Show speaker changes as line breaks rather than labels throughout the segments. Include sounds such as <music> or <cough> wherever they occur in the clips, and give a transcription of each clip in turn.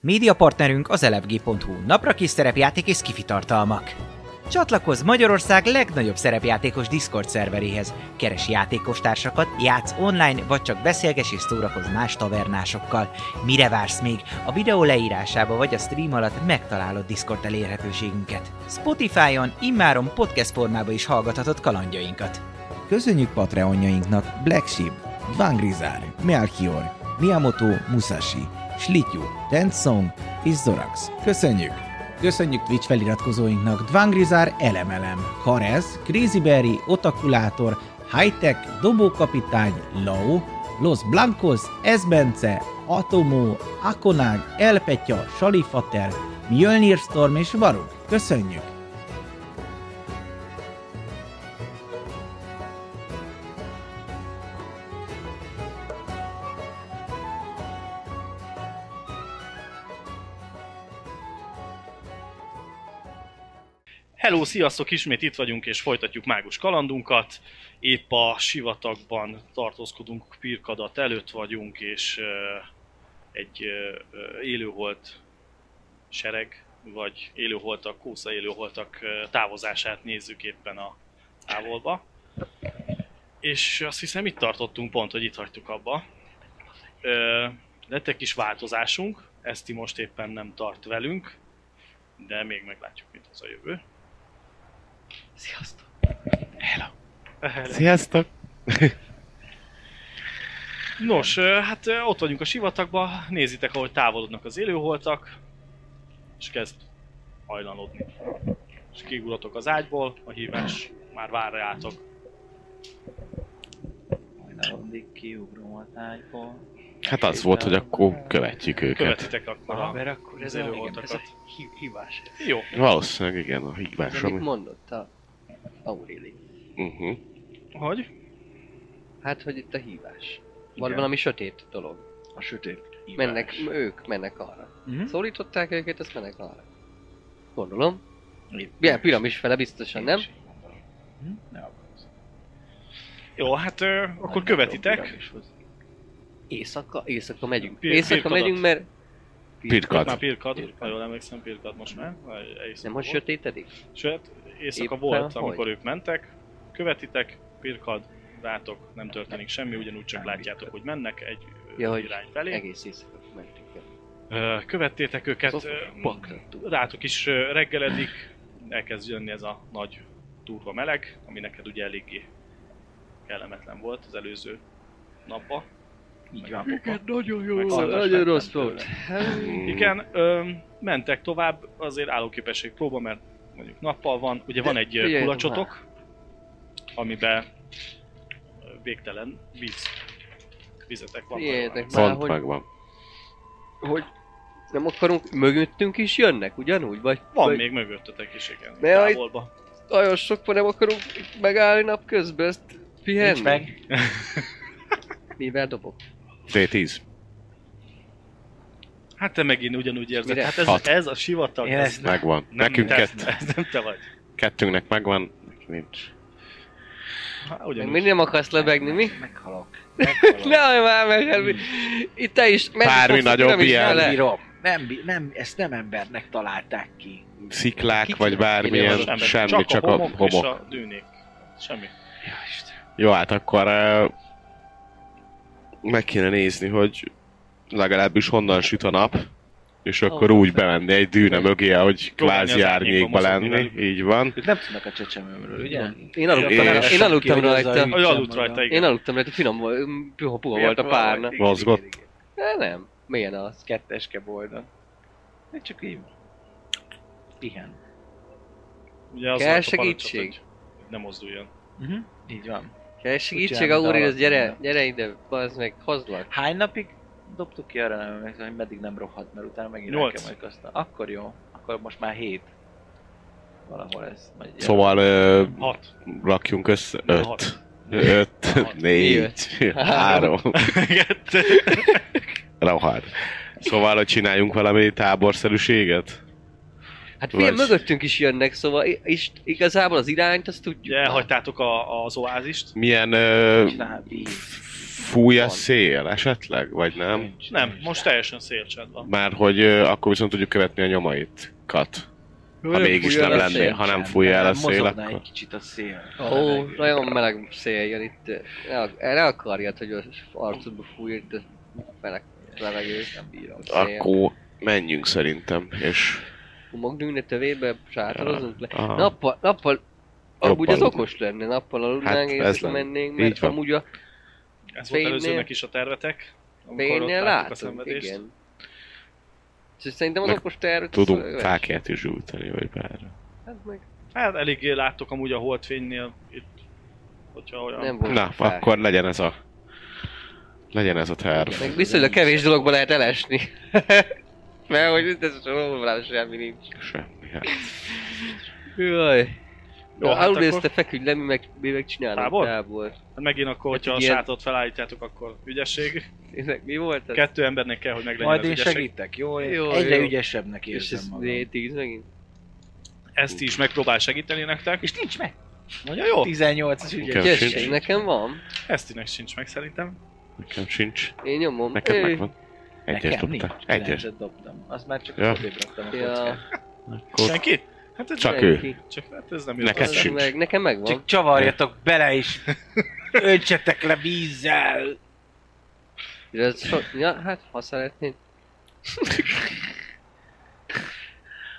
Média partnerünk az elefg.hu, napra kis szerepjáték és kifitartalmak. Csatlakozz Magyarország legnagyobb szerepjátékos Discord szerveréhez. Keres játékostársakat, játsz online, vagy csak beszélges és szórakozz más tavernásokkal. Mire vársz még? A videó leírásába vagy a stream alatt megtalálod Discord elérhetőségünket. Spotify-on immáron podcast formában is hallgathatod kalandjainkat.
Köszönjük Patreonjainknak Black Sheep, Dvangrizár, Melchior, Miyamoto Musashi, Slityu, Tensong és Zorax. Köszönjük! Köszönjük Twitch feliratkozóinknak Dvangrizár Elemelem, Karez, Crazy Berry, Otakulátor, Hightech, Dobókapitány, Lao, Los Blancos, Esbence, Atomó, Akonág, Elpetya, Salifater, Mjölnir Storm és Varug. Köszönjük!
Hello, sziasztok! Ismét itt vagyunk és folytatjuk mágus kalandunkat. Épp a sivatagban tartózkodunk, Pirkadat előtt vagyunk, és ö, egy ö, ö, élőholt sereg, vagy élőholtak, kósza élőholtak ö, távozását nézzük éppen a távolba. És azt hiszem itt tartottunk pont, hogy itt hagytuk abba. Ö, Lett egy kis változásunk, Eszti most éppen nem tart velünk, de még meglátjuk, mit az a jövő.
Sziasztok!
Sziasztok!
Nos, ö, hát ö, ott vagyunk a sivatagban, nézitek, ahogy távolodnak az élőholtak, és kezd hajlanodni. És kigullatok az ágyból, a hívás már vár rátok.
Majd addig kiugrom a tájból.
Hát az volt, hogy akkor követjük őket.
Követitek akkor
Aha,
a...
mert akkor ez
az
a, igen,
előoltakat.
ez a hi- hibás.
Jó,
Valószínűleg igen, a higgyás,
Ez Hát, amit
ami...
mondott a Aurili.
Uh-huh.
hogy?
Hát, hogy itt a hívás. Van
Igen.
valami sötét dolog.
A sötét.
Mennek, ők mennek arra.
Mhm.
Szólították őket, ezt mennek arra. Gondolom. Ilyen piramis fele biztosan, nem?
Ne aggódsz.
Jó, hát ö, akkor
Nagyon
követitek.
piramishoz.
Éjszaka, éjszaka megyünk.
Pir-
éjszaka
pirkadat.
megyünk, mert
Ott már
Pirkad.
pirkad, ha jól emlékszem, pirkad most már. vagy éjszaka
nem most
volt.
sötétedik?
Sőt, éjszaka
Éppen
volt,
hogy?
amikor ők mentek. Követitek, pirkad, rátok, nem történik semmi, ugyanúgy csak látjátok, hogy mennek egy ö,
Ja, hogy
irány felé.
Egész éjszaka mentünk. el.
Ö, követtétek őket,
Az
ö,
pakrattuk.
rátok is ö, reggeledik, elkezd jönni ez a nagy durva meleg, ami neked ugye eléggé kellemetlen volt az előző napba.
Így
meg
van.
napokkal.
Nagyon
Meg
jó,
szarvas
nagyon
lettem
rossz
tőle.
volt.
Mm.
Mhm.
Igen, ö, mentek tovább, azért állóképesség próba, mert mondjuk nappal van, ugye van egy ö,
Figyelj,
kulacsotok, amiben ö, végtelen víz, vizetek van.
Figyeljetek már,
Pont
hogy
megvan.
hogy nem akarunk, mögöttünk is jönnek, ugyanúgy? Vagy,
Van
vagy
még mögöttetek is, igen,
Ne, ha itt-
távolba.
Nagyon sokban nem akarunk itt megállni napközben, ezt pihenni.
Nincs meg.
<laughs> Mivel dobok?
D10.
Hát te megint ugyanúgy érzed.
Mire?
Hát ez,
Hat.
ez a sivatag,
Én
ez
ezt
nem,
Megvan.
nem,
Nekünk
te,
kett,
<laughs> ez nem te vagy.
kettőnknek megvan, neki nincs.
Hát,
Meg
ugyanúgy.
mindig nem akarsz lebegni, mi?
Meghalok.
<laughs> Ne hallj már meg, Helmi! Itt te is, menni
Bármi
fogsz,
nagyobb
nem is
ilyen.
vele.
Bírom. Nem, bí- nem, ezt nem embernek találták ki.
Sziklák,
Kicsit
vagy bármilyen,
Nem, mert
semmi, csak a
és
homok.
a dűnék. Semmi.
Jó, hát akkor ö, meg kéne nézni, hogy legalábbis honnan süt a nap, és akkor
Ahol
úgy
fel.
bemenni egy dűne mögé, ahogy
Próbálni
kvázi
az
árnyékba
árnyékba mozogni
lenni,
velük.
így van.
Ők nem tudnak a csecsemőmről, ugye?
Én aludtam,
Én
rá-
sem
én aludtam
Ki, hogy azzal
rajta.
ütsem
Hogy aludt
magam.
rajta,
Én
igen.
aludtam rajta, finom volt, puha, puha volt a párna.
Igen,
Mozgott.
igen, igen.
Ne, nem, milyen az?
Ketteske boldog. Én csak így van. Pihen.
Ugye az
Kell
volt a parancsot,
segítség?
hogy Ne mozduljon.
Uh-huh. Így van.
Kell segítség,
Kutyám,
Auri,
de
az gyere,
aludtam.
gyere ide, bazd meg, hozlak.
Hány napig dobtuk ki arra, nem emlékszem, hogy meddig nem rohadt, mert utána megint
Nyolc.
Nyolc. aztán. Akkor jó, akkor most már hét. Valahol ez. Majd
Szóval ö,
Hat.
rakjunk össze
Na,
5,
hat.
5,
Hat.
4, 3,
Kettő.
rohad. Szóval, hogy csináljunk valami táborszerűséget?
Hát fél
Vagy-
mögöttünk is jönnek, szóval i- is, igazából az irányt azt tudjuk.
Ugye elhagytátok a, az oázist.
Milyen ö,
Csinál, víz.
fúj a
Van.
szél esetleg, vagy nem?
Nincs,
Nem,
nincs.
most teljesen szélcsend van.
Már hogy ö, akkor viszont tudjuk követni a nyomaitkat. Ha
nem
mégis
fújja
nem
el a
lenné,
szél,
ha nem
Csend,
fújja el a
mozogna
szél, akkor...
egy kicsit a szél.
Ó, nagyon meleg szél jön itt. El- Erre akarjad, hogy az arcodba fúj itt a meleg levegő.
Nem bírom.
Akkor menjünk szerintem, és
Magnunk ne tövébe sátorozunk le.
aha.
Nappal, nappal
Jobb
amúgy az
aludni.
okos lenne, nappal aludnánk
Hát,
és
ez
éjszaka
lenne.
mennénk,
Így
mert
van.
amúgy a
Ez volt
fénynél-
előzőnek is a tervetek. Amikor ott
fénynél
láttuk a
látunk,
szenvedést.
igen. Úgyhogy szerintem az
Meg
okos terv...
tudunk fákját is gyújtani, vagy bár.
Hát meg
Hát eléggé láttok amúgy a holdfénynél itt, hogyha olyan...
nem volt
Na,
fák.
akkor legyen ez a... Legyen ez a terv.
Meg viszonylag kevés dologban lehet elesni. <laughs> Mert hogy itt ez valami semmi nincs.
Semmi. hát.
Jaj.
Jó,
Jó, Na,
hát
aludj
akkor-
ezt a feküdj le, mi meg, mi meg csinálunk
Tábor?
tábor.
Hát Megint akkor,
Hát
hogyha a
egy ilyen-
sátot felállítjátok, akkor ügyesség.
Tényleg, mi volt ez?
Kettő embernek kell, hogy meglegyen
Majd
az
én
ügyesség.
segítek, jó? Én
Jó,
Egyre
jó.
ügyesebbnek
És
érzem
ez
magam.
D10 megint?
Ezt is megpróbál segíteni nektek.
És nincs meg.
Nagyon jó.
18-as
Nekem
ügyes.
Gyesség,
sincs.
nekem van.
Esztinek sincs meg szerintem.
Nekem sincs.
Én nyomom.
Neked
Ő.
megvan. Egyes
Nekem
dobta.
nincs.
Egyes.
9-et dobtam. Azt már csak
Ja.
ja. raktam a
Ja,
kockát.
Akkor
Senki? Hát ez
Csak
nem-
ő.
neki.
Csak hát ez nem jó.
Neked
Az
sincs.
Meg, nekem megvan.
Csak csavarjatok bele is. Öntsetek le vízzel.
De ez so... Ja, hát ha szeretnéd.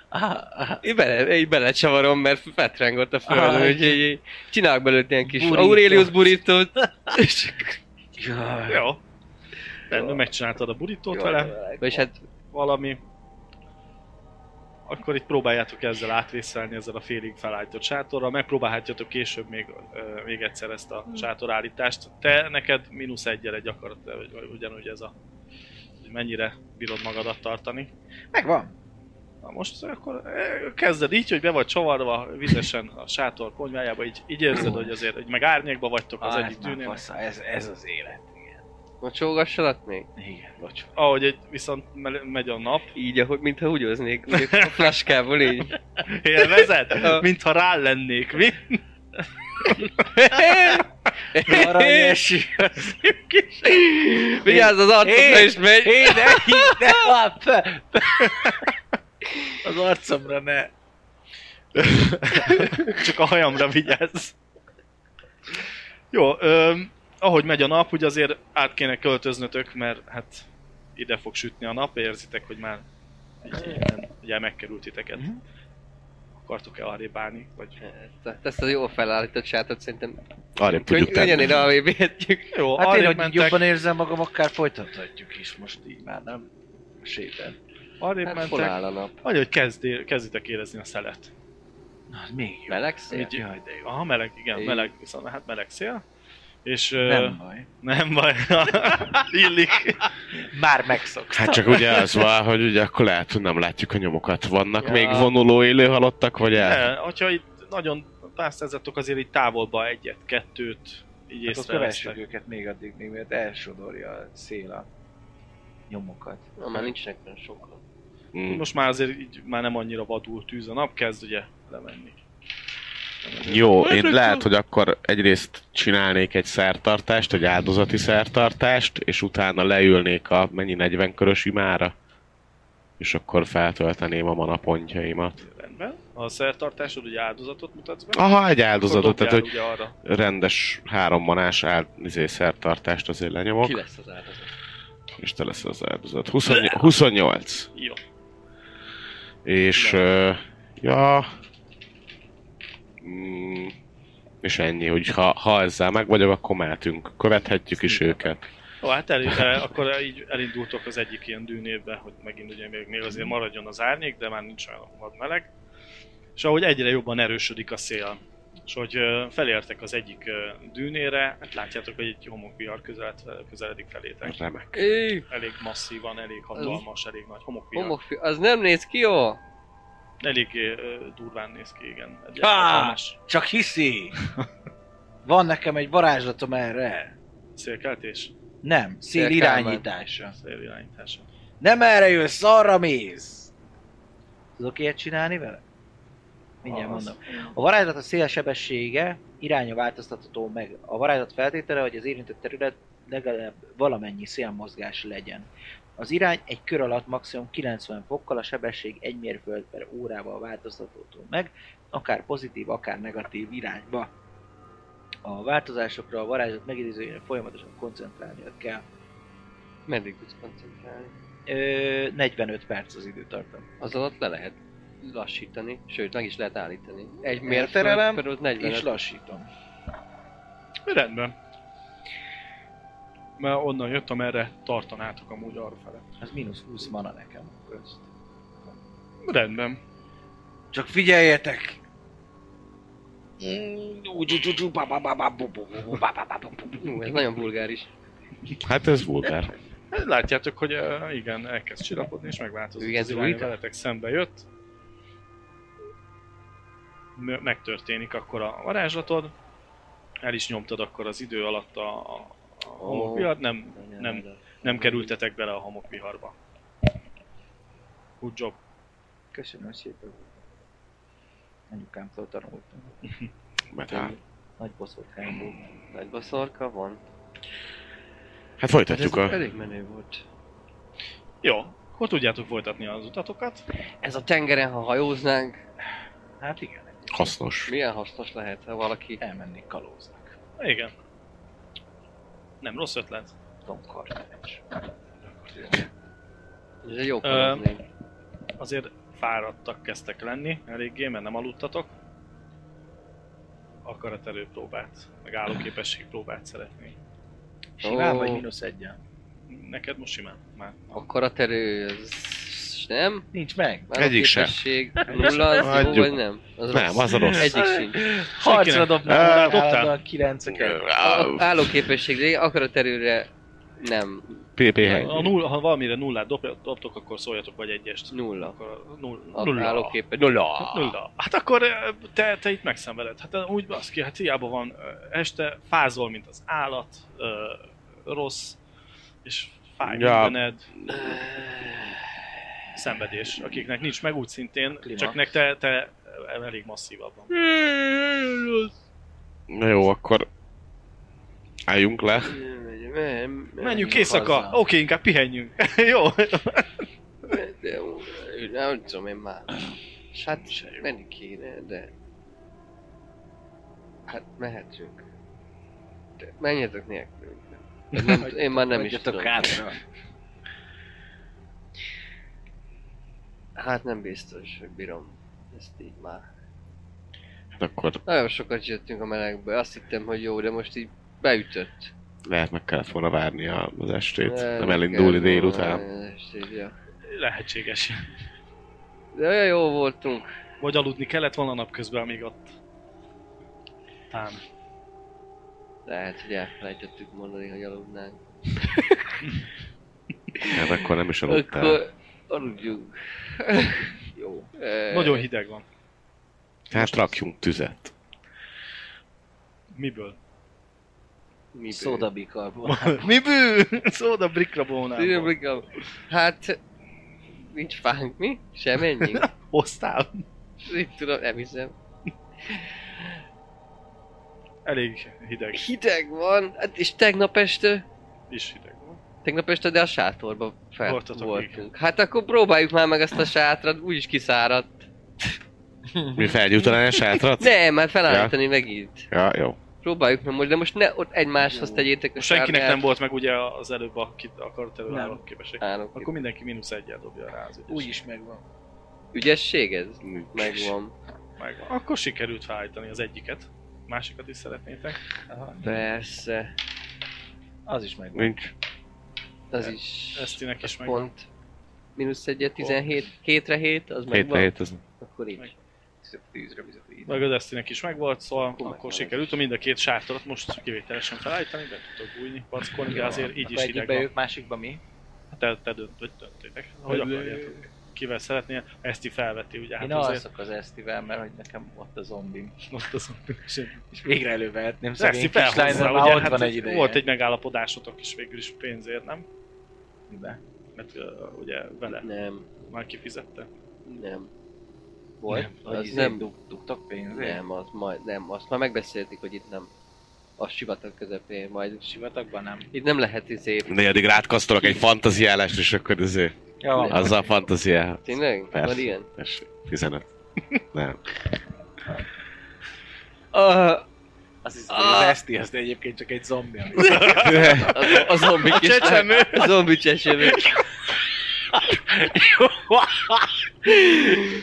Ah, ah, én bele, én belecsavarom, mert fetrengott a földön,
Ah,
úgyhogy így csinálok belőle ilyen kis
Burrito.
Aurelius burítót. <laughs> És
Jaj.
Jó. Rendben, megcsináltad a burítót
Jaj,
vele.
jaj.
Vagyis hát
valami, akkor itt próbáljátok ezzel átvészelni, ezzel a félig felállított sátorral. Megpróbálhatjátok később még, ö, még egyszer ezt a sátorállítást. Te neked mínusz egyel egy akarat, vagy, vagy ugyanúgy ez a hogy mennyire bírod magadat tartani.
hát- Megvan.
Na most akkor ö, kezded így, hogy be vagy csavarva vizesen a sátor konyvájába, így, így érzed, hogy azért, hogy meg árnyékba vagytok az
Ah, ez,
egyik
már
tűnél.
fasza, ez, ez az élet. Igen.
mocsolgassalak még?
Igen, bocs.
Ahogy egy, viszont me- megy a nap, <laughs>
Így, ahogy, mintha <laughs> húgyoznék ugye, a flaskából így.
élvezed, mintha rá lennék, mi?
Aranyesi.
<laughs> Vigyázz az arcodra
Én-
is megy!
Hé, ne, ne, ah, pe- pe- Az arcomra ne.
Csak a hajamra vigyázz. Jó, öm, ahogy megy a nap, ugye azért át kéne költöznötök, mert hát ide fog sütni a nap, érzitek, hogy már így, így nem, ugye megkerült titeket.
Mhm.
Akartok-e arrébb állni? Vagy...
Hát
Ezt- Ezt a jól felállított sátot szerintem
arrébb tudjuk
könny- könnyen
tenni.
ide a VB-t
Jó,
Hát én,
arrébb,
hogy
mentek,
jobban érzem magam, akár folytathatjuk is most így már, nem? Sétál.
arrébb
Hát hol
mentek.
áll a nap?
Vagy hogy kezdi, kezditek érezni a szelet.
Na, az még jó.
Meleg szél?
Így-
Jaj, de jó.
Aha, meleg, igen,
Így.
meleg, viszont hát meleg szél. És
Nem
nem,
baj.
nem baj, <laughs> illik.
Már megszoktam.
Hát csak ugye az van, hogy ugye akkor lehet, hogy nem látjuk a nyomokat. Vannak
Ja.
még vonuló élő halottak, vagy el?
Ne, hogyha itt nagyon pásztázzatok, azért így távolba egyet, kettőt, így
Akkor
észrevesztek.
Hát kövessük őket még addig, még mielőtt elsodorja a szél a nyomokat.
Na, már nincsenek olyan sokan.
Mm.
Most már azért így már nem annyira vadul tűz a nap, kezd ugye lemenni.
Jó, én lehet, hogy akkor egyrészt csinálnék egy szertartást, egy áldozati szertartást, és utána leülnék a mennyi 40 körös imára, és akkor feltölteném a manapontjaimat.
Rendben. A szertartásod ugye áldozatot mutatsz meg.
Aha, egy
akkor
áldozatot,
dobjál
tehát hogy
Ugye arra.
rendes három manás áld, izé, szertartást azért lenyomok,
Ki lesz az áldozat?
és te leszel az áldozat. 28, 28
Jó.
és ö, ja, mm, és ennyi, hogy ha, ha ezzel meg vagyok, akkor mehetünk, követhetjük is őket.
Jó, hát el, el, akkor így elindultok az egyik ilyen dűnébe, hogy megint ugye még, még azért maradjon az árnyék, de már nincs olyan vad meleg. És ahogy egyre jobban erősödik a szél, és hogy ö, felértek az egyik ö, dűnére, hát látjátok, hogy egy homokvihar közeled, közeledik felétek.
Remek.
Ő,
Elég masszívan, elég hatalmas, elég nagy homokvihar.
homokfi... Az nem néz ki jó?
Elég ö, durván néz ki, igen. Egy
Á!
hatalmas
Csak hiszi! Van nekem egy varázslatom erre.
szélkeltés,
Nem, szél
Szélkálmán.
irányítása.
szélirányítása.
Nem erre jössz, arra mész! Tudok ilyet csinálni vele? Mindjárt
Az.
mondom. A varázslat a szél sebessége iránya változtatható meg. A varázslat feltétele, hogy az érintett terület legalább valamennyi szélmozgás legyen. Az irány egy kör alatt maximum 90 fokkal a sebesség 1 mérföld per órával változtatható meg, akár pozitív, akár negatív irányba. A változásokra a varázslat megidézőjének folyamatosan koncentrálnia kell.
Meddig tudsz koncentrálni?
Ö, 45 perc az időtartam.
Az alatt le lehet lassítani, sőt meg is lehet állítani. Egy
Elterelem,
mérföld, per ott 40
És lassítom.
Rendben. Mert onnan jött, amerre tartanátok amúgy arra fele.
Az mínusz 20 mana nekem közt.
Rendben.
Csak figyeljetek!
Ú, ez nagyon vulgáris.
Hát ez vulgár.
Hát Látjátok, hogy ö, igen, elkezd csillapodni és megváltozott
Igen,
az irány,
zúgít.
veletek szembe jött. M- Megtörténik akkor a varázslatod. El is nyomtad akkor az idő alatt a, a a homokvihar, nem, nem, nem kerültetek bele a homokviharba. Good job.
Köszönöm szépen. Anyukámtól tanultam.
Metál.
Nagy boszott helyből.
Nagy baszarka van.
Hát
Hát ez
folytatjuk a...
elég menő volt.
Jó, akkor tudjátok folytatni az Hát, utatokat.
Ez a tengeren, ha hajóznánk,
Hát igen,
Hasznos.
milyen hasznos lehet, ha valaki...
elmennék kalóznak.
Igen. Nem rossz ötlet.
Tom Carter is.
Ez egy jó
Ö,
kalóznék.
Azért fáradtak kezdtek lenni eléggé, mert nem aludtatok. Akarat előpróbát, meg állóképesség próbát szeretnék.
Simán
Ó.
vagy mínusz egyen?
Neked most simán már.
Akaraterő, ez... nem?
Nincs meg.
Már
Egyik se.
képesség, Nulla, az jó
Hagyjuk.
vagy nem? Az
Nem, az a rossz.
Egyik sincs.
Harcra
Senkinek.
dobnak
Á,
állandóan
dobtál?
a kilenceket.
Á,
Állóképesség, de akaraterőre nem.
PP
Ha,
hely.
null, ha valamire nullát dob, dobtok, akkor szóljatok, vagy egyest.
Nulla.
Akkor a null,
A-
nulla.
Állóképe.
Nulla.
Nulla. Hát akkor ö, te, te itt megszenveded. Hát ö, úgy baszki, hát hiába van ö, este, fázol, mint az állat, ö, rossz, és fáj
Ja.
ja. mindened. Szenvedés. Akiknek nincs meg úgy szintén,
Klima.
csak nek te, te elég masszívabban.
Na jó, akkor... Álljunk le.
Menjünk éjszaka! Oké, okay, inkább pihenjünk. <laughs> Jó.
De, ú, nem tudom én már. És Hát menni kéne, de... Hát mehetünk. De menjetek nélkülünk. Nem, én már nem is tudom.
hátra.
Hát nem biztos, hogy bírom. Ezt így már.
Hát akkor
Nagyon sokat jöttünk a melegbe, azt hittem, hogy jó, de most így beütött.
lehet meg kellett volna várni a- az estét.
Ne,
Nem
ne
elindulni
kell,
délután.
ne, estét, ja.
Lehetséges.
De olyan jó voltunk.
Vagy aludni kellett volna napközben, amíg ott... Tám.
Lehet, hogy elfelejtettük mondani, hogy aludnánk.
Hát akkor nem is aludtál.
Akkor aludjunk.
Jó.
Eh,
Nagyon hideg van.
Hát rakjunk tüzet.
Miből?
miből? <laughs>
Szódabikarbon.
<laughs> Miből? Szóval Szóda brikrabolnál.
Szidobikal. Hát... Nincs fánk, mi? Sem ennyi.
<laughs> Hoztál?
Itt tudom, nem hiszem.
Elég hideg.
Hideg van, hát és tegnap este...
Is hideg van.
Tegnap este, de a sátorba fel
Voltatok,
voltunk. Hát akkor próbáljuk már meg ezt a sátrat, úgyis kiszáradt.
Mi felgyújt a sátrat?
Nem, hát felállítani megint.
Ja, jó.
Próbáljuk meg most, de most ne ott egymáshoz tegyétek a
Most senkinek
sárgát.
nem volt meg ugye az előbb, akit akart
Nem.
előálló képesség.
Állok
Akkor mindenki mínusz egyel dobja rá az ügyes.
Úgyis megvan.
Ügyesség ez? Megvan.
Megvan. Akkor sikerült felállítani az egyiket. Másikat is szeretnétek.
Aha.
Persze.
Az is megvan.
Nincs.
Az is...
Esztinek is megvan.
Pont. Mínusz egyet, 17. 7-re 7, az
Hétre
megvan.
hét az
Akkor így.
Meg-
Tízre bizony. így.
Meg az Esztinek is megvolt, szóval akkor,
megvan ez.
sikerült a mind a két sátorat most kivételesen felállítani, be tudtok bújni, packolni, de azért így
Akkor
is hideg
egyikbe
van.
ők, másikba mi?
Te, te dönt, vagy döntétek. Hogy akarjátok. Kivel szeretnél, Eszti felveti, ugye hát
Én
azért
alszok az Esztivel, mert hogy nekem ott a zombim.
most az
És végre elővehetném
Eszti
szegény kislányt,
felhozza,
mert már
ugye,
ott van
hát
egy ideje.
volt egy megállapodásotok is végül is pénzért, nem?
Miben?
Mert ö, ugye vele
Nem,
már kifizette.
nem.
Volt?
Az
Az
nem-
nem dugtok pénzért?
Nem, az majd, nem, azt már megbeszélték, hogy itt nem. a sivatag közepén majd.
Sivatagban nem.
Itt nem lehet izé...
De addig rátkasztolok egy fantaziálást, és akkor izé,
Ja, van.
azzal fantaziál.
Tényleg?
Persze.
Van ilyen?
Tessék, 15. <laughs> Nem.
Ah,
Az is az Eszti, az egyébként csak egy zombi. ami-
a, a zombi
A
kis...
csecsemő.
A zombi csecsemő.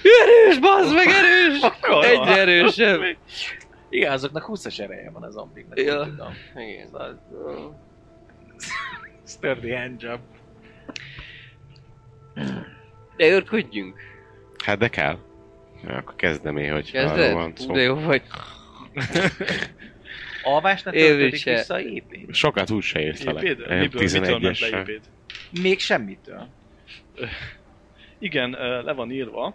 Erős, bazd meg, erős!
Akkor van.
Egyre erősebb.
Igen, azoknak 20-as ereje van a zombiknak.
Ja.
Ja. Tudom. Szóval
Igen.
Sturdy handjob.
De őrködjünk.
Hát de kell. Ja, akkor kezdem én, hogy arról
Kezded?
van
Hú,
szó.
de jó vagy.
Alvásnak
Én
töltődik
se.
vissza a E épét?
Sokat úgy se írsz le.
Épéd? Miből, mitől ment le
11-essel.
épéd?
Még semmitől.
Igen, ö, le van írva,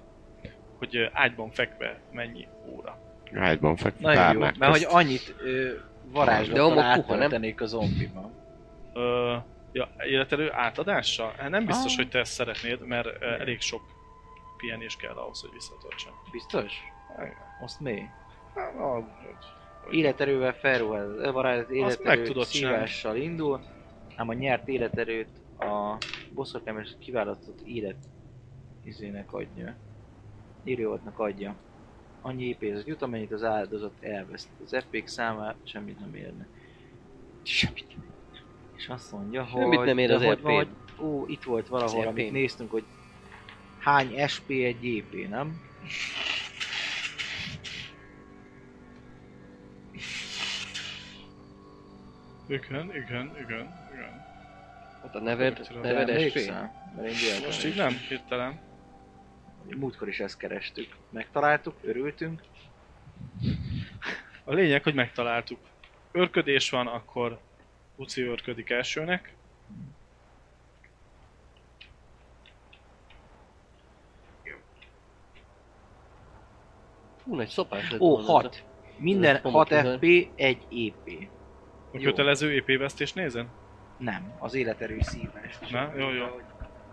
hogy ö, ágyban fekve mennyi óra.
Ágyban fekve
Nagyon jó,
tárnák
mert
közt.
hogy annyit ö,
De
varázslattal
amúgy puha, nem?
áttöltenék a zombiban.
Ö, ja, életerő átadással? Hát Nem biztos,
Ah.
hogy te ezt szeretnéd, mert ö, elég sok pihenés kell ahhoz, hogy visszatöltsen.
Biztos? Azt mi?
Hát, ah, hogy-
Életerővel felruház, varázs
meg
életerő
tudod csinálni.
szívással indul, ám a nyert életerőt a bosszorkámos kiválasztott élet izének adja. Írjóatnak adja. Annyi épéhez jut, amennyit az áldozat elveszt. Az FP számát semmit nem érne.
Semmit.
És azt mondja, hogy...
Semmit nem ér
de
az
hogy van,
EP.
hogy Ó, itt volt valahol,
Az
amit
EP.
néztünk, hogy hány SP egy EP, nem?
Igen, igen, igen, igen.
Hát a neved,
Tudom,
neved esvé.
Emlékszel? Mert én gyilkolom.
Most így nem, hirtelen.
Múltkor is ezt kerestük. Megtaláltuk, örültünk.
A lényeg, hogy megtaláltuk. Örködés van, akkor Luci örködik elsőnek.
Hú, nagy szopás lett
Ó,
volna.
hat. Minden
Pont
6
tizen.
FP, 1 EP.
A
Jó.
kötelező épévesztés nézen?
Nem, az életerő szívás.
Na, jó, jó.
Hogy,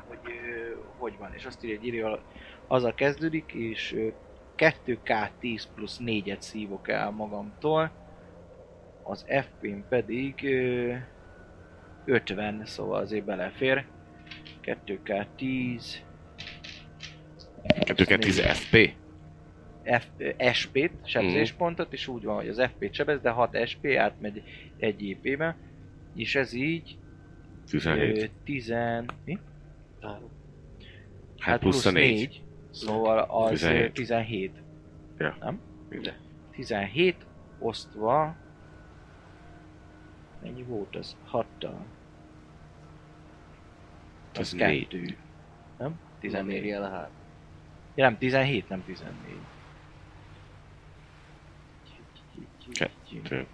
hogy, ö, hogy van, és azt írja, hogy írja, azzal kezdődik, és ö, 2K10 plusz 4-et szívok el magamtól, az FP-n pedig ö, 50, szóval azért belefér. 2K10
210 FP.
F, ö, SP-t, sebzéspontot, és úgy van, hogy az FP-t sebez, de 6 SP átmegy egy EP-be, és ez így
17.
10, mi?
Hát plusz a 4.
Szóval az
17.
17. 17.
Ja.
Nem?
De.
17 osztva... Mennyi volt az? 6-tal.
Az
Az
négy.
2. Nem?
Nem
14.
érjen a hát.
Ja, nem, 17, nem 14.
Kettő.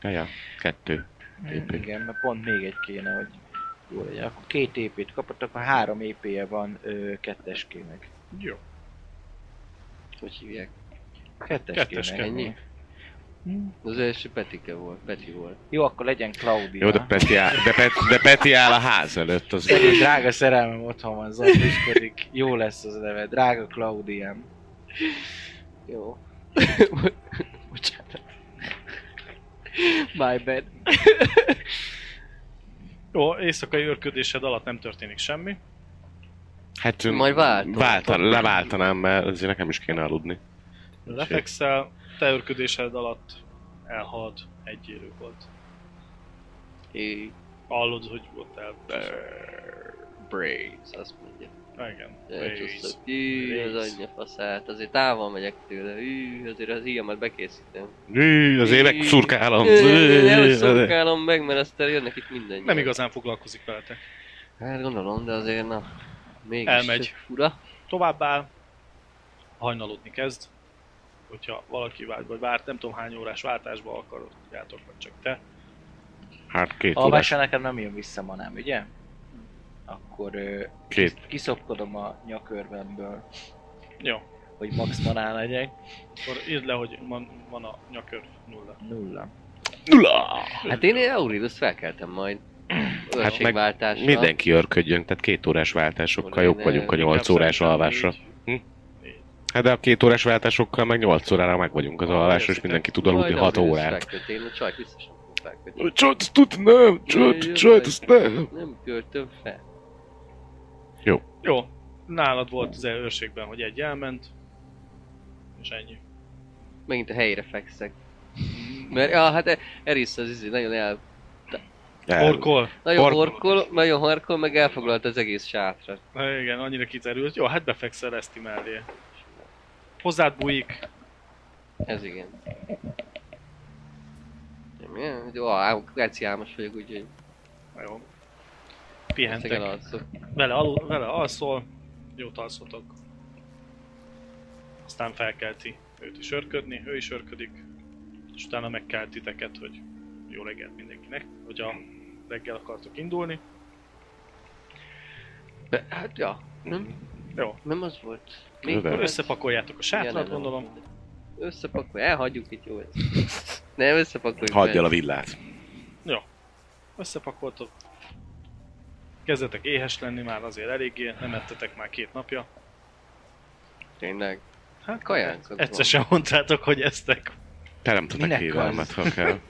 Ja, ja. Kettő. TP.
Igen, mert pont még egy kéne, hogy jó legyen. Akkor két épét kapott, akkor három épéje van ö, ketteskének.
Jó.
Hogy hívják?
Ketteskének.
Ketteskének.
Ennyi. Hm.
Az első Petike volt, Peti volt.
Jó, akkor legyen Claudia.
Jó, de Peti, áll, de, Peti, de Peti áll a ház előtt. Az
Szerű, drága szerelmem otthon van, zombiskodik. Jó lesz az neve, drága Claudiám.
Jó. <laughs> Bocsánat. My bad.
Jó, éjszakai örködésed alatt nem történik semmi.
Hát
Majd váltom.
váltan, leváltanám, mert azért nekem is kéne aludni.
Lefekszel, te örködésed alatt elhalt egy élő volt.
É,
Hallod, hogy volt el.
Braves, azt mondja.
Ah, Igen. Brace.
Elcsusszok. Ű,
Brace.
az anyja faszát. Azért távol megyek tőle. Ű, azért az ilyemet bekészítem.
Ű, az évek szurkálom.
Ű, Nem szurkálom meg, mert aztán jönnek itt minden.
Nem igazán foglalkozik veletek.
Hát gondolom, de azért na. Mégis
Elmegy.
Fura.
Továbbá hajnalodni kezd, hogyha valaki vált, vagy várt, nem tudom hány órás váltásba akarod, játok, vagy csak te.
Hát két órás,
Alvásra nekem nem jön vissza ma nem, ugye? Akkor ö,
két
kiszopkodom a nyakörvemből,
Jó,
hogy max manán legyek.
akkor írd le, hogy van, van a nyakör nulla.
Nulla.
nulla.
Hát én Aurilus felkeltem majd.
Hát meg
Örökségváltásra.
mindenki örködjön, tehát két órás váltásokkal
Én,
jobb vagyunk a nyolc órás
Inkább
alvásra.
szerintem
Hm?
négy- négy.
Hát de a két órás váltásokkal meg 8 órára meg vagyunk az alvásra, és mindenki tud aludni 6 órát.
Én a csajt biztos nem fog felkötni.
Csajt, azt tud, nem! Csajt,
Jaj,
csajt, azt nem!
Nem költöm fel.
Jó, nálad volt az őrségben, hogy egy elment, és ennyi.
Megint a helyére fekszek. Mert, ja, hát e- Eris az izé nagyon el...
El.
Orkol.
Nagyon
Harkol.
horkol, nagyon harkol, meg elfoglalt az egész sátra.
Na igen, annyira kiterült. Jó, hát befekszel Eszti mellé. Hozzád bújik.
Ez igen. Nem, Jó, á, Geci álmos vagyok, úgyhogy
Na jó.
ezeken
Pihentek.
alszok.
Vele, alul, vele alszol. Jót alszotok. Aztán felkelti őt is örködni, ő is örködik. És utána megkelt titeket, hogy jó reggelt mindenkinek, hogy a reggel akartok indulni.
De, hát ja, nem?
Jó.
Nem az volt.
Jövök.
volt?
Összepakoljátok a
Igen,
sátrat,
nem
gondolom.
volt. Összepakolj, elhagyjuk itt jó. lesz. Nem, összepakoljuk.
Hagyj el
mert-
a villát.
Összepakoltok. Kezdetek éhes lenni már azért eléggé, nem ettetek már két napja.
Tényleg.
Hát
Kajánkodom.
Egyszer sem mondtátok, hogy
<laughs>
eztek.
Teremtetek
Minek
hívelmet, ha kell.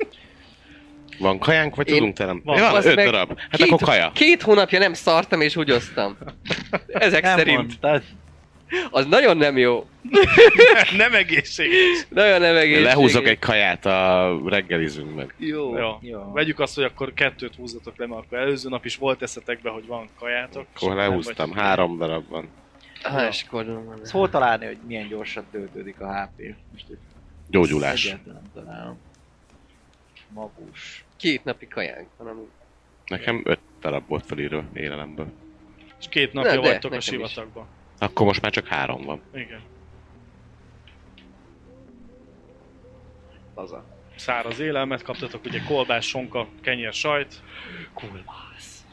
Van kajánk, vagy
Én-
tudunk teremteni?
Van.
Van,
Azt
öt
meg-
darab. Hát akkor kaja.
Két hónapja nem szartam és húgyoztam. Ezek nem
Nem
szerint.
mondtad.
Az nagyon nem jó.
nem egészséges.
Nagyon nem egészséges.
Lehúzok egy kaját a reggelizünkben.
Jó.
Jó.
Jó.
Vegyük azt, hogy akkor kettőt húzzatok le, mert akkor előző nap is volt eszetekbe, hogy van kajátok.
Akkor lehúztam,
hát.
három darab van.
Há, és kordon van.
Ez hol Szóval találni, hogy milyen gyorsan töltődik a HP? Most itt
Gyógyulás.
egyáltalán nem találom. Magus.
Két napi kajánk van, ami...
Nekem öt darab volt felírva élelemből.
És két
Na,
napja
de,
vagytok a
nekem is.
sivatagban.
Akkor most már csak három van.
Igen.
Haza.
Száraz élelmet kaptatok, ugye kolbász, sonka, kenyér, sajt,
Kulvász.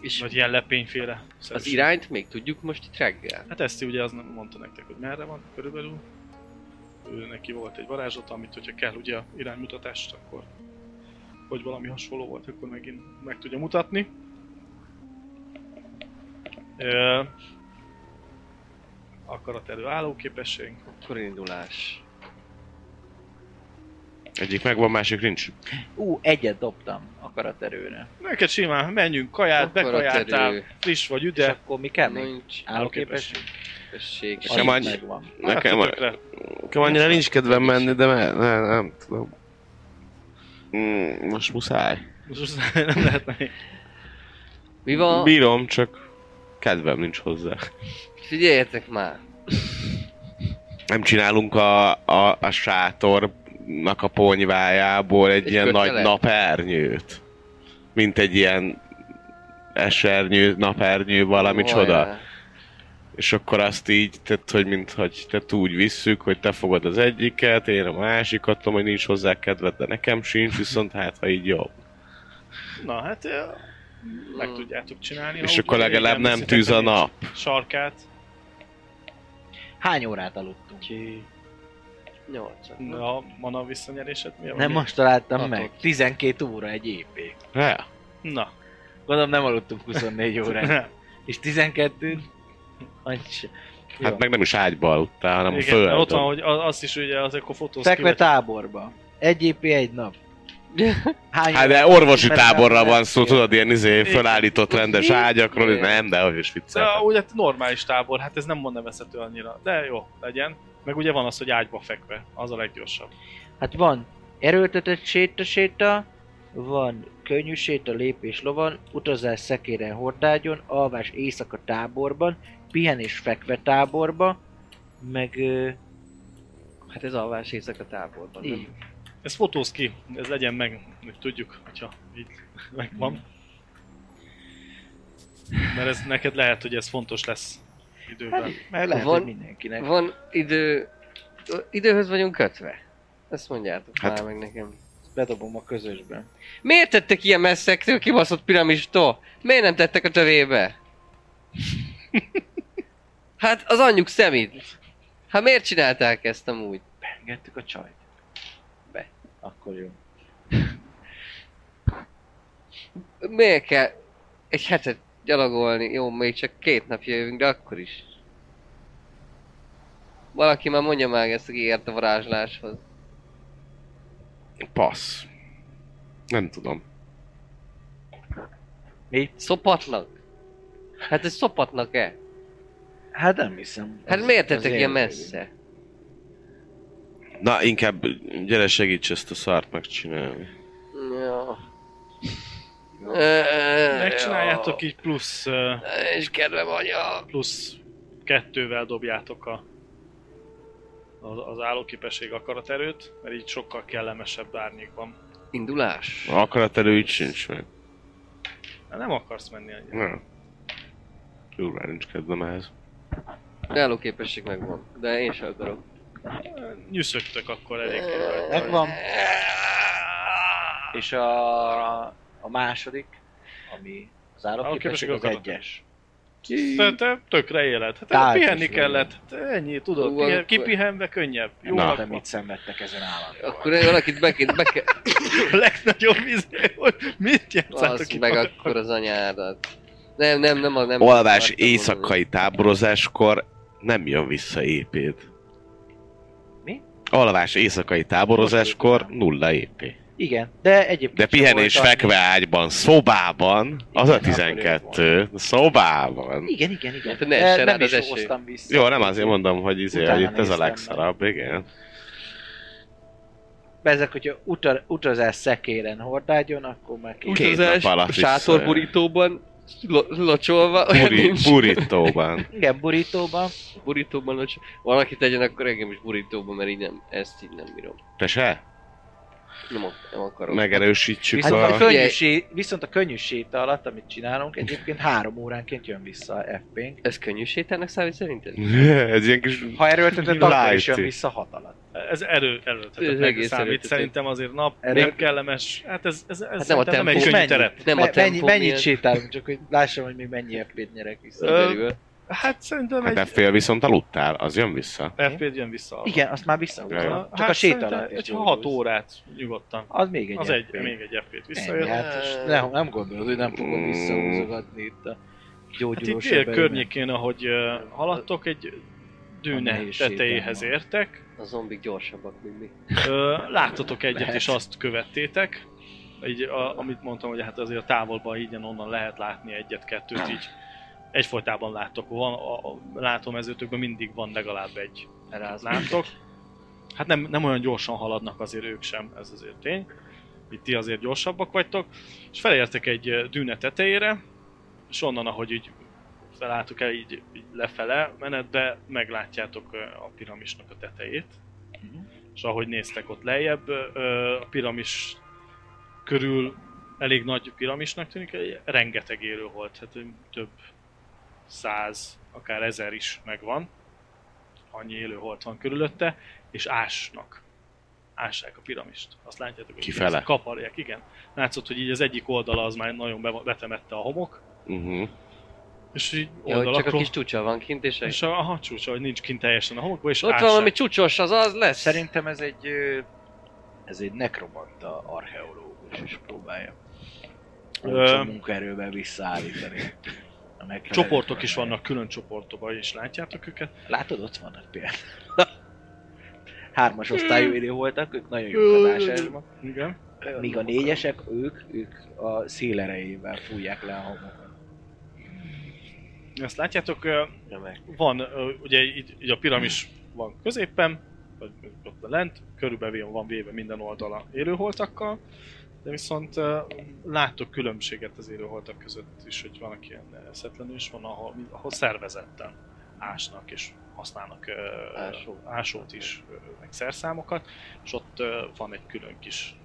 És
vagy ilyen lepényféle.
az
szerűség.
irányt még tudjuk most itt reggel?
Hát ezt ugye az nem mondta nektek, hogy merre van körülbelül. Ő neki volt egy varázslat, amit hogyha kell ugye iránymutatást, akkor vagy valami hasonló volt, akkor megint meg tudja mutatni. Ö, akarat elő állóképesség.
Akkor indulás.
Egyik megvan, másik nincs.
Ú, egyet dobtam akaraterőre.
Neked simán menjünk, kaját,
Akkor a
Hát bekajáltál,
terő.
friss vagy
De. És
üde.
akkor mi kell még?
Nincs
Állóképesség?
képesség.
És nem
Az
annyi-
megvan.
Nekem,
Hát, tökre.
nekem annyira nincs kedvem menni, de me, ne, nem tudom. Mm, most muszáj.
Most nem lehetne még.
Mi van?
Bírom, csak kedvem nincs hozzá.
Figyeljetek már.
Nem csinálunk a, a, a sátornak a ponyvájából egy,
Egy
ilyen
kötelet?
nagy napernyőt. Mint egy ilyen esernyő, napernyő, valami
Hajrá.
csoda. És akkor azt így, tehát, hogy mint, hogy tehát úgy visszük, hogy te fogod az egyiket, én a másikat, tudom, hogy nincs hozzá kedved, de nekem sincs, viszont hát, ha így jobb.
Na hát, ö, meg tudjátok csinálni.
és
ha úgy
akkor
van,
legalább
igen,
nem
veszitek
tűz a
egy
nap.
Sarkát.
Hány órát aludtunk?
Nyolcat. Na.
Na, a mana visszanyerésed mi a
Nem most találtam
Hatot.
meg. 12 óra egy ép.
Rá.
Na,
Gondolom nem aludtunk 24
<laughs>
órát.
nem.
És 12 Annyi se.
Hát
Jó.
meg nem is ágyba aludtál, hanem Igen, a
Igen, mert
földön.
ott van, hogy a- azt is ugye az akkor fotóz
Fekve
kivet-
táborba. Egy ép egy nap. Hány
Hát de orvosi táborra van szó, tudod, ilyen izé fölállított rendes ágyakról, és nem, de hogy is
De
viccel.
ugye hát normális tábor, hát ez nem mond nevezhető annyira. De jó, legyen. Meg ugye van az, hogy ágyba fekve, az a leggyorsabb.
Hát van erőltetett séta-séta, van könnyű séta lépés lovon, utazás szekéren hordágyon, alvás éjszaka táborban, pihenés fekve táborba, meg ö,
Hát ez alvás éjszaka táborban. nem?
így.
Ez fotóz ki, ez legyen meg, hogy tudjuk, hogyha így megvan. Mert ez neked lehet, hogy ez fontos lesz
Hát,
időben.
mert lehet,
Van-
hogy mindenkinek.
Van idő... Időhöz vagyunk kötve. Ezt mondjátok hát.
Hát-
már meg nekem.
Bedobom a közösbe.
Miért tettek ilyen messzektől kibaszott piramistól? Miért nem tettek a tövébe? hát az anyjuk szemét. Hát miért csinálták ezt amúgy?
Engedtük a csajt. Be. Akkor jó.
Miért kell egy hetet gyalogolni? Jó, még csak két napja jövünk, de akkor is. Valaki már mondja meg ezt, aki ért a varázsláshoz.
Passz. Nem tudom.
Szopatlan? Hát ez szopatnak-e?
Hát nem hiszem.
Hát
Ez-
miért
ez
tettek ilyen
érdekes.
messze?
Na, inkább gyere segíts ezt a szart megcsinálni.
Ja.
Megcsináljátok így plusz, ö,
És kedvem anya.
plusz kettővel dobjátok a, az, az állóképesség akaraterőt, mert így sokkal kellemesebb árnyékban.
Indulás.
Akarat elő így sincs meg.
Hát nem akarsz menni annyira.
Nem. Durván nincs kedvem ehhez.
Álló képesség megvan, de én sem akarok.
Nyűszögtök akkor elég.
Megvan. És a, a második, ami az állapképesség,
Állóképesség
az
akarat.
egyes.
Te, te tökre éled. Hát
Tájt
Tált
is
pihenni
vagy.
kellett. Hát ennyi, tudod.
Ú,
Pihen,
akkor-
kipihenve könnyebb. Jó,
Na.
Na.
Nem mit szenvedtek ezen állandóan.
Akkor valakit be kell, be kell,
<laughs> a legnagyobb izé, hogy mit játszátok
az
ki?
meg akkor az anyádat. Nem, nem, nem, a- nem.
Olvás
akartam mondani.
éjszakai táborozáskor nem jön vissza épéd.
Mi?
Alvás éjszakai táborozáskor nulla épé.
Igen, de egyébként...
De
sem
pihenés
volt annyi-
fekve ágyban, szobában, az a
Igen, akkor
12, szobában.
Igen, igen, igen.
Hát ne
De
essen
nem
rád az
is
eső.
hoztam vissza.
Jó, nem azért mondom, hogy, izé,
Utána
hogy itt ez a
néztem meg.
legszarabb,
<laughs>
igen.
Ezek, hogyha uta, utazás szekéren hordágyon, akkor meg
Úgy-
két.
Két
Utazás,
nap alatt
a sátorborítóban, lo- locsolva, olyan
Buri,
nincs. <laughs>
burítóban.
Igen, burítóban. Hát
Burítóban locsolva. Valaki tegyen akkor engem is burítóban, mert így nem, ezt így nem bírom.
Te se?
Nem, ak- nem akarok.
Megerősítsük
Viszont a,
a...
könnyű sé, viszont a könnyű séta alatt, amit csinálunk, egyébként három óránként jön vissza a FP-nk.
Ez könnyű sétának számít szerinted?
<laughs> Ez ilyen kis...
Ha erőltetett, akkor is jön
Light.
vissza hat alatt.
Ez erő,
Ez
erőltetetnek
egész
számít.
erőltetett.
Szerintem azért nap,
Erő-
nem kellemes. Hát ez, ez, ez
Hát nem a
szerintem nem, egy
tempó.
könnyű
Mennyi?
terep.
Nem a
Me- mennyi,
tempó
mennyit
miatt.
sétálunk, csak hogy lássam, hogy még mennyi FP-t nyerek vissza.
Ö,
Kiderül.
Hát szerintem
Hát
egy...
fél viszont aludtál, az jön vissza.
FP jön vissza. arra.
Igen, azt már
Jaj.
visszahúzom. Csak
Hát
a séta
szerintem
alatt.
Egy
jól
6
húz.
órát nyugodtan.
Az még egy
Az egy,
FP.
még egy FP-t
Ennyi,
visszajött.
hát most nem, nem gondolod, hogy nem fogom
Mm.
visszahúzogatni itt a
Hát itt
gyógyulós
dél
ebben.
környékén, ahogy ö, haladtok, egy
A
dűne
nehéz
tetejéhez
sétálva.
értek.
A zombik gyorsabbak, mint mi.
Ö, Láttatok egyet,
Lehet.
és azt követtétek. Így, a, amit mondtam, hogy hát azért a távolban így onnan lehet látni egyet-kettőt, így egyfolytában láttok. Van, a, a látómezőtökben mindig van legalább egy.
Ráz.
Látok. Hát nem, nem olyan gyorsan haladnak azért ők sem, ez azért tény. Itt ti azért gyorsabbak vagytok. És felértek egy ö, dűne tetejére, és onnan, ahogy így felálltuk el így, így lefele menetbe, meglátjátok ö, a piramisnak a tetejét. És ahogy néztek ott lejjebb, ö, a piramis körül elég nagy piramisnak tűnik, egy- rengeteg élő volt, hát ö, több száz, akár ezer is megvan. Annyi élő volt van körülötte, és ásnak. Ássák a piramist. Azt látjátok, hogy
Kifele?
ezt kaparják, igen. Látszott, hogy így az egyik oldala az már nagyon be- betemette a homok,
Uh-huh.
és így
Ja, hogy csak a
oldalakról...
kis csúcsa van kint, és
és a, a csúcsa, hogy nincs kint teljesen a homokba, és
ott van
ássák.
valami csúcsos, az az lesz.
Hát Szerintem ez egy... ö, Ez egy nekromanta archeológus is próbálja. Olcsó
Ö,
munkaerővel visszaállítani. a megfelelő
Csoportok is
körülmények.
vannak, külön csoportokban is látjátok őket.
Látod, ott vannak például. <laughs> Hármas osztályú
Hmm.
élő voltak, ők nagyon jók az ásásban.
Igen.
Míg a négyesek, ők, ők a szélerejével fújják le a homokat.
Ezt látjátok, ö,
Remek.
van, ö, ugye így, így a piramis van középen, vagy ott lent, körülbelül van véve minden oldala élőholtakkal, de viszont ö, láttok különbséget az élőholtak között is, hogy van, aki ilyen eszetlenül is van, ahol, ahol szervezetten ásnak és használnak ö,
Ásó.
ásót is, ö, meg szerszámokat, és ott ö, van egy külön kis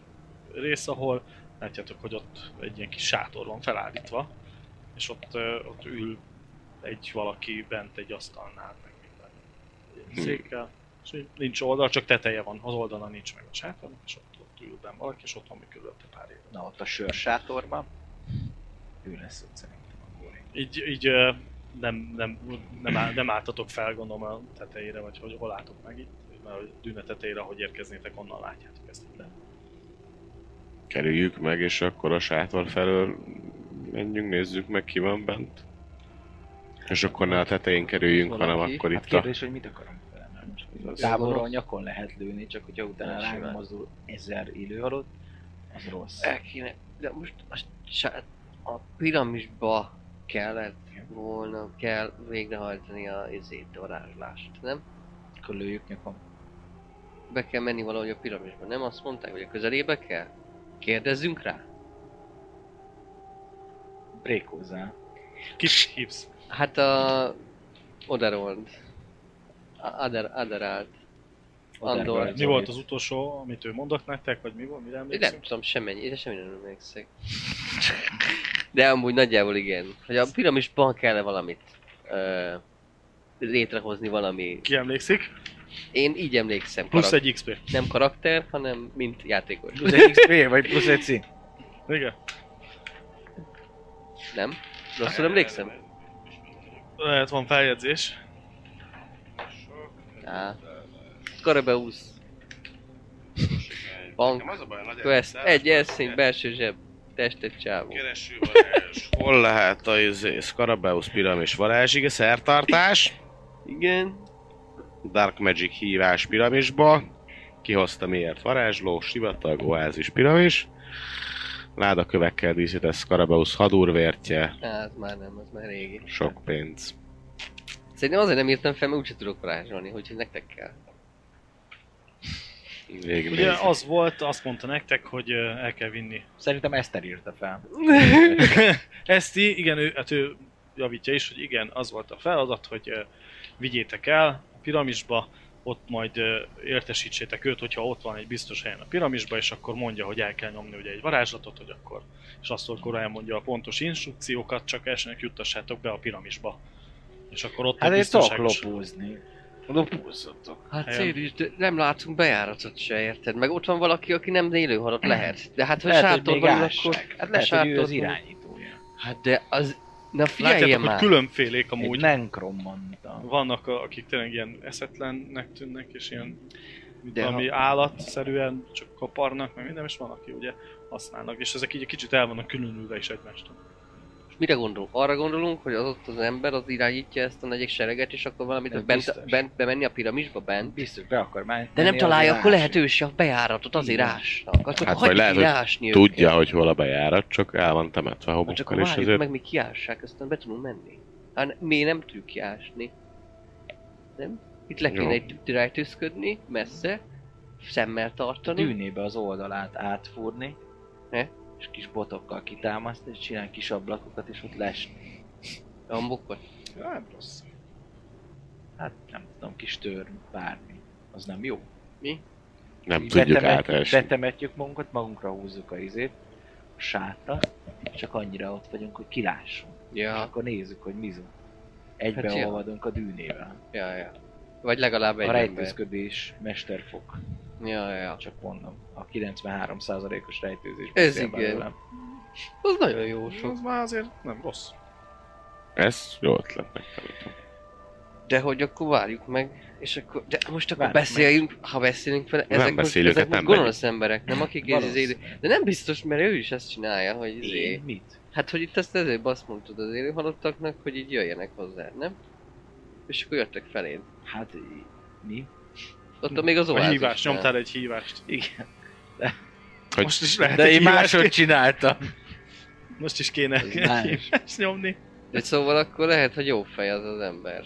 rész, ahol látjátok, hogy ott egy ilyen kis sátor van felállítva, és ott, ö, ott ül egy valaki bent egy asztalnál, meg minden egy székkel, és így nincs oldal, csak teteje van, az oldala nincs meg a sátornak, és ott, ott ül bent valaki, és ott van még körülötte pár év.
Na ott a sörsátorban. Ő lesz ott szerintem a góri.
Így, így ö, nem, nem, nem, áll, nem álltatok fel, gondolom a tetejére, vagy hogy hol álltok meg itt, mert a dűne tetejére, ahogy érkeznétek, onnan látjátok ezt itt le.
Kerüljük meg, és akkor a sátor felől menjünk, nézzük meg, ki van bent. És akkor ne a tetején kerüljünk,
Van,
hanem
aki-
akkor
Hát
itt a...
kérdés, hogy mit akarunk vele, nem? Távolról a nyakon lehet lőni, csak hogyha utána
Nem, simán. E-
ránk mozdul ezer élőhalott, az rossz.
El kéne, de most a, sá- a piramisba kellett volna, kell végrehajtani a izét, a varázslást, nem?
Akkor lőjük nyakon.
Be kell menni valahogy a piramisba, nem azt mondták, hogy a közelébe kell? Kérdezzünk rá?
Brékózzál.
Kit hívsz?
Hát a... Odarold. A- Ader, Aderált. Andor.
Mi volt az utolsó, amit ő mondott nektek, vagy mi volt, mire
Én nem
emlékszünk?
tudom, semmi, én semmi nem emlékszek. De amúgy nagyjából igen. Hogy a piramisban kellene valamit ö, létrehozni valami.
Ki emlékszik?
Én így emlékszem.
Plusz
karak-
egy XP.
Nem karakter, hanem mint játékos.
Plusz egy XP, vagy plusz egy C?
Igen.
Nem? Rosszul emlékszem?
Lehet van feljegyzés.
Á. Karabeusz. Bank.
Nekem az a baj, nagy
Quest.
elszállás,
Egy eszény,
ugye?
belső zseb. Testet csávó.
Keresővarázs.
Hol lehet a izé, Scarabeusz piramis varázsige, szertartás,
Igen.
Dark Magic hívás piramisba, kihozta miért varázsló, sivatag, oázis piramis, ládakövekkel díszített Scarabeusz hadúrvértje,
Á, az Hát már nem, az már régi.
sok pénz.
Szerintem azért nem írtam fel, mert úgyse tudok varázsolni, hogy nektek kell.
Végig
Ugye
nézzük.
az volt, azt mondta nektek, hogy ö, el kell vinni.
Szerintem Eszter írta fel.
Ezt í- igen, ő, hát ő javítja is, hogy igen, az volt a feladat, hogy ö, vigyétek el a piramisba, ott majd ö, értesítsétek őt, hogyha ott van egy biztos helyen a piramisba, és akkor mondja, hogy el kell nyomni ugye egy varázslatot, hogy akkor, és azt akkor elmondja a pontos instrukciókat, csak elsőnek juttassátok be a piramisba. És akkor ott
Hát
a
én tudok
biztonságos...
lopózni. Lopózzatok.
Hát
Helyen.
Célis, de nem látunk bejáratot se, érted? Meg ott van valaki, aki nem élő halott lehet. De hát, ha
Hmm. Lehet, hogy még
sátorban ül,
ássák.
akkor...
Hát lehet, hogy ő
sátorban-
az irányítója.
Hát de az... Na figyelj
Látjátok,
már!
hogy különfélék
Egy
amúgy.
nenkrom mondta.
Vannak, a- akik tényleg ilyen eszetlennek tűnnek, és ilyen
De
De valami állatszerűen csak kaparnak, meg minden, és van, aki ugye használnak, és ezek így egy kicsit el vannak különülve is egymástól.
Mire gondolunk? Arra gondolunk, hogy az ott az ember az irányítja ezt a negyek sereget, és akkor valamit
Nem
az bent,
biztos.
bent, bemenni a piramisba bent.
Biztos be akar már.
De nem
menni,
találja,
az
akkor
írás.
lehetőség a bejáratot, azért ásnak. Akkor
Hát,
hát,
vagy lehet,
hagyjuk
hogy
írásni
Tudja, hogy hol a bejárat, csak el van temetve
Hát csak
homokkal,
akkor
és
várjuk
ezért
meg, mi kiássák, aztán be tudunk menni. Hát ne- mi nem tudjuk kiásni. Nem? Itt le
Jó.
kéne egy rejtőzködni, messze, szemmel
A
tartani.
dűnébe az oldalát átfúrni,
Ne?
és kis botokkal kitámasztani, és csinálni kis ablakokat, és ott lesni.
Rambokot.
Nem rossz. Hát nem tudom, kis tör, bármi. Az nem jó.
nem
Így
tudjuk
betemet-
átesni.
Betemetjük magunkat, magunkra húzzuk a izét, a sátrat, csak annyira ott vagyunk, hogy kilássunk. És
Ja,
akkor nézzük, hogy mi zúg.
Hát jó.
Egybeolvadunk a dűnével.
ja, ja. Vagy legalább egy
a
ember.
rejtőzködés mesterfok.
Ja, ja.
Csak mondom, a 93%-os rejtőzés.
Ez
beszél
igen.
belőlem.
Az nagyon jó sok.
Az már azért nem rossz.
Ez jó ötlet nekem.
De hogy akkor várjuk meg, és akkor, de most akkor
Várjuk
beszéljünk, ha beszélünk vele, ezek most,
beszélünk,
ezek
hát
most
nem
gonosz emberek, nem akik ez az élő.
Valószínűleg.
De nem biztos, mert ő is ezt csinálja, hogy izé.
Én? Mit?
Hát, hogy itt ezt ezért azt mondtad az élő halottaknak, hogy így jöjjenek hozzá, nem? És akkor jöttek feléd.
Hát í- mi?
Ott még az
A
oázisnál.
hívás, nyomtál egy hívást.
Igen.
Hogy
Most is lehet
De
egy
én
hívást-
máshogy csináltam.
Most is kéne
Ez más.
hívást <laughs> nyomni.
De szóval akkor lehet, hogy jó fej az az ember.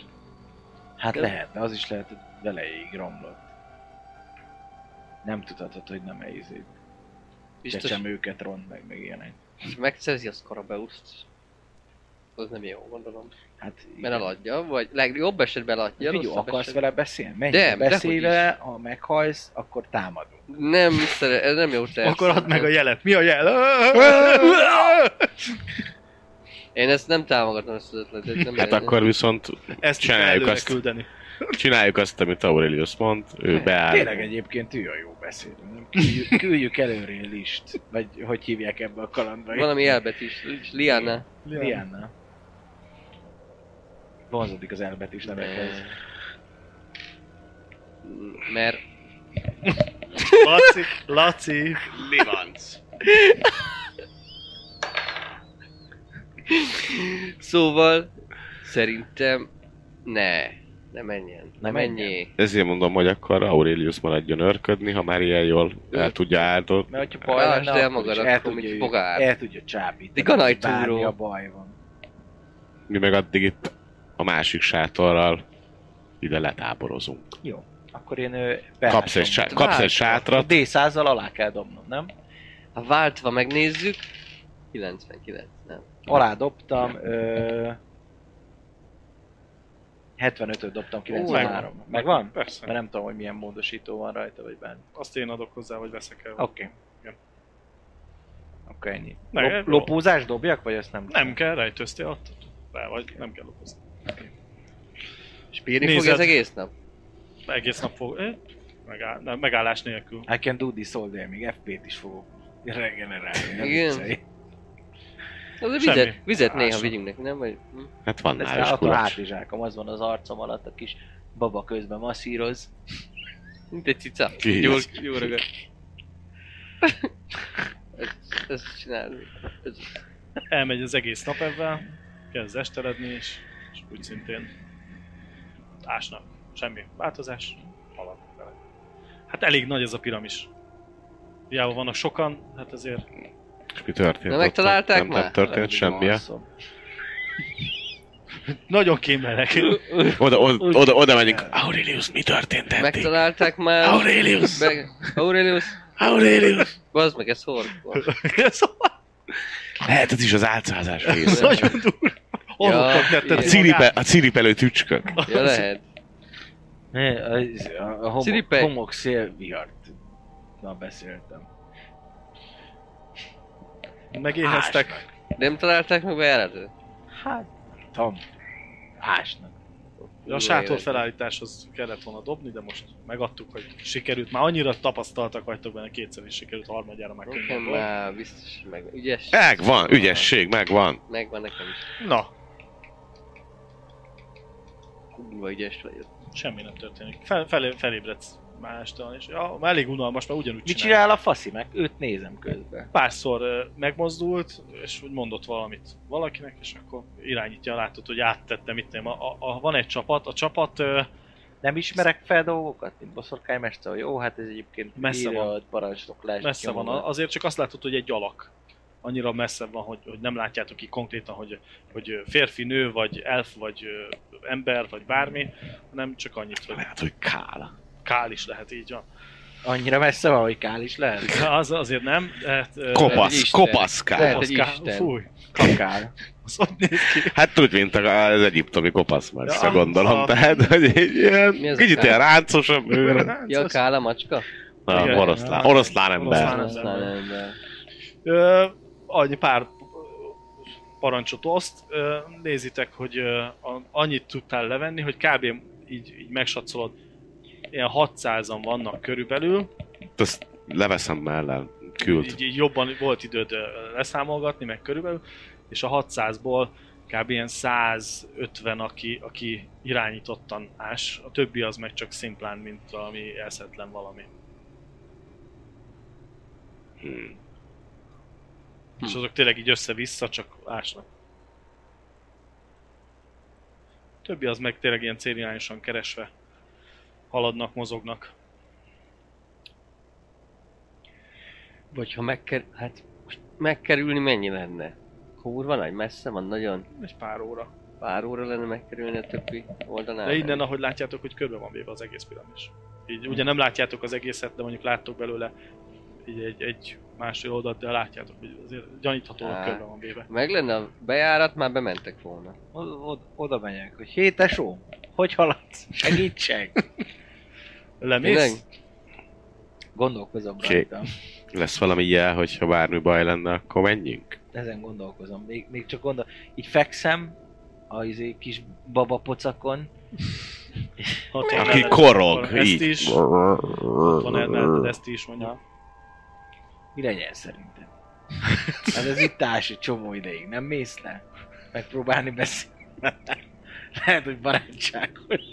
Hát lehet, de az is lehet, hogy veleig romlott. Nem tudhatod, hogy nem elizé.
Biztos,
Csecsemőket őket ront meg, meg ilyenek.
hogy megszerzi a Scarabeust. Az nem jó, gondolom.
Hát,
Mert eladja, vagy legjobb esetben eladja,
Figyú,
rosszabb
akarsz
esetben-
vele beszélni? Menj, nem,
Nem,
beszélj
dehogy is.
vele, ha meghajsz, akkor támadunk.
Nem, szere, ez nem jó terv.
Akkor add meg a jelet. Mi a jel?
Én ezt nem támogatom ezt az ötletet. Nem
Hát akkor viszont
Ezt is
Csináljuk
előre
azt.
küldeni.
csináljuk azt, amit Aurelius mond, ő
Tényleg
beáll.
egyébként ő a jó beszélő. nem? Küldjük, küldjük előre egy list. Vagy hogy hívják ebbe a kalandba?
Valami elbet is. Liana.
Diana. Vonzódik az elbet is nevekhez.
Mert
Laci, Laci.
Livanc.
Szóval szerintem ne. Nem menjen.
Ne
Nem ennyi.
Ezért mondom, hogy akkor Aurelius maradjon örködni, ha már ilyen jól el tudja áldozni.
Mert hogyha baj
Lásd
lenne,
el
akkor is
magad,
el
akkor mint
tudja, ő,
fogár.
el tudja csábítani.
Egy ganaj
hogy bármi
túró.
a baj van.
Mi meg addig itt a másik sátorral ide letáborozunk.
Jó. Akkor én ö,
Kapsz egy,
beásom.
sá- kapsz egy
A
sátrat,
D100-zal alá kell dobnom, nem?
Ha váltva megnézzük, 99, nem.
Alá dobtam, ö... 75-öt dobtam, 93.
megvan.
Megvan?
Persze.
Mert nem tudom, hogy milyen módosító van rajta, vagy bármi.
Azt én adok hozzá, vagy veszek el.
Oké.
Igen.
Akkor ennyi.
Ne,
Lop- lopózás dobjak, vagy ezt nem?
Nem kell, rejtőztél, attól rá vagy, nem kell okozni.
Spírni
Nézed.
fogja az egész nap?
Egész nap fog... eh, Megáll, nem, megállás nélkül.
Hát-
I can do this all day, még FP-t is fogok regenerálni. nem
Igen.
viccelj.
Az
Semmi.
vizet, vizet néha
Ássa.
vigyünk neki, nem? Vagy, hm?
hát van
Ezt
nála is
látom,
kulacs.
hátizsákom, az van az arcom alatt, a kis baba közben masszíroz.
Mint egy cica.
Kész.
Jól, jól ragad. ezt, ezt csinálod. Ez,
Elmegy az egész nap ebben, kezd esteledni, és, és úgy szintén ásnak. Semmi változás, haladnak vele. Hát elég nagy ez a piramis. Hiába vannak sokan, hát azért
És mi történt?
Na,
ott?
megtalálták
nem,
már?
nem történt semmi. ja?
Alszom.
nagyon
<laughs>
kémelek.
Oda, oda, oda, oda megyünk. Aurelius, mi történt eddig?
megtalálták már...
Aurelius!
Meg, Aurelius!
Aurelius!
Bazd meg, ez hol?
szóval
Lehet, ez is az álcázás része.
nagyon durva. Orvokat
A
tetted
igen.
ciripe, a ciripelő tücskök.
Ja, lehet.
Ne, az- A, a homok,
Ciripej.
homok szélvihart. Na, beszéltem.
Megéheztek.
Nem találták meg bejáratot?
Hát, tam. Ásnak.
A sátor felállításhoz kellett volna dobni, de most megadtuk, hogy sikerült. Már annyira tapasztaltak vagytok benne, kétszer is sikerült, harmadjára már
Nekem
könnyebb volt.
már biztos hogy meg. Ügyes.
Megvan, ügyesség, megvan.
Megvan nekem is.
Na,
Kurva ügyes vagyok.
semmi nem történik. Fel, felé, felébredsz már este, és ja, már elég unalmas, mert ugyanúgy
Mit
csinál.
csinál a faszi meg? Őt nézem közben.
Párszor ö, megmozdult, és úgy mondott valamit valakinek, és akkor irányítja, látod, hogy áttette, mit nem. A, a, a, van egy csapat, a csapat ö,
Nem ismerek fel dolgokat, mint boszorkánymester, hogy jó, hát ez egyébként
Messze
írja,
van.
hogy parancsnok lesz.
messze van, A- azért csak azt látod, hogy egy alak. Annyira messze van, hogy, hogy nem látjátok ki konkrétan, hogy, hogy férfi, nő, vagy elf, vagy ö, ember, vagy bármi, hanem csak annyit, hogy
Lehet, hogy Kála.
kál is lehet így van.
Annyira messze van, hogy Kál is lehet.
Az, azért nem, de... hát, ö,
Lehet, hogy
Kopasz,
Isten.
kopasz Kál.
Lehet, hogy
az kál-
Isten.
Fúj,
Kakár.
az ott néz ki.
Hát úgy, mint a- az egyiptomi kopasz messze,
Ja,
gondolom.
a-
Tehát, hogy egy ilyen,
Mi az a
kicsit
Kál?
ilyen
<laughs>
ráncosabb bőre.
Ja, Kál a macska?
Na,
Igen.
oroszlán, oroszlán ember.
Oroszlán.
Aztán nem, de...
Ö, annyi pár parancsot oszt, ö, nézitek, hogy ö, a- annyit tudtál levenni, hogy kb. így, így megsatszolod, ilyen 600-an vannak körülbelül,
Ezt leveszem mellem. Küld.
így, így jobban volt időd ö, leszámolgatni, meg körülbelül, és a 600-ból kb. ilyen 150, aki, aki irányítottan ás, a többi az meg csak szimplán, mint valami elszetlen valami.
Hmm.
Hm. És azok tényleg így össze-vissza csak ásnak. Többi az meg tényleg ilyen célirányosan keresve haladnak, mozognak.
Vagy ha megker... Hát most megkerülni mennyi lenne? Kurva nagy, messze van, nagyon.
Egy pár óra.
Pár óra lenne megkerülni a többi oldalán.
De innen, ahogy látjátok, hogy körbe van véve az egész piramis. Így ugye nem látjátok az egészet, de mondjuk láttok belőle így egy, egy másfél oldalt, de látjátok, hogy azért gyaníthatóan
Á.
körbe van véve.
Meg lenne a bejárat, már bementek volna.
Oda, oda megyek, hogy hé, tesó, hogy haladsz? Segítség!
Tényleg?
Lemész?
Gondolkozom
Oké.
rajta.
Lesz valami jel, hogyha bármi baj lenne, akkor menjünk?
Ezen gondolkozom. Még, még csak gondol... Így fekszem, a izé, kis baba pocakon.
Ha te
Aki
mellett-
korog,
ezt
így.
is, van elmeheted ezt is, mondjuk.
Mi legyen szerintem? Hát ez itt társ egy csomó ideig, nem mész le? Megpróbálni beszélni. Lehet, hogy barátságos.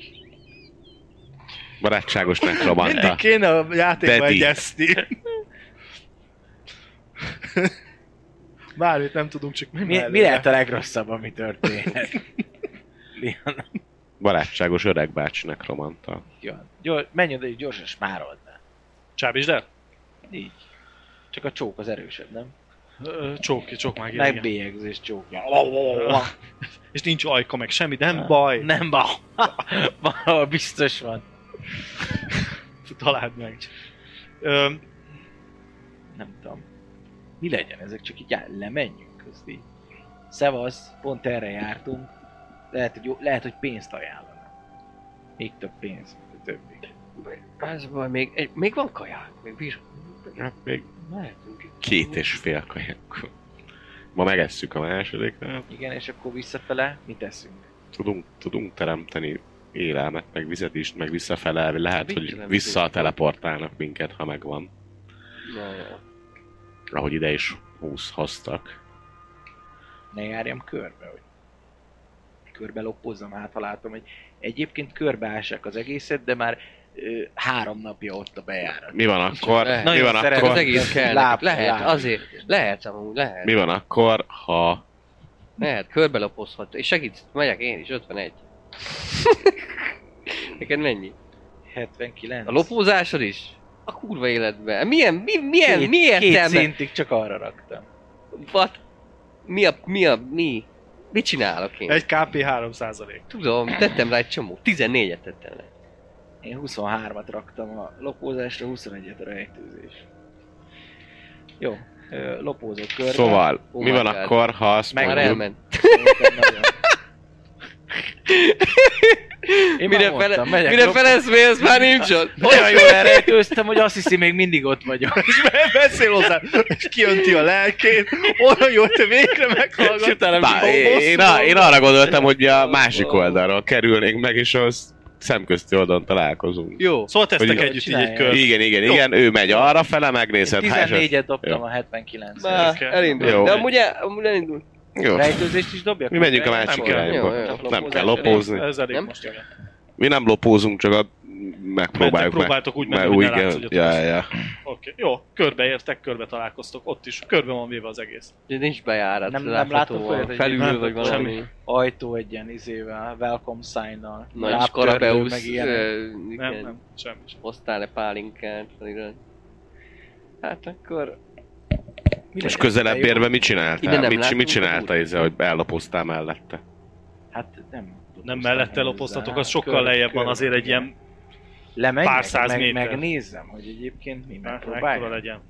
Barátságos nekromanta.
Mindig kéne a játékba
Daddy.
egyezni. Bármit nem tudunk, csak mi,
Mi,
mellé.
mi lehet a legrosszabb, ami történhet? Lian.
barátságos öreg bácsinak romantal.
Jó, gyors, menj oda és gyorsan smárold be.
Csábítsd el?
Így. Csak a csók az erősebb, nem?
Ö, Csók ki, csók már ki.
Megbélyegzés csókja.
<laughs> És nincs ajka, meg semmi, de nem baj.
Nem baj. <laughs> Valahol biztos van.
Találd meg. Ö,
Nem tudom. Mi legyen ezek? Csak így áll, lemenjünk közt így. Szevasz, pont erre jártunk. Lehet, hogy, jó- lehet, hogy pénzt ajánlanak. Még több pénz, mint a többi.
Az baj, még, egy- még van kaja, még bír.
Hát még
Mehetünk itt.
két és fél kaják. Ma megesszük a második,
Igen, és akkor visszafele mit teszünk?
tudunk, tudunk teremteni élelmet, meg vizet is, meg visszafele, lehet, hogy
Végtelen
vissza
vizet.
teleportálnak minket, ha megvan.
Na, jó.
Ahogy ide is húsz hoztak.
Ne járjam körbe, hogy körbe loppozzam, hát ha látom, hogy egyébként körbeássák az egészet, de már ö, három napja ott a bejárat.
Mi van akkor?
Lehet.
Mi van
szeretem.
Az
akkor?
egész kell.
Láb-
Láb, lehet,
láb.
azért. Lehet, amúgy lehet.
Mi van akkor, ha
Lehet, körbelapozhat. És segít, megyek én is, 51. Neked mennyi?
79.
A lopózásod is? A kurva életben. Milyen, mi, milyen,
Két-
mi
Két
értelme?
szintig csak arra raktam.
What? Mi a, mi a, mi? Mit csinálok én?
egy KP 3 százalék.
Tudom, tettem rá egy csomó. 14-et tettem rá.
Én 23-at raktam a lopózásra, 21-et a rejtőzés. Jó, ö, lopózó körbe.
Szóval,
Oh
mi
my
van
God.
akkor, ha azt
Már
mondjuk,
elment.
Szerintem nagyon. Én már
mire
mondtam,
fele,
megyek
mire
lop-
felesz, ez már nincs ott.
<laughs> Olyan jól elrejtőztem, hogy azt hiszi, még mindig ott vagyok.
És be- beszél hozzá, és kijönti a lelkét, olyan jó, hogy te végre meghallgatsz.
És utána
Bá, én, én, arra- én arra gondoltam, hogy mi a másik oldalról kerülnénk meg, és az szemközti oldalon találkozunk.
Jó.
Szóval tesztek
Hogy-
együtt így egy
Csinálják.
kör.
Igen, igen, igen, ő megy arra fele, megnézed. hát, és-
14-et dobtam
Jó.
a 79
Már
Szürke.
elindult.
Jó.
De amúgy, el, amúgy elindult.
Jó.
Rejtőzést is dobjak?
Mi menjünk a másik
Nem
irányba.
kell. Jó, jó.
Nem kell
Lopózás.
lopózni.
Ez elég
Nem?
most, igen.
Mi nem lopózunk, csak a...
Mentek,
megpróbáljuk meg.
próbáltok úgy menni,
Mert
hogy
úgy,
ne látsz, hogy ott
ja,
vagy.
ja.
Oké, jó, körbeértek, körbe találkoztok, ott is, körbe van véve az egész.
De nincs bejárat.
Nem- nem
látható
látok
van.
olyat, hogy-
Felülről
nem
vagy
látok
valami.
Ajtó egy ilyen izével, welcome sign-nal.
Nagy
lábtörlő,
skarabeusz.
Meg ilyen.
ö,
Nem,
igen.
nem, semmi sem.
hoztál-e pálinkát, amiről... Hát akkor...
Mi
És
legyen?
közelebb érve mit
Innen
csináltál?
nem
Mit,
látunk,
mit csinálta
akkor
ez, hogy ellopoztál mellette?
Hát nem. Hát
Nem mellette lopoztatok, az sokkal lejjebb van, azért egy ilyen
Lemenjek,
pár száz
meg,
méter.
megnézem, hogy egyébként mi
mekkora
megpróbáljuk.
legyen.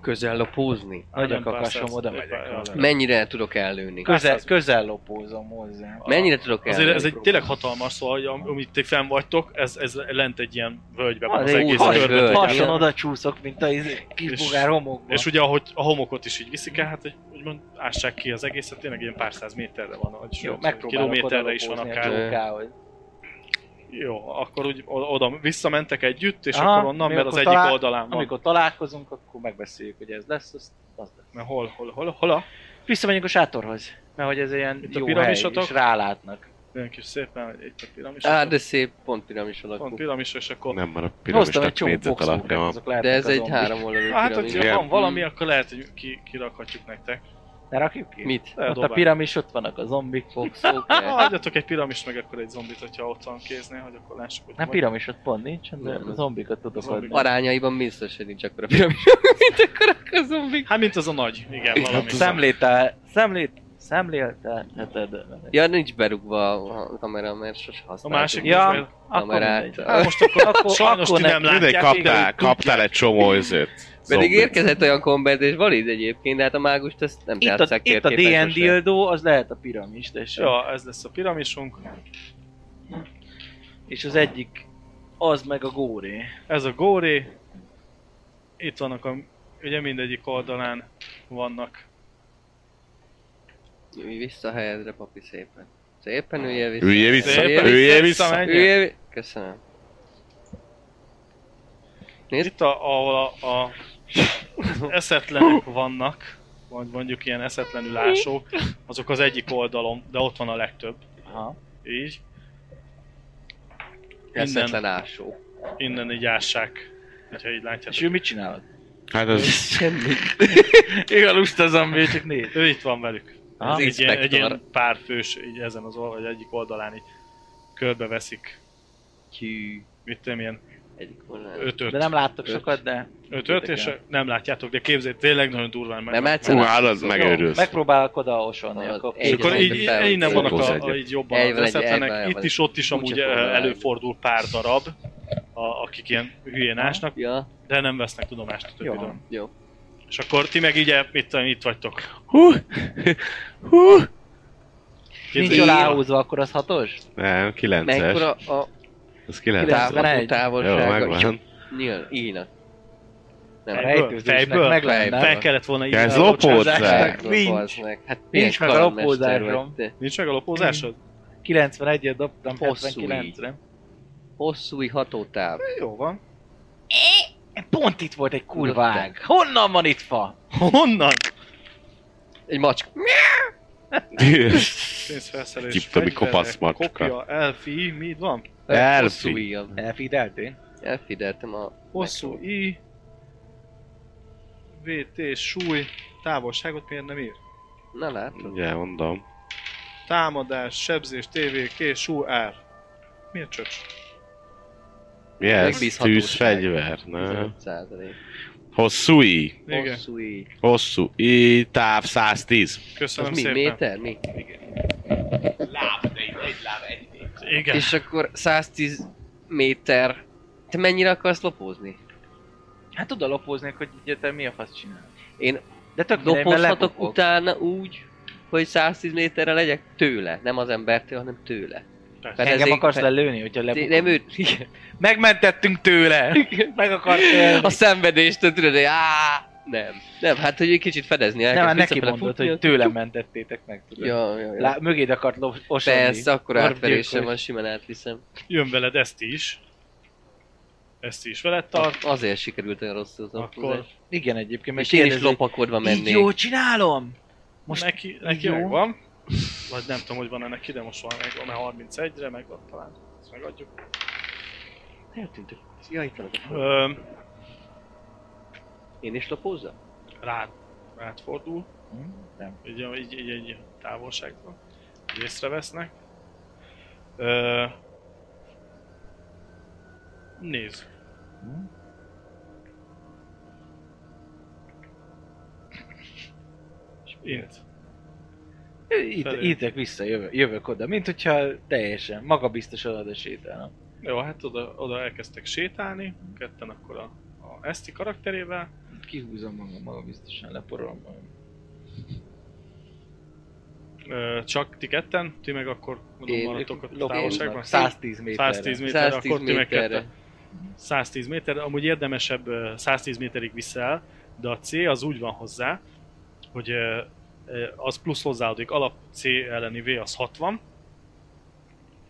Közel lopózni.
Nagy
Nem, pár
akakasom,
száz-
oda
nem,
megyek.
pár-
oda.
Mennyire tudok ellőni?
Közel,
száz-
közel lopózom hozzá.
Mennyire tudok ellőni?
Azért ez egy tényleg hatalmas, szóval, hogy am- amit ti fenn vagytok, ez, ez lent egy ilyen völgybe van
Az
az
egy
egész
has-
körbe.
völgy.
találkoztok.
Hason oda csúszok, mint a izé- kis
És-
bogár homokba.
És ugye ahogy a homokot is így viszik el, hát hogy úgymond ássák ki az egészet, tényleg ilyen pár száz méterre van, vagy
Jó,
sőt,
megpróbálok hát.
kilométerre is van
odalopózni
akár.
a csókához.
Jó, akkor úgy o- oda visszamentek együtt, és
Aha,
akkor onnan,
mi
mert az
akkor
egyik
talál-
oldalán van.
Amikor találkozunk, akkor megbeszéljük, hogy ez lesz, az, az lesz.
Mert hol, hol, hol, hol a?
Visszamegyünk a sátorhoz, mert hogy ez ilyen
Itt a
jó hely,
piramisatok?
és rálátnak.
Olyan kis szépen, hogy itt a piramis.
Á, de szép, pont piramis
Van
alakú.
piramis, és akkor...
Nem, mert a
Hoztam
piramisnak
egy csomó
négyzet alapja
foxhókát,
van.
azok lehetnek
De ez
a
egy
zombik.
három oldalú
Hát, hogyha
piramis.
van valami,
Mm.
akkor lehet, hogy ki, kirakhatjuk nektek.
Ne rakjuk ki?
Mit?
Ott a
Eldobáljuk.
piramis, ott vannak a zombik.
<laughs>
Foxok?
Ha adjatok egy piramis, meg akkor egy zombit, hogyha ott van kéznél, hogy akkor lássuk, hogy
Na
hogy-
piramis ott pont nincsen, de a zombikat tudok
Zombik.
adni.
Arányaiban biztos, hogy nincs akkor a piramis, mint akkor a zombik.
Hát mint az a nagy, igen, valami.
Szemlétel, szemlét, hát, szemléltetheted.
Ja, nincs berúgva a kamera, mert sose
A
használtuk.
másik
Ja,
is, mert-
Akkor
Kamerát.
mindegy.
Hát
most <laughs> akkor-
akkor,
sajnos ti nem látjátok.
Mindegy, kaptál,
Látják, de-
kaptál egy csomó izőt.
Pedig
zombit.
érkezett olyan kombert, és valid egyébként, de hát a mágust ezt nem
Itt a,
játsszák
itt a
térképen
DN
sose.
dildó, az lehet a piramis, tessék.
Ja, ez lesz a piramisunk.
És az egyik, az meg a góré.
Ez a góré. Itt vannak a... Ugye mindegyik oldalán vannak.
Ülj vissza a helyedre, papi, szépen. Szépen üljél vissza.
Üljél vissza,
Szépen
üljél
vissza,
vissza.
menj.
Üljél vi- Köszönöm. Nézd,
Itt, a, ahol a, a <laughs> eszetlenek vannak, vagy mondjuk ilyen eszetlenül ásók, azok az egyik oldalon, de ott van a legtöbb.
Aha.
Így.
eszetlen ásó.
Innen így ássák. Hogyha így
És ő
látjátok.
mit csinálod?
Hát ez...
Semmi.
Ő a lusta zombi, csak néz.
Ő itt van velük.
Ah,
Ez egy, ilyen, egy
inspektor.
ilyen pár fős, így ezen az oldal, vagy egyik oldalán így körbeveszik,
Tű.
mit tudom, ilyen
Egyik vonal.
De
5-5
nem láttok
Öt.
sokat, de...
ötöt, és nem látjátok, de képzeld, tényleg nagyon durván meg.
Nem egyszer
Hú,
nem-
állad,
Jó,
megőrülsz.
megpróbálok oda osolni,
Az
akkor
egy-
És akkor így,
Egy-
így,
fel-
innen vannak
fölhúz
a,
egyet.
a, így jobban
Egy
az
van, egy- egy
eszetlenek,
van,
itt is, ott is amúgy
Úgyse fog
eh,
rá.
előfordul pár darab, a, akik ilyen hülyén ásnak,
Ja,
de nem vesznek tudomást a
Jó.
többiről.
jó.
És akkor ti meg így, mit tudom, itt vagytok.
Hú! Hú!
Nincs
Képzeljétek-
aláhúzva, akkor az hatos?
Nem, 9-es.
Mekkora a
Ez 9
távolság,
91.
Jó,
távolsága? Jó,
<laughs> megvan.
Nyilván, ínak. Nem.
Fejből?
Rejtőzésnek meg
Fejből?
lenne.
Fel kellett volna így.
Ja, ez lopódzás.
Nincs. Hát
Nincs meg a
karmester
lopózásom.
vagy te.
Nincs meg a lopózásod?
91-et dobtam,
Hosszú
79-re.
Hosszú hatótáv.
Jó van. Pont itt volt egy kurva ág. Honnan van itt fa?
Honnan?
Egy macska.
Pénzfelszerelés,
Gyiptomi
fegyverek,
kopasz macska.
Kopja, elfi, mi itt van?
Hosszú
Elfi.
ujjam.
Elfigyeltél?
Elfideltem a...
Hosszú I, VT, súly, távolságot miért nem ír?
Na látod?
Ugye, mondom.
Támadás, sebzés, TVK, sú, ár. Miért csöcs?
Mi ez?
Megbízhatóság.
Tűzfegyver, nem?
15%.
Hosszú i.
Igen,
Hosszú íj.
Hosszú i, táv 110.
Az
köszönöm
mi?
szépen.
Méter? Mi?
Láb, de itt egy láb, egy méter.
Igen.
És akkor 110 méter. Te mennyire akarsz lopózni?
Hát tudod lopózni, hogy ugye te mi a fasz csinál.
Én
De tök mindenben
lopozhatok
lebukok.
utána úgy, hogy 110 méterre legyek tőle. Nem az embertől, hanem tőle.
Persze.
Fedezék-
Engem akarsz
fe-
lelőni, hogyha
Té-
lebukok?
Nem őt. Igen.
Megmentettünk <laughs> tőle! Meg akart
<laughs> A
ölni.
szenvedéstől tudod, hogy áh, nem. Nem, hát hogy egy kicsit fedezni
Nem,
elkezd
hát neki
visszafele
mondod,
futni,
hogy
akkor-
tőlem mentettétek meg, tudod.
Ja, ja, ja.
Lá, mögéd akart lo- osolni.
Persze, akkor
Orr
átverésem
gyilkos.
van, simán átviszem.
Jön veled ezt is. Ezt is veled tart.
A- Azért sikerült olyan rosszul az
Akkor
autózás.
Igen, egyébként meg
És én is
kérdezi,
lopakodva
Így
mennék.
jó, csinálom!
most
Most
neki, neki
jó.
megvan. Vagy nem tudom, hogy van-e neki, de most van meg, van 31-re, meg van talán. Ezt megadjuk.
Eltűntök. Ja, itt vannak.
Öm,
Én is lopózzak?
rád, rád fordul,
Hm? Nem.
így, így, így egy távolságban, így észrevesznek. Ö, nézd. És Int.
Itt,
Felé.
itt vissza, jövök, jövök oda, mint hogyha teljesen magabiztosan oda sétálna.
Jó, hát oda, oda elkezdtek sétálni, ketten akkor a, a Eszti karakterével.
Kihúzom magam magabiztosan, leporolom magam.
Ö, csak ti ketten, ti meg akkor mondom,
Én-
maradtok ott a
lopóznak.
távolságban.
110 méterre.
110 méterre,
110
akkor ti meg ketten.
méterre.
110 méter, amúgy érdemesebb ö, 110 méterig viszel, de a C az úgy van hozzá, hogy ö, ö, az plusz hozzáadódik, alap C elleni V az 60,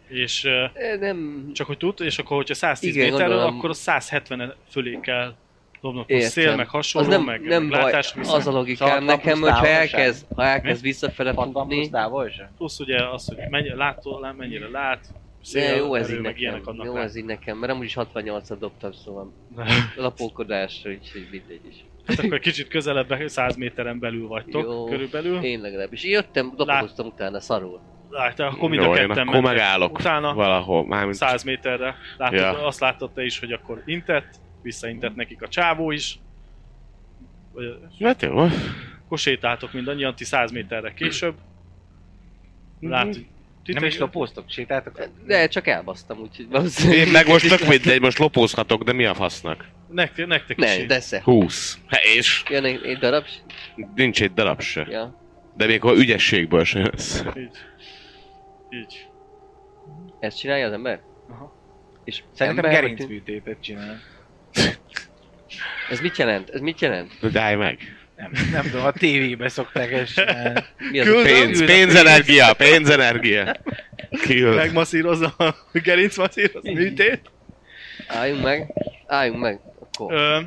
és ö,
Ö, Nem...
csak hogy tud, és akkor hogyha 110
Igen,
méterről,
gondolom.
akkor 170 fölé kell dobnod, hogy
Értem.
szél, meg
Az
hasonló,
nem,
meg,
nem
meg
baj,
látás, viszont
az a logikám
Szóval
nekem,
plusz
hogyha
távolság.
elkezd, ha elkezd visszafele
60 plusz
futni,
távolság?
plusz ugye az, hogy mennyi, látó, lá- mennyire lát,
de
szél,
jó ez
erő,
így
meg
nekem,
ilyenek adnak
jó
rá.
ez így nekem, mert amúgy is 68-at dobtam, szóval lapókodás, úgyhogy mindegy is.
<laughs> Hát akkor kicsit közelebb, 100 méteren belül vagytok,
Jó.
körülbelül.
Én legalábbis. Én jöttem, dobokoztam utána, szarul.
Látja, akkor mind a
Jó, én
ketten
akkor
mentek.
megállok
Utána
valahol. Mármint
100 méterre. Látod,
Ja.
Azt láttad te is, hogy akkor intett, visszaintett nekik a csávó is. Vagy-
Hát jó.
Akkor sétáltok mindannyian, ti 100 méterre később. Látod, hogy
Nem is lopóztok, sétáltok?
De csak elbasztam, úgyhogy valószínűleg...
Én meg <laughs> most tök mindegy, most lopózhatok, de mi a fasznak?
Nektek, nektek is
Ne,
így.
desze.
20. Hát és?
Jön egy, egy darab? s-
Nincs egy darab se.
Ja,
De még ha ügyességből se jössz.
így. Így.
ezt csinálja az ember?
Aha.
És
Szerintem
ember, hogy-
gerincműtétet csinál.
Ez mit jelent? Ez mit jelent?
De Állj meg.
Nem, nem tudom, a tévébe szokták ezt csinálni.
Mi az a...
Pénz, pénzenergia, pénzenergia. Kiül.
Megmasszírozza a gerincmasszírozza a műtét.
Álljunk meg. Álljunk meg. Akkor.
Ö,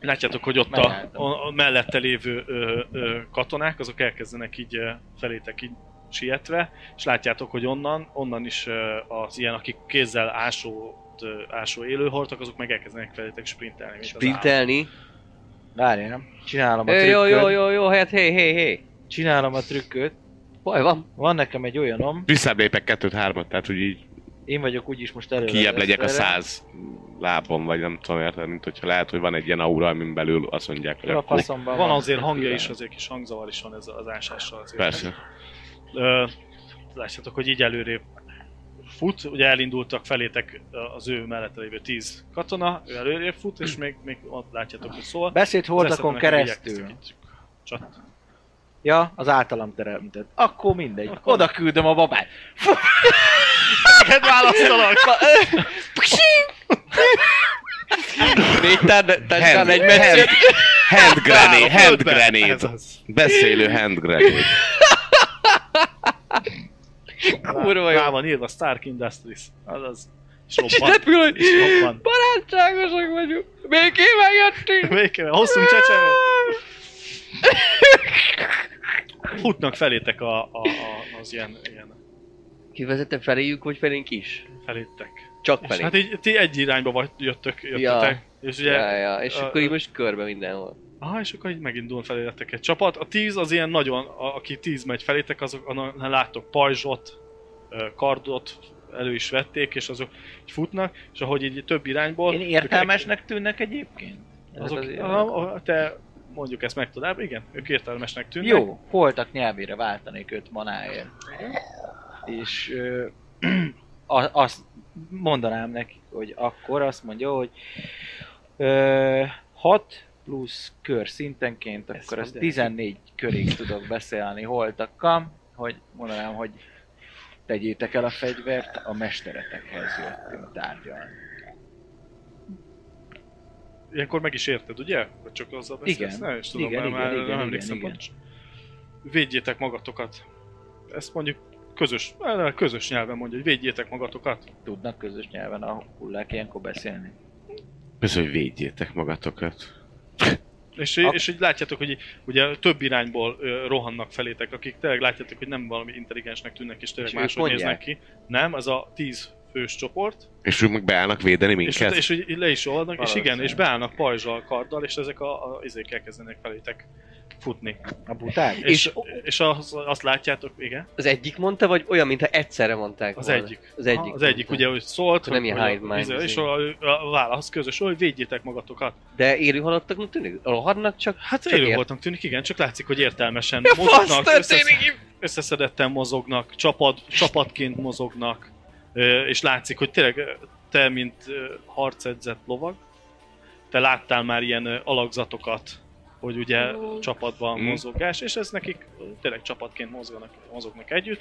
látjátok, hogy ott a,
Megálltam.
a, a mellette lévő ö, ö, katonák, azok elkezdenek így ö, felétek így sietve, és látjátok, hogy onnan, onnan is ö, az ilyen, akik kézzel ásó ásó élőhortak, azok meg elkezdenek felétek sprintelni. mint az állat.
Sprintelni.
Várj, nem? Csinálom a
Ö, Jó, jó,
trükköt.
jó, jó, hát hé, hé, hé.
Csinálom a trükköt.
Baj van.
Van nekem egy olyanom,
Visszább lépek kettőt, hármat, tehát hogy így
Én vagyok úgyis most előre.
Kijebb legyek a száz lábon, vagy nem tudom érted, mint hogyha lehet, hogy van egy ilyen aura, amin belül azt mondják, hogy
A
akkor...
faszomban
Van azért hangja is, azért kis hangzavar is van ez az ásással. Azért.
Persze.
Ö, Látjátok, hogy így előrébb fut, ugye elindultak felétek az ő mellette lévő tíz katona, ő előrébb fut, és még, még ott látjátok, hogy szól.
Beszéd hordakon
Azt hiszem, hogy
keresztül.
elkezdtek itt Csat.
Ja, az általam teremtett. Akkor mindegy. Oda küldöm a babát.
Neked választalak!
Négy tár- tárcsán
Hand,
egy
hand,
meccs.
hand grenade,
Á, a
hand
földbe. Ez
grenade.
az.
Beszélő hand grenade.
Kurva
Rá
jó.
van írva Stark Industries. Azaz. És
És
robban.
repül, hogy
És robban.
barátságosak vagyunk. Még kíván jöttünk.
Végképp, hosszú csecsemő. Futnak felétek a, a, a, az ilyen, ilyen
Ki vezette feléjük, vagy felénk is?
felétek.
Csak
És
felénk.
hát így, ti egy irányba vagy, jöttök, jöttetek. Ja. És ugye,
Ja, ja, és
Ö,
akkor így
ö.
most körbe mindenhol.
aha, és akkor így megindul felétek egy csapat. A tíz az ilyen nagyon, a, aki tíz megy felétek, azok annak láttok pajzsot, ö, kardot, elő is vették, és azok így futnak, és ahogy így több irányból...
Én értelmesnek tűnnek egyébként. Ezek
Azok,
az-
a, a, te mondjuk ezt meg tudnád, igen, ők értelmesnek tűnnek.
Jó, holtak nyelvére váltanék öt manáért. És ö, <clears throat> a, azt mondanám nekik, hogy akkor azt mondja, hogy 6 plusz kör szintenként,
Ez
akkor az
mondja neki.
14 körig tudok beszélni holtakkal, hogy mondanám, hogy tegyétek el a fegyvert, a mesteretekhez jöttünk tárgyalni.
Ilyenkor meg is érted, ugye? Vagy csak azzal beszélsz?
Igen.
Nem, és tudom,
Igen,
igen,
igen,
már
igen,
igen, nem
igen,
emlékszem
igen.
igen, Védjétek magatokat. Ezt mondjuk közös, eh, közös nyelven mondja, hogy védjétek magatokat.
Tudnak közös nyelven a hullák ilyenkor beszélni?
Persze, hogy védjétek magatokat.
És,
Ak-
és így látjátok, hogy így- ugye több irányból ö, rohannak felétek, akik tényleg látjátok, hogy nem valami intelligensnek tűnnek, és tényleg
És ők
máshogy néznek
mondják.
ki. Nem, ez a tíz fős csoport,
És ők meg beállnak védeni
és, hát
minket?
és, hogy így le is oldnak, és igen,
Valószínű.
és beállnak pajzsal, karddal, és ezek a, a izék elkezdenek felétek futni.
A buták?
És, és az, azt látjátok, igen?
Az egyik mondta, vagy olyan, mintha egyszerre mondták
Az
volna?
egyik.
Az egyik.
az egyik
mondta.
ugye, hogy szólt,
Akkor nem
hogy,
ilyen
hogy
hive mind,
izé-
izé.
és a, a válasz közös, hogy védjétek magatokat.
De élő halottaknak tűnik? Rohadnak csak?
Hát
Csak
élő
ért-
voltnak tűnik, igen, csak látszik, hogy
<laughs>
értelmesen
Fasz
mozognak, összesz,
történik itt!
összeszedetten mozognak, csapat, csapatként mozognak, ö, és látszik, hogy tényleg ö, te, mint ö, harcedzett lovag, te láttál már ilyen ö, alakzatokat, hogy ugye csapatban
Mm.
mozogás, és ez nekik ö, tényleg csapatként mozognak, mozognak együtt.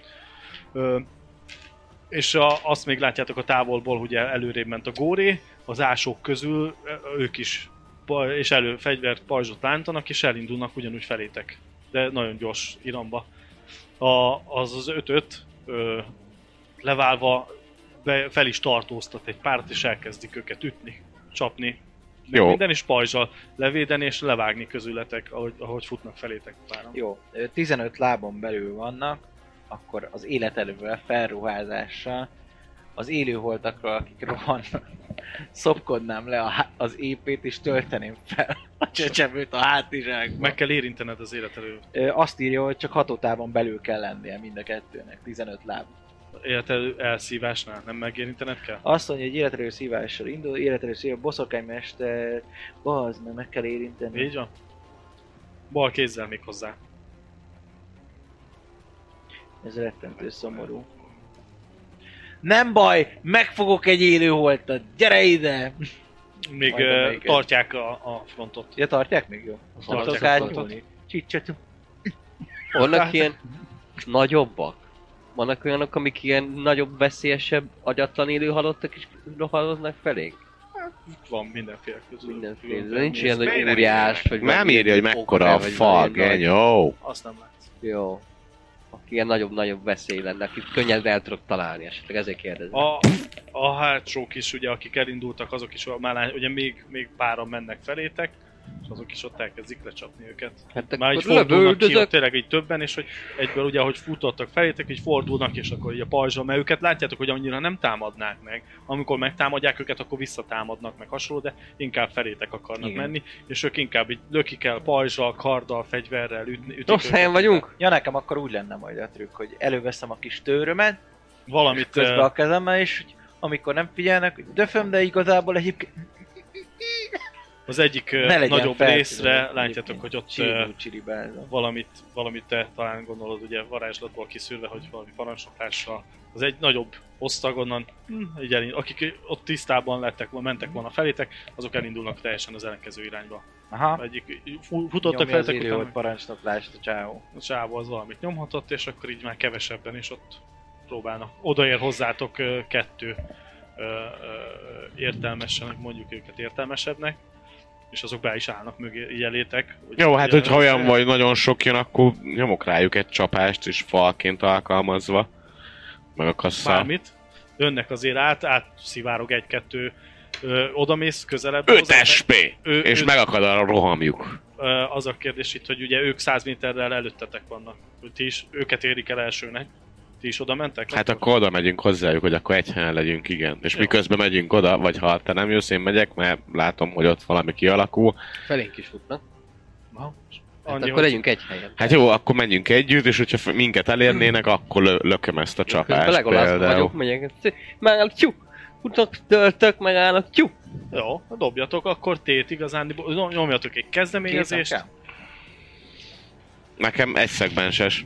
Ö, és a, azt még látjátok a távolból, ugye előrébb ment a góré, az ásók közül ö, ők is pa- és elő fegyvert, pajzsot lántanak, és elindulnak ugyanúgy felétek. De nagyon gyors iramba. A, az az ötöt ö, leválva be, fel is tartóztat egy párt, és elkezdik őket ütni, csapni. Meg
Jó.
Minden is pajzsal levédeni és levágni közületek, ahogy, ahogy futnak felétek páran.
Jó, ö, 15 lábon belül vannak, akkor az életelővel, felruházással, az élőholtakról, akik rohannak, <laughs> szopkodnám le a, há- az épét, és tölteném fel a csecsemőt a hátizsákba.
Meg kell érintened az életelő,
Ö, Azt írja, hogy csak hatótávon belül kell lennie mind a kettőnek, 15 láb.
életelő elszívásnál, nem megérintened kell?
Azt mondja, hogy életerő szívással indul, életerő szív, boszorkánymester, bazd, meg, meg kell érinteni.
Így van? Bal kézzel még hozzá.
Ez rettentő szomorú. Nem baj, megfogok egy élőholtat, gyere ide!
Még
Majd
ö,
amelyiket.
tartják a, a frontot.
Ja, tartják még jó?
Tartják
Tudok
a
átnyúlni? Csicsat.
Vannak ilyen nagyobbak? Vannak olyanok, amik ilyen nagyobb, veszélyesebb, agyatlan élő halottak is rohadoznak felénk?
Van mindenféle közül.
Mindenféle. De nincs ilyen,
miért
hogy
nem
óriás, vagy...
Nem
valami
írja, hogy
okre,
mekkora a
vagy
fal,
valami nagy-
genyó.
Azt nem látsz.
Jó. Aki ilyen nagyobb-nagyobb veszély lenne, akit könnyen el tudok találni, esetleg ezért kérdezem.
A, a hátsók is, ugye, akik elindultak, azok is már lá- ugye még, még páran mennek felétek, és azok is ott elkezdik lecsapni őket.
Hát
Már
akkor
így fordulnak ki, ott
lövöldözök,
tényleg így többen, és hogy egyből ugye, ahogy futottak felétek, így fordulnak, és akkor így a pajzsal, mert őket látjátok, hogy annyira nem támadnák meg. Amikor megtámadják őket, akkor visszatámadnak meg hasonló, de inkább felétek akarnak
Igen.
Igen. menni, és ők inkább így lökik el pajzsal, karddal, fegyverrel, üt, ütik
Rossz
őket.
helyen vagyunk?
Ja, nekem akkor úgy lenne majd a trükk, hogy előveszem a kis tőrömet,
Valamit,
közbe
eh,
a kezemmel, és amikor nem figyelnek, hogy döföm, de igazából egyébként
Az egyik
ne
ö,
legyen
nagyobb
feltűnő.
részre
Egyébként
látjátok, hogy ott ö,
csiribú csiribázom.
valamit, valamit te talán gondolod, ugye varázslatból kiszűrve, hogy valami parancsokással, az egy nagyobb osztag onnan, hm, így elindul, akik ott tisztában lettek, volna, mentek volna felétek, azok elindulnak teljesen az ellenkező irányba.
Aha.
Egyik fu- futottak
Nyomja az
feletek,
írjó,
utána
hogy parancsnoklást a csávó.
a csávó az valamit nyomhatott, és akkor így már kevesebben is ott próbálnak. Odaér hozzátok ö, kettő ö, ö, értelmesenek, mondjuk őket értelmesebbnek, és azok be is állnak mögé, így elétek. Hogy
Jó, hát
ugye-
hogyha olyan vagy, nagyon sok jön, akkor nyomok rájuk egy csapást is falként alkalmazva. Meg a kasszal.
bármit. Önnek azért át, átszivárog egy-kettő, ö, odamész közelebb.
5
hozzá,
SP!
Ő-
És
ő-
megakad a rohamjuk.
de, ö, Az a kérdés itt, hogy ugye ők 100 méterrel előttetek vannak. Hogy Ti is, őket érik el elsőnek. Ti is oda mentek?
Hát akkor oda megyünk hozzájuk, hogy akkor egy helyen legyünk, igen. És
Jó.
miközben megyünk oda, vagy ha te nem jössz, én megyek, mert látom, hogy ott valami kialakul.
Felénk is futnak. Hát
Annyi,
akkor
hogy
legyünk egy helyen.
Hát jó, akkor menjünk együtt, és hogyha f- minket elérnének, akkor lö- lököm ezt a
Közben
csapást
Legolaszban
például.
vagyok, megyek. Megállok, tyú! Utak, töltök, megállok, tyú!
jó, dobjatok, akkor tét igazán, nyomjatok egy kezdeményezést.
Nekem egy szegmenses.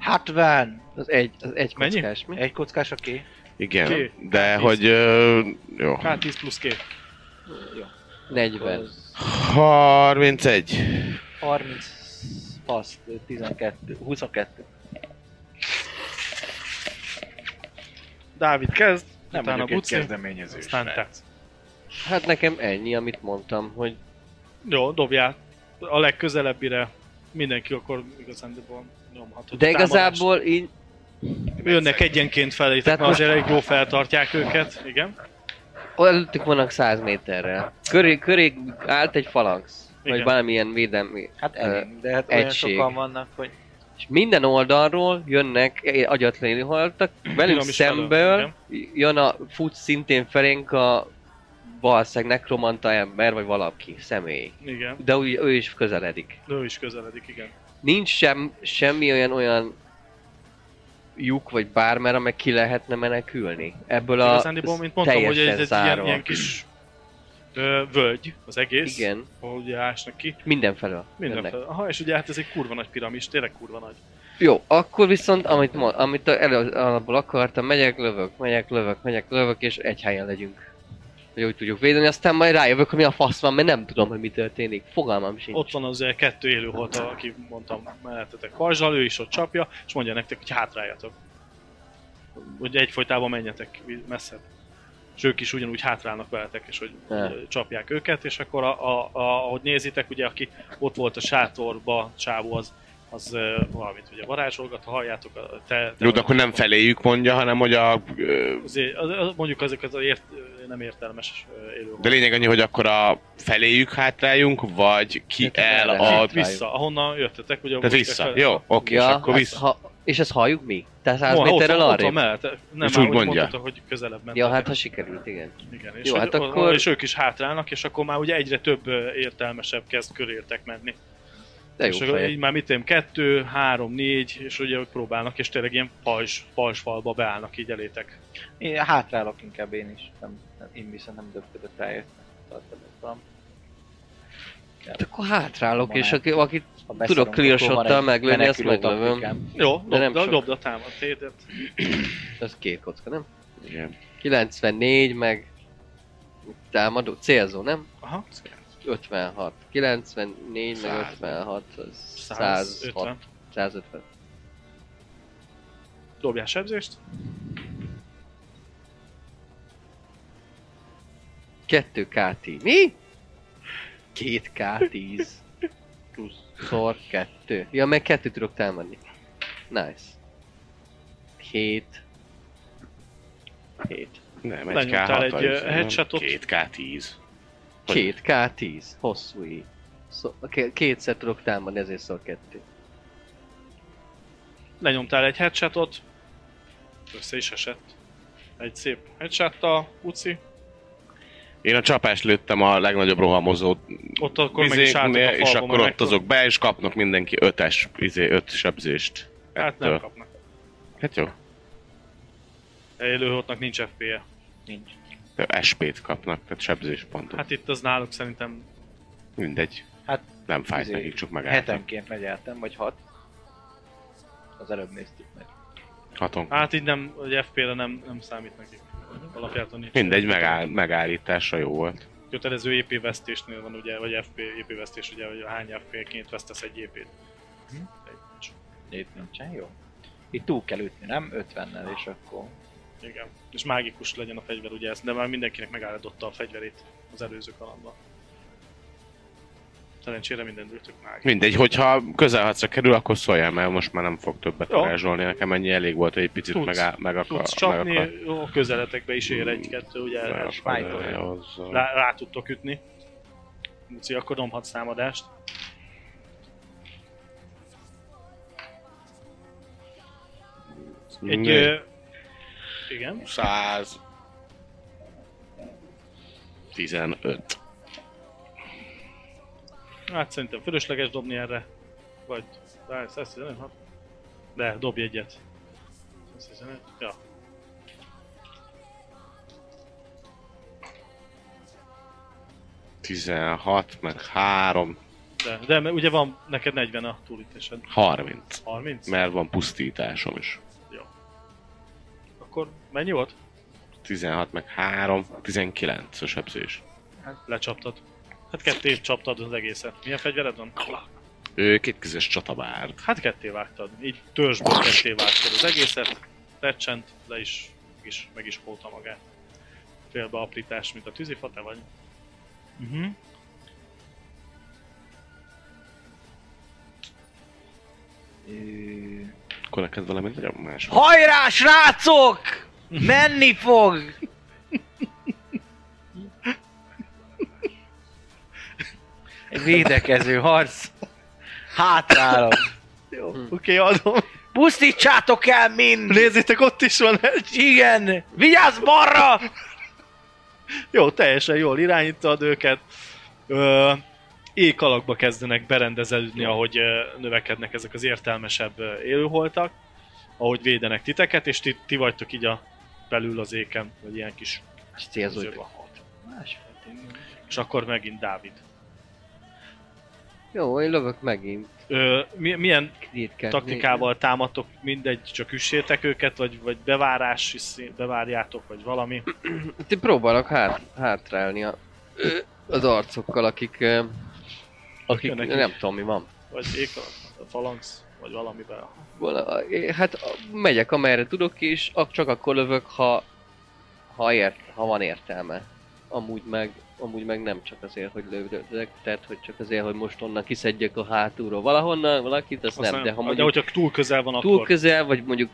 60!
Az egy, az egy
Mennyi?
kockás, mi?
Egy kockás a ké?
Igen,
Ki?
de
Tíz.
hogy... ö, Jó.
K10 plusz 2.
40.
31.
30, paszt, 12, 22.
Dávid kezd,
Nem
utána
vagyok egy
Buci,
kezdeményezős.
aztán te.
Hát nekem ennyi, amit mondtam, hogy
Jó, dobjál. A legközelebbire mindenki akkor igazándiból nyomhat.
De igazából így...
Jönnek egyenként felé,
Tehát
tehát
most-
azért elég jó feltartják őket, igen.
Előttük vannak 100 méterrel. Köré, köré állt egy falanx. Vagy
Igen.
valamilyen védelmi.
Hát
Ö,
elég, de hát olyan
egység.
sokan vannak, hogy
És minden oldalról jönnek eh, agyatléni haltak, velünk
Finom is
szemből
elől,
jön a fut szintén felénk a valószínűleg nekromanta ember, vagy valaki, személy.
Igen,
De úgy, ő is közeledik.
ő is közeledik, igen.
Nincs sem, semmi olyan olyan lyuk vagy bármer, amely ki lehetne menekülni. Ebből a
Igazándiból, mint mondtam, hogy ez egy ilyen,
zárva.
ilyen kis ö, völgy az egész,
Igen,
ahol ugye ásnak ki.
mindenfelől. jönnek.
Mindenféle. Aha, és ugye hát ez egy kurva nagy piramis, tényleg kurva nagy.
Jó, akkor viszont, amit, ma, amit elő, alapból akartam, megyek, lövök, megyek, lövök, megyek, lövök, és egy helyen legyünk. Hogy úgy tudjuk védeni, aztán majd rájövök, hogy mi a fasz van, mert nem tudom, hogy mi történik. Fogalmam sincs.
Ott van az eh, kettő élőholt, aki mondtam mellettetek pajzsal, ő is ott csapja, és mondja nektek, hogy hátráljatok. Hogy egyfolytában menjetek vi- messzebb. És ők is ugyanúgy hátrálnak veletek, és hogy
Ne.
eh, csapják őket, és akkor a, a, a, ahogy nézitek, ugye aki ott volt a sátorba, csávó az, az eh, valamit ugye varázsolgat, ha halljátok a te... te
Jó, de akkor nem feléjük mondja, hanem hogy a... ö,
Azért, az, az, mondjuk azok az ért, nem értelmes élőholt.
De lényeg annyi, hogy akkor a feléjük hátráljunk, vagy ki
Hát
el
erre.
a...
Itt
Vissza, ahonnan jöttetek, ugye...
Tehát
most
vissza.
fel-
Jó, oké, és akkor
hát
vissza.
Ha, és ezt halljuk mi? Tehát 100
Van,
méterrel
ott, van- ott
arra?
van mellett. Nem,
És
már
úgy
úgy
mondja.
mondta, hogy közelebb ment.
Ja, hát ha sikerült, igen.
Igen, és,
Jó,
Jó,
hát
hát
akkor-
akkor... és ők is hátrálnak, és akkor már ugye egyre több ö, értelmesebb kezd körértek menni.
De jó
és akkor
fej.
így már mit én, kettő, három, négy, és ugye ők próbálnak, és tényleg ilyen pajzs, pajzsfalba beállnak így elétek.
én hátrálok inkább én is. Nem, nem, én viszont nem döbködött rájöttem. Tartalottam.
Hát akkor hátrálok,
Ma
és
nem.
aki, akit
Ha beszarunk,
tudok clear
akkor van
shottal
egy
meglőni, azt
menekülő
meglövöm.
taktikám.
Jó, dobd,
nem
nem
sok.
dobd a támad tétet.
Ez két kocka, nem?
Igen.
94, meg támadó, célzó, nem?
Aha,
56. 94 meg 56, az 150.
150.
150.
Dobjál sebzést.
Kettő K10. Mi? Két K10. Plusz szor kettő. Ja, meg kettő tudok támadni. Nice. 7. 7.
Nem, egy
Lenyomtál
K6,
egy, ö,
nem,
headshotot.
Két K10. Hogy-
Két K10. Hosszú így. Szó, ké- kétszer tudok támadni, ezért szor kettő.
Lenyomtál egy headshotot. Össze is esett. Egy szép headshottal, uci.
Én a csapást lőttem a legnagyobb rohamozó
Ott akkor meg is álltak a
vizéknél,
falba,
és akkor
mert
ott azok be, és kapnak mindenki ötes, izé, öt sebzést. Hát
Hát
ettől.
nem kapnak.
Hát jó.
Élőhottnak nincs E. FP-je.
Nincs.
De SP-t kapnak, tehát sebzéspontot. Hát
Hát itt az náluk szerintem
mindegy.
Hát,
nem fájt
izé,
nekik, csak megálltak.
Hetenként megyeltem, vagy hat. Az előbb néztük meg.
Haton.
Hát így nem, hogy FP-re nem, nem számít nekik. Alapjától nincs.
Mindegy, megáll, megállítása jó volt.
Kötelező EP vesztésnél van ugye, vagy FP, EP E vesztés ugye, hogy hány FP-ként vesztesz egy E EP-t.
Itt nincsen jó. Itt túl kell ütni, nem? 50-nel, és akkor...
Igen. És mágikus legyen a fegyver ugye ez, de már mindenkinek megállította a fegyverét az előző kalandban. Szerencsére minden ültök mágikus.
Mindegy, hogyha közelhatszra kerül, akkor szóljál, mert most már nem fog többet
Jó.
varázsolni. Nekem ennyi elég volt, hogy egy picit
Tudsz.
megáll, meg akar.
Tudsz
meg akar-
csapni, a közeletekbe is ér egy-kettő, ugye
meg
erre
akar-
smite-olja.
az-
rá, rá tudtok ütni. Muci, akkor nyomhatsz támadást. Egy...
Né-
Ö, igen.
100... 15.
Hát szerintem fölösleges dobni erre. Vagy... Várj, 115, ha? De, dobj egyet. 115, ja.
Tizenhat, meg három,
De, de mert ugye van neked 40 a túlítésed.
30.
30?
Mert van pusztításom is.
Akkor mennyi volt?
16 meg 3, 19 a sebzés.
Lecsaptad. Hát ketté csaptad az egészet. Milyen fegyvered van?
Ő kétkezes csatabár.
Hát ketté vágtad. Így törzsből ketté vágtad az egészet. Recsent, le is, is meg is polta magát. Félbe aprítás, mint a tűzifa, te vagy. Uh-huh.
Ö,
Akkor neked valami nagyon más.
Hajrá, srácok! Menni fog!
Egy védekező harc.
Hátrálok.
Jó, oké, okay, adom.
Pusztítsátok el mind!
Nézzétek, ott is van egy.
Igen! Vigyázz balra!
Jó, teljesen jól irányítod őket. Ö, éjkalakba kezdenek berendeződni, ahogy ö, növekednek ezek az értelmesebb ö, élőholtak, ahogy védenek titeket, és ti, ti vagytok így a belül az éken, vagy ilyen kis
És célzoljuk.
zöva. És akkor megint Dávid.
Jó, én lövök megint.
Ö, mi- milyen
Két kell.
taktikával támadtok, mindegy, csak üssétek őket, vagy, vagy bevárás, szín- bevárjátok, vagy valami.
Itt én próbálok hát, hátrálni a, ö, az arcokkal, akik... ö, Akik,
Jönnek
nem
is.
tudom mi van.
Vagy éjkalak, falansz, vagy valamiben.
Vala- é, Hát a- megyek amerre tudok és ak- csak akkor lövök, ha, ha, ért, ha van értelme. Amúgy meg, amúgy meg nem csak azért, hogy lövök, tehát hogy csak azért, hogy most onnan kiszedjek a hátulról valahonnan valakit, azt,
Azt
nem, de ha
de
mondjuk
hogyha túl közel van,
túl
akkor...
közel, vagy mondjuk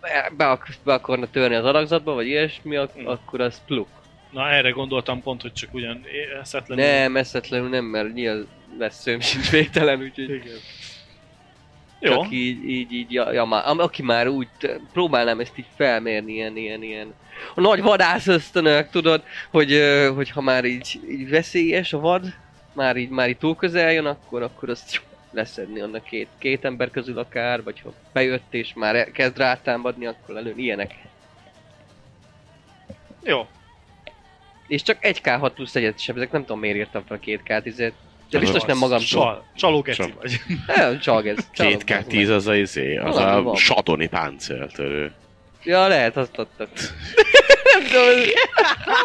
be- be, ak- be akarna törni az alakzatba, vagy ilyesmi, ak-
Hm.
akkor az pluk.
Na erre gondoltam pont, hogy csak ugyan é- eszetlenül...
Nem, eszetlenül nem, mert nyilván lesz szőm sincs végtelen, úgyhogy
Igen.
Jó.
Jó,
csak így, így, így ja, ja, már, am- aki már úgy, t- próbálnám ezt így felmérni, ilyen, ilyen, ilyen. A nagy vadász ösztönök, tudod, hogy, ö, hogy ha már így, így veszélyes a vad, már így, már így túl közel jön, akkor, akkor azt leszedni annak két, két ember közül akár, vagy ha bejött és már el- kezd rátámadni, akkor lelőni ilyenek.
jó.
És csak 1k6 plusz egyet sem, ezek nem tudom miért írtam fel 2k10-et. izé. De biztos nem magam
Csal, csalógeci
Csal.
<laughs>
vagy. <laughs>
Nem, csalgez.
2K10 az a izé, az
Valami
a
van.
satoni páncéltörő.
Ja, lehet, azt adtak. nem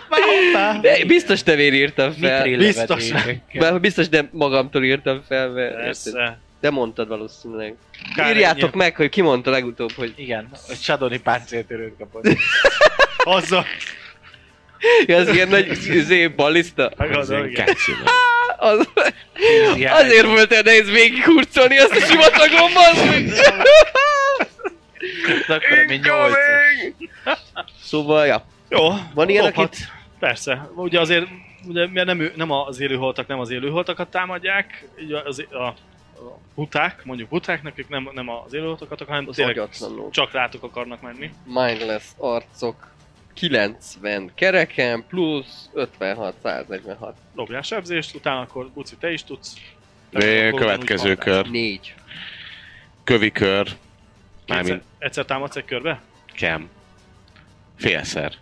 tudom. De biztos nem én írtam fel.
Biztos.
Bár biztos nem magamtól írtam fel, mert érted?
Persze.
de mondtad valószínűleg.
Kár
Írjátok
ennyi.
meg, hogy ki mondta legutóbb, hogy
Igen, a Shadowni páncéltörőt kapott.
Azzal.
az ilyen nagy zé ballista.
Az
Azzal,
ilyen
igen.
keci, nem?
Az, azért volt el nehéz végigkurcolni azt a sivatagon, bazd
<laughs>
meg.
Akkor mi nyolc.
Szóval, ja.
Jó.
Van ilyen,
lophat.
akit
Persze. Ugye azért, ugye, mert nem, ő- nem az élőholtak, nem az élőholtakat támadják, így az, a, a huták, mondjuk hutáknak, ők nem, nem az élőholtakat, hanem
Az
tényleg
agyatlanok.
csak rátok akarnak menni.
mindless arcok 90 kereken plusz 56, 146.
Dobjál sebzést, utána akkor Buci, te is tudsz.
Hát,
Ö,
Akkor
Következő
ugyanúgy
kör.
4.
Kövi kör.
Kétszer,
Mármint
egyszer támadsz egy körbe?
kem. Félszer.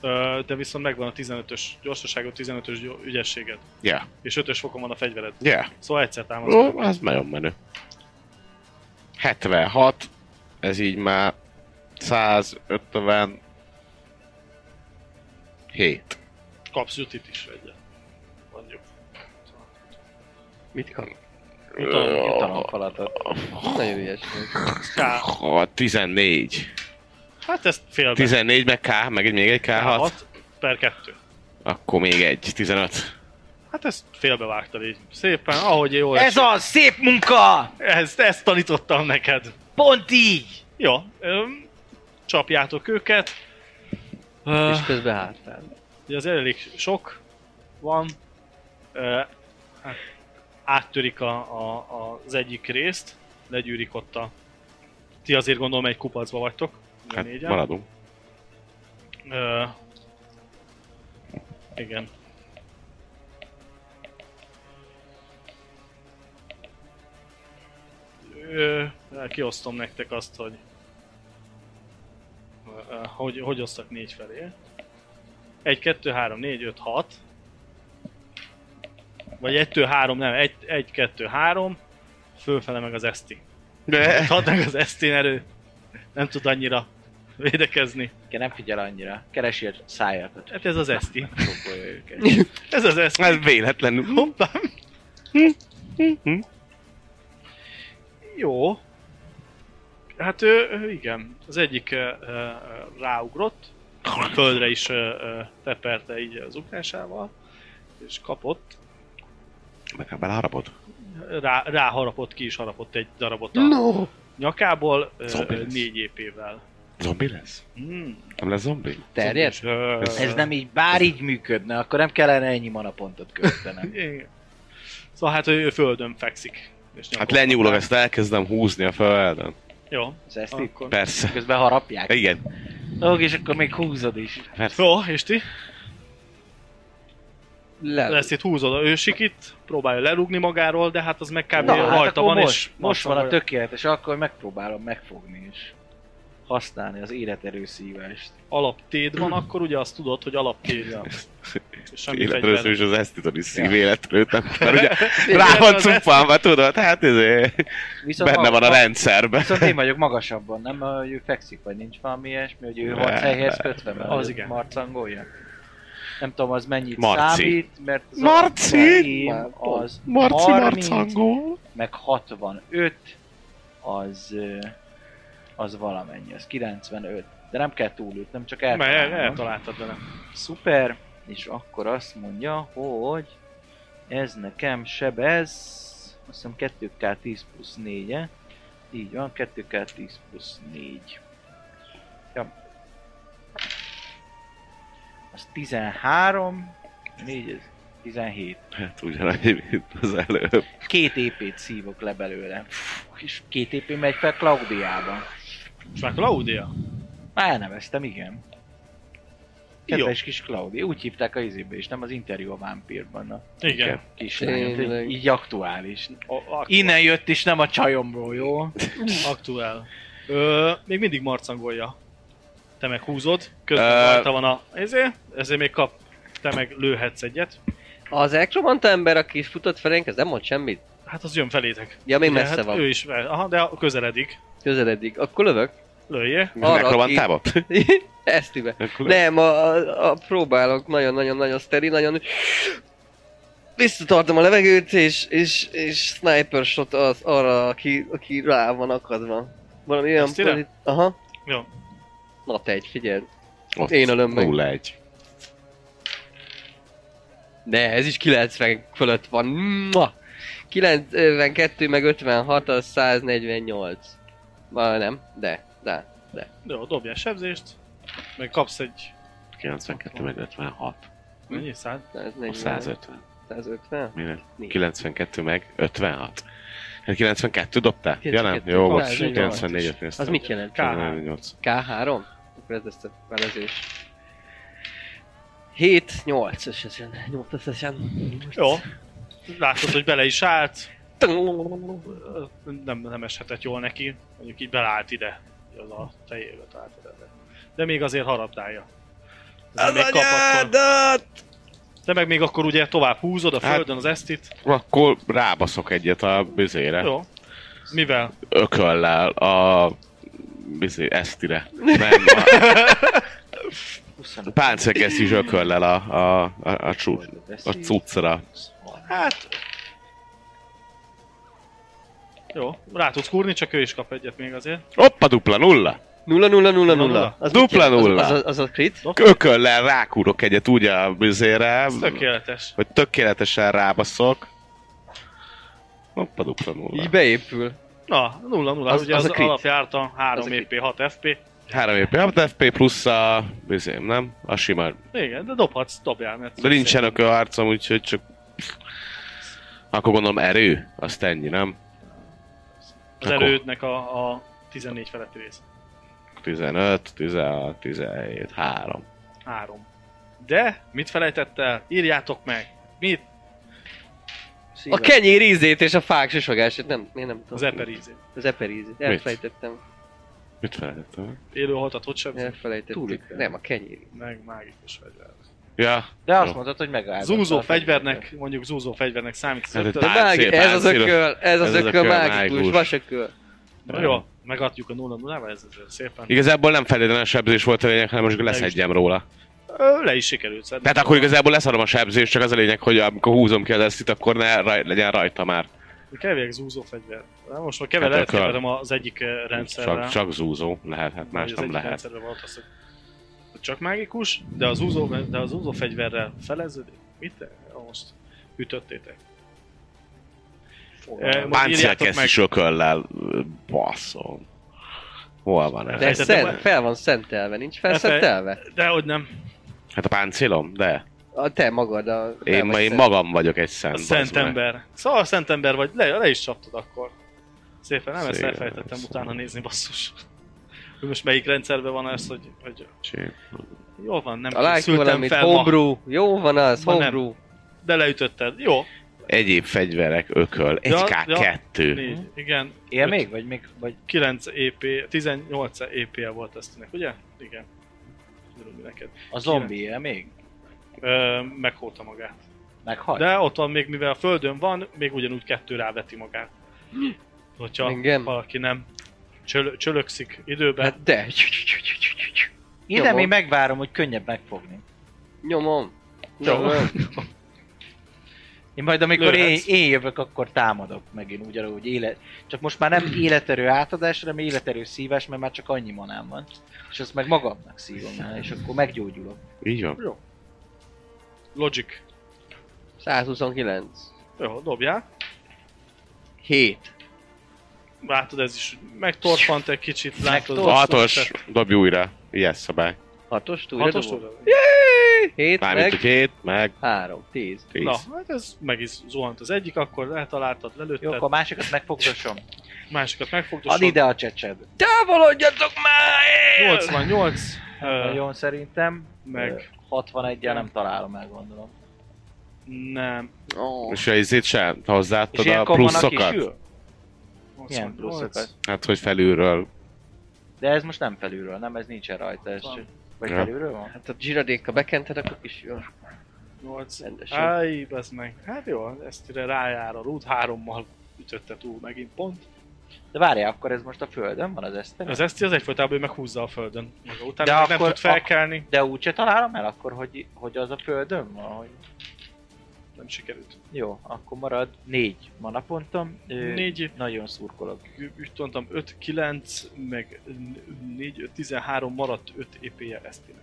Ö, De viszont megvan a 15-ös gyorsaságod, 15-ös gyo- ügyességed.
Ja.
És 5-ös fokon van a fegyvered.
Ja.
Szóval egyszer támadsz.
Ó, az nagyon menő. 76, ez így már 150 7.
Kapsz jutit is egyet. Mondjuk.
Mit kap?
Jutalom,
Jutalom falatot. Nagyon ügyes. vagy.
K.
14.
Hát ezt félbe.
14 meg K, meg egy, még egy K6.
Hat per 2.
Akkor még egy, 15.
Hát ezt félbevágtad így. Szépen, ahogy jól
Ez az! Szép munka!
ezt, ezt tanítottam neked.
Pont így!
Jó, öm, csapjátok őket. Ö,
És közben hátán.
Ugye az elég sok van. Ö, hát Áttörik a, a, a, az egyik részt, legyűrik ott a... Ti azért gondolom egy kupacba vagytok. ugye
Hát
négyen.
maradunk.
Ö, igen. Ö, hát kiosztom nektek azt, hogy ö, hogy, hogy osztak négy felé. 1, 2, 3, 4, 5, 6. Vagy 1, 2, 3, nem, 1, 1 2, 3. Fölfele meg az eszti.
De.
Hadd meg az esztin erő. Nem tud annyira védekezni.
Igen, nem figyel annyira. Keresél szájakat.
Hát ez az eszti.
Fogolja őket.
Ez az Hm, eszti.
Ez véletlenül. Hoppá.
Jó. Hát ő, ő igen, az egyik ö, ö, ö, ráugrott, földre is ö, ö, teperte így az ugrásával, és kapott,
Meg beleharapod?
rá, ráharapott, ki is harapott egy darabot a
No!
nyakából, ö,
Zombi
ö,
lesz.
négy épével.
Zombi lesz?
Hmm,
Nem lesz zombi? Hát
Terjed?
és, ö,
Ez nem így, bár így működne, akkor nem kellene ennyi manapontot költenem.
igen. Szóval hát ő földön fekszik. És
Hát
nyakon-
lenyúlok, ezt elkezdem húzni a földön.
Jó.
Az <laughs> ezt így
Akkor.
Persze.
közben harapják.
Igen.
Ó, és akkor még húzod is.
Szóval
Persze.
Jó, és ti?
Le.
Ezt itt húzod, ő sikít, próbálja lerúgni magáról, de hát az meg kb.
Na, hát
rajta
akkor
van,
most,
és
most van a
tök.
tökéletes, akkor megpróbálom megfogni és használni az életerőszívást.
alaptéd van, akkor ugye azt tudod, hogy alaptéd. Ja. Semmi
Életről
fegyver.
is az esztiton is szívéletről, nem? Mert ugye rá van cupálva, tudod? Hát ez
Viszont
benne van a
maga-
rendszerben.
Viszont én vagyok magasabban, nem hogy ő fekszik, vagy nincs valami ilyesmi, hogy ő
Ne,
hat helyhez kötve, mert
Az
ő
igen.
marcangolja. Nem tudom, az mennyit
Marci.
számít, mert az
Marci!
Én az
Marci
30,
Marcangó.
meg 65, az, ö, az valamennyi, az 95. De nem kell túlütnem, csak
Mert el-
eltalálnom.
eltaláltad vele.
Szuper, és akkor azt mondja, hogy ez nekem sebez, azt hiszem 2K10 plusz 4 -e. Így van, 2K10 plusz 4. Ja. Az 13, 4, ez 17.
Hát ugyanannyi, mint az előbb.
Két épét szívok le belőle. Pff, És két épé megy fel Klaudiába.
És már Claudia?
Már elneveztem, igen.
Jó.
Kedves kis Claudia, úgy hívták a izébe is, nem az interjú a vámpírban. A
Igen.
kislányot,
Tényleg.
hát így, így aktuális.
A, ak-
Innen jött is, nem a csajomról, jó?
Aktuál. Ö, még mindig marcangolja. Te meg húzod, közben
Ö-
rajta van a... Ezért, ezért még kap. Te meg lőhetsz egyet.
Az elektromanta ember, aki futott felénk, ez nem mond semmit.
Hát az jön felétek.
Ja, még
Ugye,
messze
hát
van.
Ő is, aha, de közeledik.
Közeledik. Akkor lövök.
Lőjé.
Arra, <laughs>
Megrobantába?
Esztibe. Nem, a, a, a próbálok nagyon-nagyon-nagyon szteri, nagyon... Visszatartom a levegőt, és, és, és sniper shot az arra, aki, aki rá van akadva. Valami olyan...
Esztire?
polit- Aha.
Jó.
Na te egy, figyeld. Én ölöm meg.
0 1.
De ez is 90 fölött van. Mua! 92 meg 56 az 148. Ma nem, de, de.
Jó, dobjál sebzést. Meg kapsz egy...
92 meg 56.
Mennyi? Szád?
148,
150.
150?
Mire?
Négy.
92 meg 56. Hát 92 dobtál? Ja nem?
92.
Jó, volt.
Az
94-et néztem.
Az mit jelent?
K3.
98.
K3? Akkor ez lesz a felezés. 7, 8 összesen. 8 összesen.
Jó. Látod, hogy bele is állt. Ö, nem, nem eshetett jól neki, mondjuk így beleállt ide, az a fejébe állt ide. de még azért harapdálja. Ez még kap, akkor, te meg még akkor ugye tovább húzod a
Hát-
földön az esztit.
Akkor rábaszok egyet a büzére.
Jó. Mivel?
Ököllel a... Bizé, esztire. Nem, a
25
páncegesz is ököllel a, a, a, a, csú, a
veszi.
cuccra.
Hát... Jó, rá tudsz kúrni, csak ő is kap egyet még azért.
Hoppa, dupla nulla!
Nulla, nulla, nulla, nulla.
nulla.
Az mit
Dupla
jelent? Az-
nulla.
Az, az, az a crit?
Ököllel rákúrok egyet úgy a büzére,
Ez tökéletes.
hogy tökéletesen rábaszok. Hoppa, dupla nulla.
Így beépül.
Na, 0-0,
Az-
az, ugye
az
az,
a
az
crit.
alapjárta 3
Az a crit.
EP, 6 FP.
3 EP, a FP plusz a... Bizém, nem? A sima.
Igen, de dobhatsz, dobjál, mert...
De nincsen ökölharcom, úgyhogy csak... Akkor gondolom erő, azt ennyi, nem?
Az
Akkor.
erődnek a, a 14 feletti rész.
15, 16, 17, 3.
3. De, mit felejtett el? Írjátok meg! Mit?
A kenyér ízét és a fák sosogását, nem, én nem tudom.
Az eperízét.
Az eper ízét, elfelejtettem.
Mit felejtettem?
Élő haltat, hogy sem?
Elfelejtettem. Nem, a kenyér.
Meg mágikus fegyver.
Ja,
De azt
Jó.
mondtad, hogy megállod.
Zúzó fegyvernek, mondjuk zúzó fegyvernek számít az
Hát,
ötöd.
De
Láncél,
mági, ez az
láncél.
ököl, ez az ököl mágikus,
mágikus.
vasaköl.
Na Jó, megadjuk a 0 0 ez azért szépen.
igazából nem feltétlenül a sebzés volt a lényeg, hanem most leszedjem róla.
Ö, Le is sikerült szedni.
Tehát akkor igazából leszarom a sebzést, csak az a lényeg, hogy amikor húzom ki az eszit, akkor ne raj, legyen rajta már.
Kevés zúzó fegyver. Na, Most már kever
Hát
hát
akkor-
elkeverem az egyik eh, rendszerrel.
Csak, csak zúzó lehet, hát más
Vagy
nem
egyik
lehet.
rendszerben volt az, hogy csak mágikus, de az úzó, de az úzó fegyverrel feleződik. Mit te? Most ütöttétek. Eh, majd írjátok
Páncélkeszt
meg.
is ököllel. Basszom. Hol van ez?
De ez
Elfelejtettem
szent,
el.
fel van szentelve, nincs
Elfej-
felszentelve?
De hogy nem.
Hát a páncélom? De.
A te magad a... fel
Én,
vagy
ma, én
szent-
magam vagyok egy szent.
A
bazd meg.
Hát szent ember. Szóval a szent ember vagy, le, le is csaptad akkor. Szépen, nem ezt
Szépen,
elfejtettem
szépen.
utána nézni, basszus. Hogy most melyik rendszerben van ez, hogy, hogy
Csíp.
jól van, nem
A like
készültem
valamit,
fel ma,
homebrew, jó van az,
Ma nem.
homebrew.
de leütötted. Jó,
Egyéb fegyverek, ököl.
Ja,
1K2.
négy, igen.
Él
Öt-
még? Vagy még? Vagy
9 EP, 18 ep E -je volt ezt ennek, ugye? Igen. Tudom, mi neked.
a zombi él még?
Ö, meghóta magát.
Meghalt?
De ott van még, mivel a földön van, még ugyanúgy kettő ráveti magát. Hogyha
Igen.
valaki nem csöl- csölökszik időben. Hát,
Hát de,
Ide
Nyomom.
még megvárom, hogy könnyebb megfogni.
nyomom.
Jó.
Nyomom.
Én majd amikor én,
Lőhetsz.
én, jövök, akkor támadok megint ugyanúgy élet. Csak most már nem életerő átadás, hanem életerő szívás, mert már csak annyi manám van. És azt meg magamnak szívom el, és akkor meggyógyulok.
Így van.
Logic.
129.
Jó, dobjál.
7.
Látod, ez is megtorpant egy kicsit. Látod,
A hatos, dobj újra. Yes, szabály.
6-os túl,
Hatos
7
Mármint, hogy
meg
hét, meg
3, 10.
tíz.
Na, hát ez meg is zuhant az egyik, akkor eltaláltad,
Jó,
lelőtted,
akkor a másikat megfogdosom.
másikat
Add
megfogdosod.
ide a csecsed.
Távolodjatok már!
88, ö,
Nagyon szerintem.
meg-
Ö, 61-jel nem találom el, gondolom.
nem,
Oh.
És a izét sem hozzáadtad
És
a
ilyenkor van, aki
pluszokat?
sül? Milyen
88.
pluszokat?
Hát, hogy felülről.
De ez most nem felülről, nem? Ez nincsen rajta, ez
Van.
csak... Vagy
Ja.
felülről van?
Hát a zsiradéka bekented, akkor is jó.
8.
Rendesen.
Áj, az meg. Hát jó, ezt ide rájár a rút, hárommal ütötte túl megint pont.
De várjál, akkor ez most a földön van az eszter?
Az eszti az egyfolytában ő meghúzza a földön. Maga utána
De
De nem
akkor-
tud felkelni,
De úgyse találom el akkor, hogy, hogy az a földön van, hogy...
nem sikerült.
Jó, akkor marad négy manapontom. Ö,
Négy.
Nagyon szurkolok.
Úgy tudom, 5, 9, meg 4, 5, 13 maradt 5 EP-je esztinek.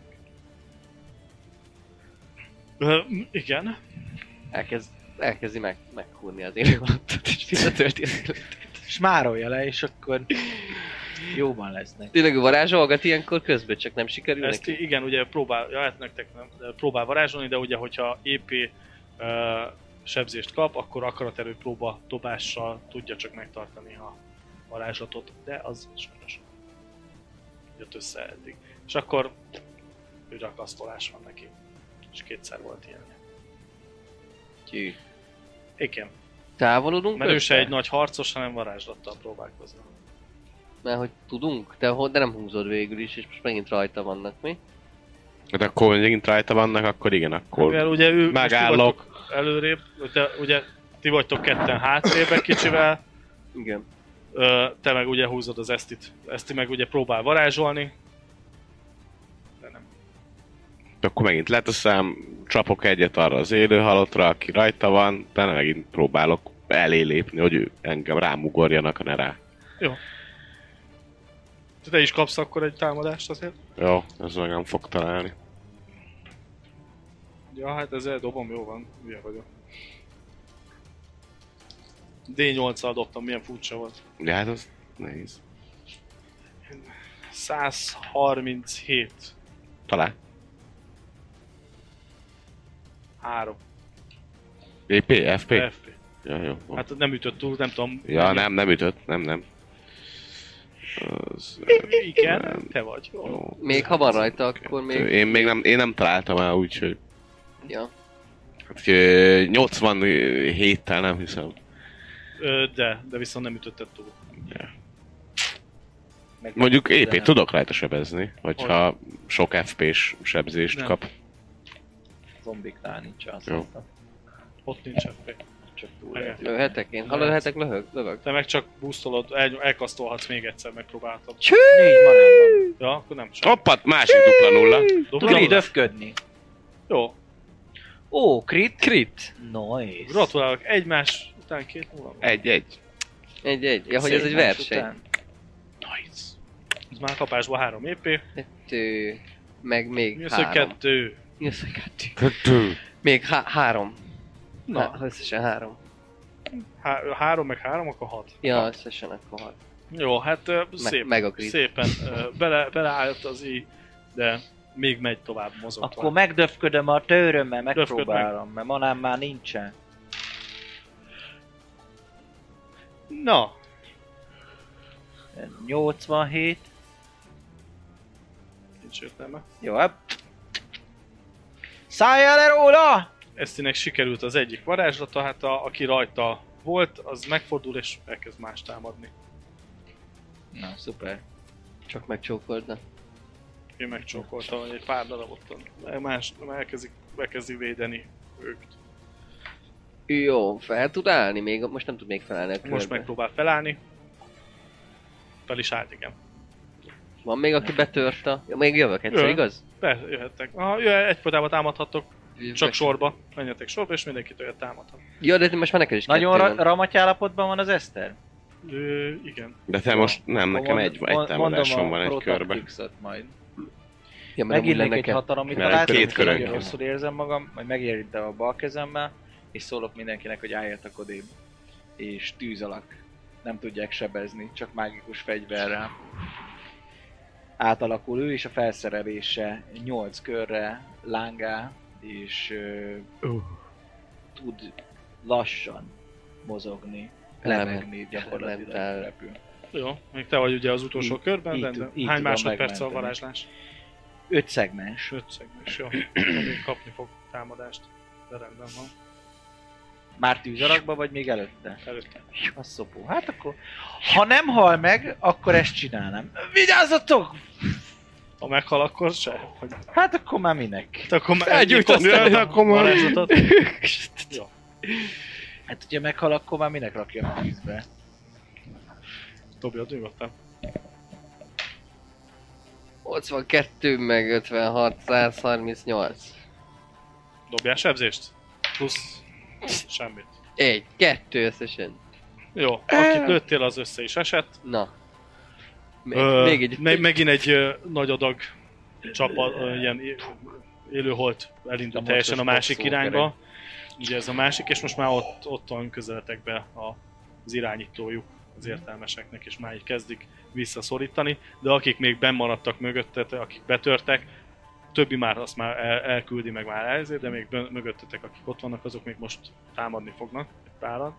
Ö, m- igen.
Elkezd, elkezdi meg, meghúrni az élő alattat, és visszatölti az életet.
Smárolja le, és akkor <laughs> jóban lesznek.
Tényleg ő varázsolgat ilyenkor közben, csak nem sikerül
Ezt
neki.
igen, ugye próbál, ja, hát nektek nem, de próbál varázsolni, de ugye, hogyha EP ö, sebzést kap, akkor akaraterő próba dobással tudja csak megtartani a varázslatot, de az sajnos jött össze eddig. És akkor ő rakasztolás van neki. És kétszer volt ilyen.
Tű.
Igen,
Távolodunk
mert ő se
össze?
egy nagy harcos, hanem varázslattal próbálkozna.
Mert hogy tudunk, de, ho- de nem húzod végül is, és most megint rajta vannak, mi?
De Hát akkor megint rajta vannak, akkor igen,
Mivel
akkor
ugye ő most
megállok.
ti vagytok Előrébb, de ugye ti vagytok ketten hátrébb egy kicsivel,
Igen.
ö, te meg ugye húzod az Esztit. Eszti meg ugye próbál varázsolni. De nem.
Akkor megint leteszem, csapok egyet arra az élő halottra, aki rajta van, de megint próbálok elé lépni, hogy ő- engem rám ugorjanak, ne rá.
Te is kapsz akkor egy támadást azért.
Jó, ez meg nem fog találni.
Ja, hát ezzel dobom, jó van, hülye vagyok. D8-al dobtam, milyen furcsa volt.
De hát az nehéz.
137.
Talál.
3.
EP, FP?
FP.
Ja, jó. van.
Hát nem ütött túl, nem tudom.
ja, nem, nem ütött, nem, nem. Az,
Igen, te vagy. Jó.
jó.
Még ha van rajta, akkor még...
Én még nem, én nem találtam el, úgyhogy
Ja.
Hát, ö, 87-tel nem hiszem.
Ö, De, de viszont nem ütötted túl.
Meg
Mondjuk
de
ép
nem.
tudok rajta sebezni, hogyha sok FP-s sebzést
Nem.
kap.
Zombiknál nincs az.
Jó.
Ott nincs FP.
Csak túl.
Lőhetek én? Ha lőhetek, lövök, lövök.
Te meg csak boostolod, el, elkasztolhatsz még egyszer, megpróbáltam.
Négy manában.
Ja, akkor nem csak.
Hoppá, másik dupla nulla.
Tudok
Gratulálok.
döfködni.
Jó,
Ó, crit.
Crit!
Nice.
gratulálok. Egymás után két nulla. volt.
Egy, egy.
Egy, egy. Ja, hogy ez egy
Egymás
verseny.
után.
Nice. Ez már kapásból három EP.
Kettő, meg még
Mi az, hogy
három.
kettő?
Mi az, hogy kettő? Még há- három. Na. Há- összesen három.
Há- három meg három, akkor hat.
Ja, összesen akkor hat.
Jó, hát ö, szép,
meg a crit.
szépen ö, bele, beleállt az i, de még megy tovább, mozog
Akkor
tovább.
megdöfködöm a tőrömmel,
Döfköd meg.
megpróbálom, mert manám már nincsen.
Na,
87.
nincs értelme.
Jó, hát. Szálljál le róla!
Esztinek sikerült az egyik varázslata, hát a, aki rajta volt, az megfordul és elkezd más támadni.
Na, szuper.
Csak megcsókolna.
Én megcsókoltam, hogy egy pár darabot ott- más, elkezdik, elkezdi védeni őket.
Jó, fel tud állni még, most nem tud még felállni a körbe.
Most megpróbál felállni. Fel is állt, igen.
Van még, aki betört a... Ja, még jövök egyszer,
Jön.
igaz?
Be, jöhettek. Aha, jöhet, egyfolytában támadhattok, csak
Meg-
sorba. Menjetek sorba, és mindenki tőle támadhat.
Ja, de most már neked is
Nagyon
kettő
ra-
van.
ramaty állapotban van az Eszter?
Ö, igen.
De te most nem, nekem
Mond-
egy, egy
mond-
támadásom
mondom a
van egy körbe.
Prototypes-ot majd.
ja, mert amúgy
Megírnék
lenne
egy
kell.
hatalomit,
Mert
találtam,
két
és
körönként.
nagyon rosszul érzem magam, majd megérintem a bal kezemmel, és szólok mindenkinek, hogy álljatok odébb. És tűz alak. Nem tudják sebezni, csak mágikus fegyverrel. Átalakul ő is a felszerelése 8 körre lángá, és ö, tud lassan mozogni,
Element-
lebegni gyakorlatilag
elementál.
repül.
Jó, még te vagy ugye az utolsó
Így-
körben,
így
de
tud-
de
így
hány
tudom
másodperc a
megmenteni.
varázslás?
5 szegmens.
Öt szegmens,
<clears throat>
jó. Még kapni fog támadást. De rendben van.
Már tűz alakba, vagy még előtte?
Előtte.
A szopó. Hát akkor, ha nem hal meg, akkor ezt csinálnám. Vigyázzatok!
Ha meghal, akkor se. Hogy...
Hát akkor már minek?
Te akkor már
Felgyújtani
egyik osztály-
rajta, akkor már-
varázslatot. Jó.
Hát ugye meghal, akkor már minek rakjam a vízbe?
Dobj a nyugodtan.
82, meg 56, 138.
Dobjál sebzést? Plusz semmit.
Egy, kettő összesen.
Jó, akit lőttél, az össze is esett.
Na. Még,
Ö,
még egy...
meg- megint egy ö, nagy adag csapa, ö, ilyen é- élőholt elindult
A
teljesen a
mocskos
másik
boxoló
irányba. Ugye ez a másik, és most már ott, ott van közeletekbe a, az irányítójuk az értelmeseknek, és már így kezdik visszaszorítani, de akik még benn maradtak mögöttetek, akik betörtek, többi már azt már el, elküldi, meg már elzér, de még bön, mögöttetek, akik ott vannak, azok még most támadni fognak, egy páran.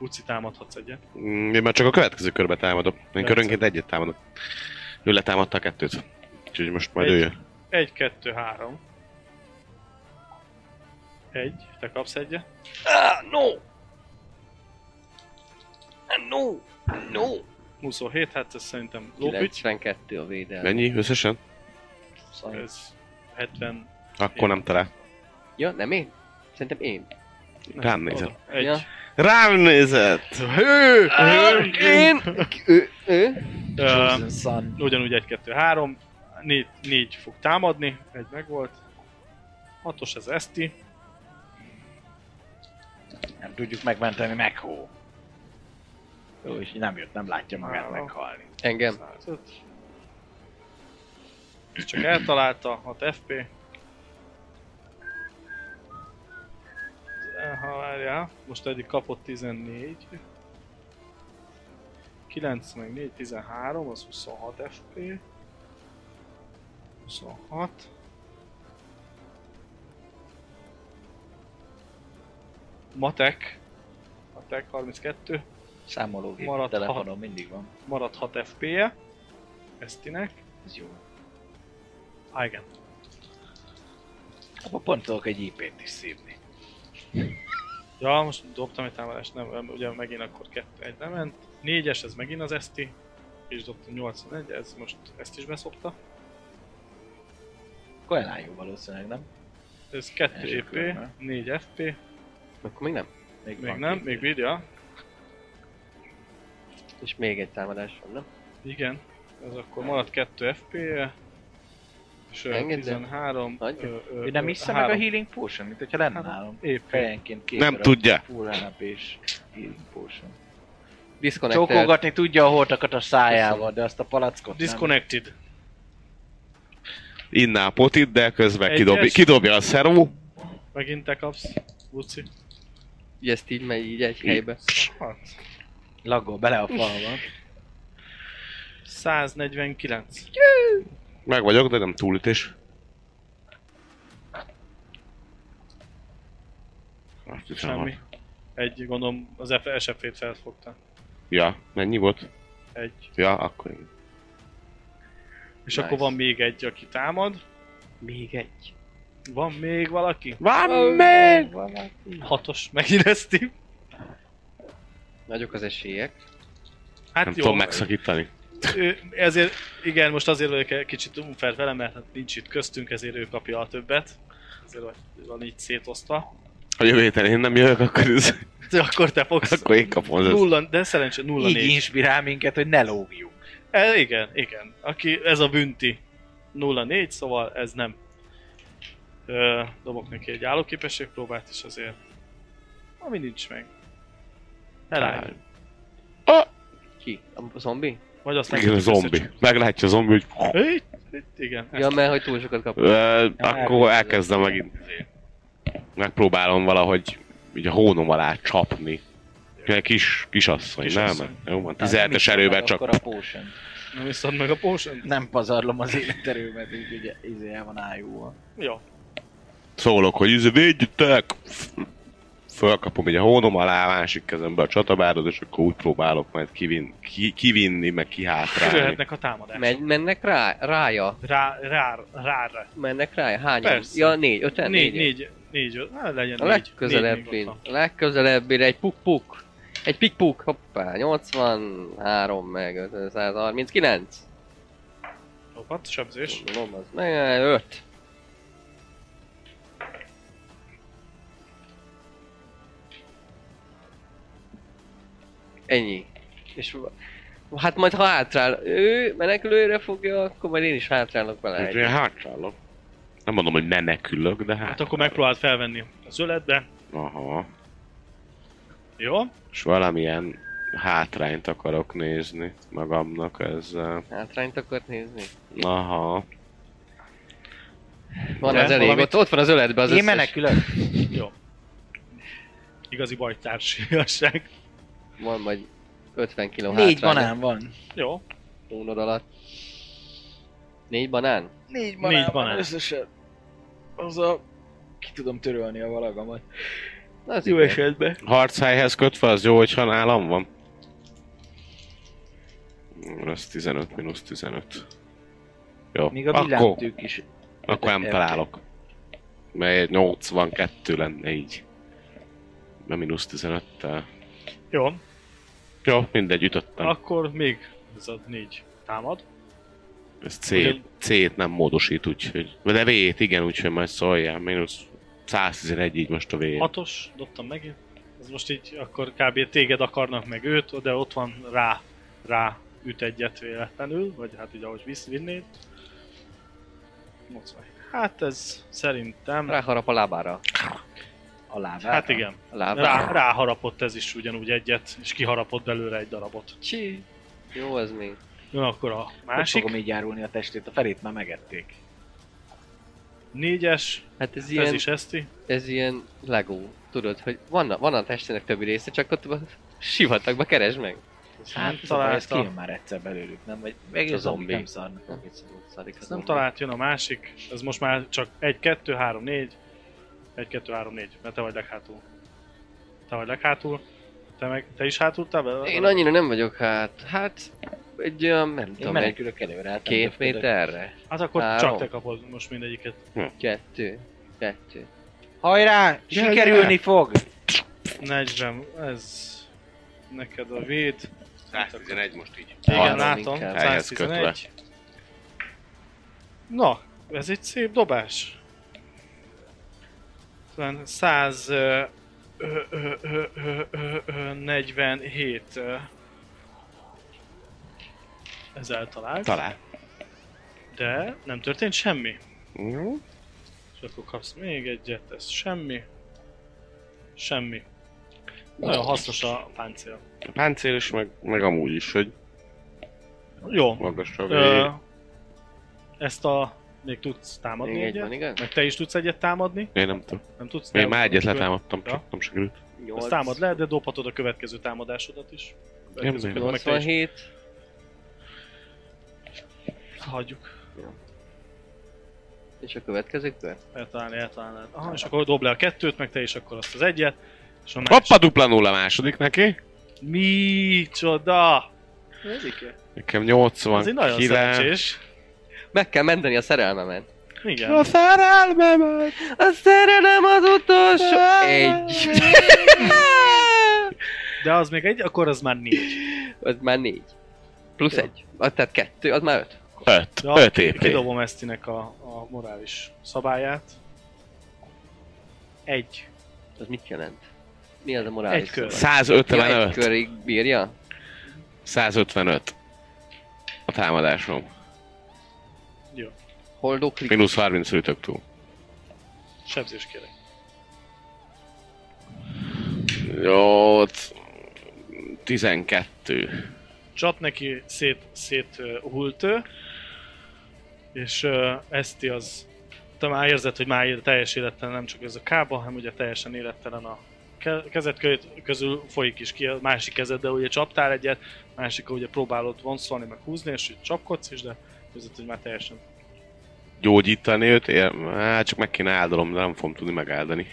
Uci támadhatsz egyet.
Mm, Én már csak a következő körbe támadok. Én körönként egyet támadok. Ő letámadta a kettőt. Úgyhogy most majd
Egy.
ő jön.
Egy, kettő, három. Egy, te kapsz egyet.
Ah, no! Ah, No! No!
27, hát ez szerintem lópügy.
92 a védelem.
Mennyi összesen?
Ez 70...
Akkor nem talál.
Ja, nem én? Szerintem én.
Rám nézett.
Egy.
Ja.
Rám nézett! Hő!
Ő, én? Ő, ő?
Ö,
Chosen Son.
ugyanúgy 1, 2, 3, 4, 4 fog támadni, egy megvolt. 6-os ez Eszti,
Nem tudjuk megmenteni meghó. Jó, és nem jött, nem látja magát meghalni.
Engem.
ez csak eltalálta, 6 FP. Ha várjál, most eddig kapott 14. 9 meg 4, 13, az 26 FP. 26. Matek. Matek 32
Számológép
Maradt
telefonon mindig van.
marad 6 FP-je Esztinek.
Ez jó.
Á, igen.
Abba pont tudok egy IP-t is szívni.
Ja, most dobtam egy támadást, nem, nem, ugye megint akkor 2 1 nem ment. 4-es, ez megint az Eszti. És dobtam 81, ez most ezt is beszopta.
Koelájú valószínűleg, nem?
Ez 2
Első
EP,
körben.
4 FP,
Akkor még nem.
még
van
nem,
két
még
év.
bírja.
És még egy támadás van, nem?
Igen, ez akkor marad 2 fp -je. És ö,
Engedd el.
13,
Hagyja.
Ő nem iszza meg a healing potion, mint hogyha lenne
Három.
nálam.
Épp.
Fejenként két
Nem tudja.
Full up és healing potion.
Disconnected.
Csókolgatni tudja a hortakat a szájával, de azt a palackot nem.
Disconnected.
Inná a potit, de közben
Egyes.
kidobja, kidobja a szeró.
Megint te kapsz, Luci.
Ugye ezt így megy így egy helybe.
Hát,
Lagol bele a falba.
149.
Meg vagyok, de nem túlütés. Azt hiszem,
Semmi.
a-
Egy, gondolom, az F- SF-ét felfogta.
Ja, mennyi volt?
Egy.
Ja, akkor igen.
És
Nice.
akkor van még egy, aki támad.
Még egy.
Van még valaki?
Van még!
Hatos megint ezt
Nagyok az esélyek.
Hát
Nem
jó,
tudom megszakítani.
ő, ezért, igen, most azért vagyok egy kicsit unfair vele, mert hát nincs itt köztünk, ezért ő kapja a többet. Ezért vagy- van így szétosztva.
Ha jövő héten én nem jövök, akkor, ez,
De akkor te fogsz.
akkor én kapom az összes.
Nulla, de szerencsé nulla
Így
négy.
inspirál minket, hogy ne lógjunk.
E, igen, igen. Aki, ez a bünti. 0-4, szóval ez nem. Ö, dobok neki egy állóképességpróbát is azért. Ami nincs meg. Eláll.
Ki? A zombi?
Vagy azt nem
Igen, a
tudjuk
zombi.
összecsapni.
Meglátja a zombi, hogy...
Hé, hé, Igen.
Ja, mert hogy túl sokat kapott.
Ö, akkor elkezdem megint. Megpróbálom valahogy így a hónom alá csapni. Egy kis, kisasszony,
Kisasszony.
nem? Jó van,
Na, nem
17-es
iszom
erővel
meg
csak
Akkor a potion.
Nem iszod meg a potion?
Nem pazarlom az életerőmet, úgyhogy izé el van ájúva.
Jó.
szólok, hogy izé, védjétek! Fölkapom így a hónom alá, a másik kezembe a csatabárhoz, és akkor úgy próbálok majd kivin, ki, kivinni, meg kihátrálni.
Jöhetnek a támadások.
Megy, mennek rá, rája.
Rá, rá, rára.
Mennek rá, hány?
Persze.
Ja, négy, öten,
Négy,
négyen?
négy, négy, öt, hát legyen
A
négy. Négy még
legközelebbi,
ott van.
a legközelebbire egy puk-puk. Egy pik-puk, hoppá, 83 meg 139.
Jó, hat sebzés.
Gondolom az meg 5. Ennyi. És v- hát majd ha hátrál, ő menekülőre fogja, akkor majd én is hátrálok vele.
Úgyhogy
egyet.
én hátrálok. hát, Nem mondom, hogy menekülök, de hát...
Hát akkor megpróbáld felvenni a zöldbe.
Aha.
Jó?
És valamilyen hátrányt akarok nézni magamnak ezzel.
Hátrányt akart nézni?
Aha.
Van
Nem,
az elég,
valamit-
ott, ott van az öletben az
Én
összes.
menekülök.
Jó. Igazi bajtársiasság.
Van majd 50 kiló
Négy
hátrány.
banán van.
Jó.
Hónod alatt. Négy banán?
Négy
banán Négy van banán.
összesen. Az a... Ki tudom törölni a valagamat.
Na, az
Jó
igen.
esetben.
Harchelyhez kötve az jó, hogyha nálam van. Ez 15 mínusz 15. Jó,
Még a
akkor,
villámtűk is.
akkor nem
Elfogy.
találok. Mert egy 82 lenne így. A mínusz 15 -tel.
Jó.
Jó, mindegy, ütöttem.
Akkor még ez a négy támad.
Ez C,
Ugye-
C-t nem módosít, úgyhogy... De V-t igen, úgyhogy majd szóljál. Minusz 111 így most a v
Hatos, dobtam meg. Ez most így akkor kb. téged akarnak meg őt, de ott van rá, rá üt egyet véletlenül, vagy hát így ahogy visz, vinnéd. 80. Hát ez szerintem...
Ráharap a lábára.
A lábára.
Hát igen,
A lábára.
rá, ráharapott ez is ugyanúgy egyet, és kiharapott belőle egy darabot.
Csi. Jó, ez még.
Jön akkor a
Másik?
másik,
fogom így járulni a testét, a felét már megették.
négyes,
Hát ez
ez
ilyen,
is eszti.
ez ilyen legó. Tudod, hogy van a, van a testének többi része, csak ott a sivatagba keresd meg.
Hát
Nem
ez a baj, ez kijön
találta,
már egyszer belőlük, nem? Vagy meg
a
a zombik
zombi.
nem szarnak.
Nem, szarik az
ezt nem
ember.
talált, jön a másik. Ez most már csak 1, 2, 3, 4. 1, 2, 3, 4, mert te vagy leghátul. Te vagy leghátul. Te, meg, te is hátultál vele?
Én annyira nem vagyok hát, hát egy olyan, nem
Én
tudom, egy
menekülök előre, hát nem
két
döfködök.
méterre.
Hát akkor
Három.
csak te kapod most mindegyiket.
Kettő. Kettő.
Hajrá! Sikerülni fog!
40, ez neked a véd.
Hát,
111 most így.
Igen,
Harminc
látom,
inkább.
Helyhez
111. Na, ez egy szép dobás. Talán 100... ö, ö, ö, ö, ö, ö, ö, 47... ö. Ez eltalált,
Talál.
de nem történt semmi.
Jó.
És akkor kapsz még egyet, ez semmi. Semmi. Nagyon hasznos a páncél.
A páncél is, meg, meg amúgy is, hogy
Jó,
magasra
Ö,
uh,
ezt a... Még tudsz támadni
Még egy
egyet?
van, igen?
Meg te is tudsz egyet támadni?
Én nem tudom.
Nem tudsz?
Én
Te-
már egyet letámadtam,
Ja.
csak nem sikerült.
Nyolc-
Ezt támad le, de dobhatod a következő támadásodat is. Következőket
baj.
meg te is.
87.
Hagyjuk.
És a következő kör?
Eltalálni, eltalálnád. Aha, és akkor dob le a kettőt, meg te is akkor azt az egyet. És a más...
Hoppa, dupla nulla második neki.
Micsoda! Ez egy
Nekem
nagyon
89.
szerencsés.
Meg kell menteni a szerelmemet.
Igen.
szerelmemet!
A szerelem az utolsó... Egy. <laughs>
De az még egy, akkor az már négy.
az már négy. Plusz egy. Ah, tehát kettő, az már öt.
5.
Ja,
5
ki-
épé.
Kidobom Esztinek a, a morális szabályát. Egy.
Az mit jelent? Mi az a morális
Egy kör.
szabály? Ja, egy
155.
körig bírja?
155. A támadásom.
Jó.
Holdó krit.
Minusz 30 ütök túl.
Sebzés kérek.
8. 12.
Csap neki szét, szét ö, hult ő. És ö, Eszti az... Te már érzed, hogy már él- teljes élettelen nem csak ez a kába, hanem ugye teljesen élettelen a ke- kezed kö- közül folyik is ki a másik kezed, de ugye csaptál egyet, másik ugye próbálod vonszolni, meg húzni, és így csapkodsz is, de érzed, hogy már teljesen
Gyógyítani őt? Én, hát csak meg kéne áldalom, de nem fogom tudni megáldani.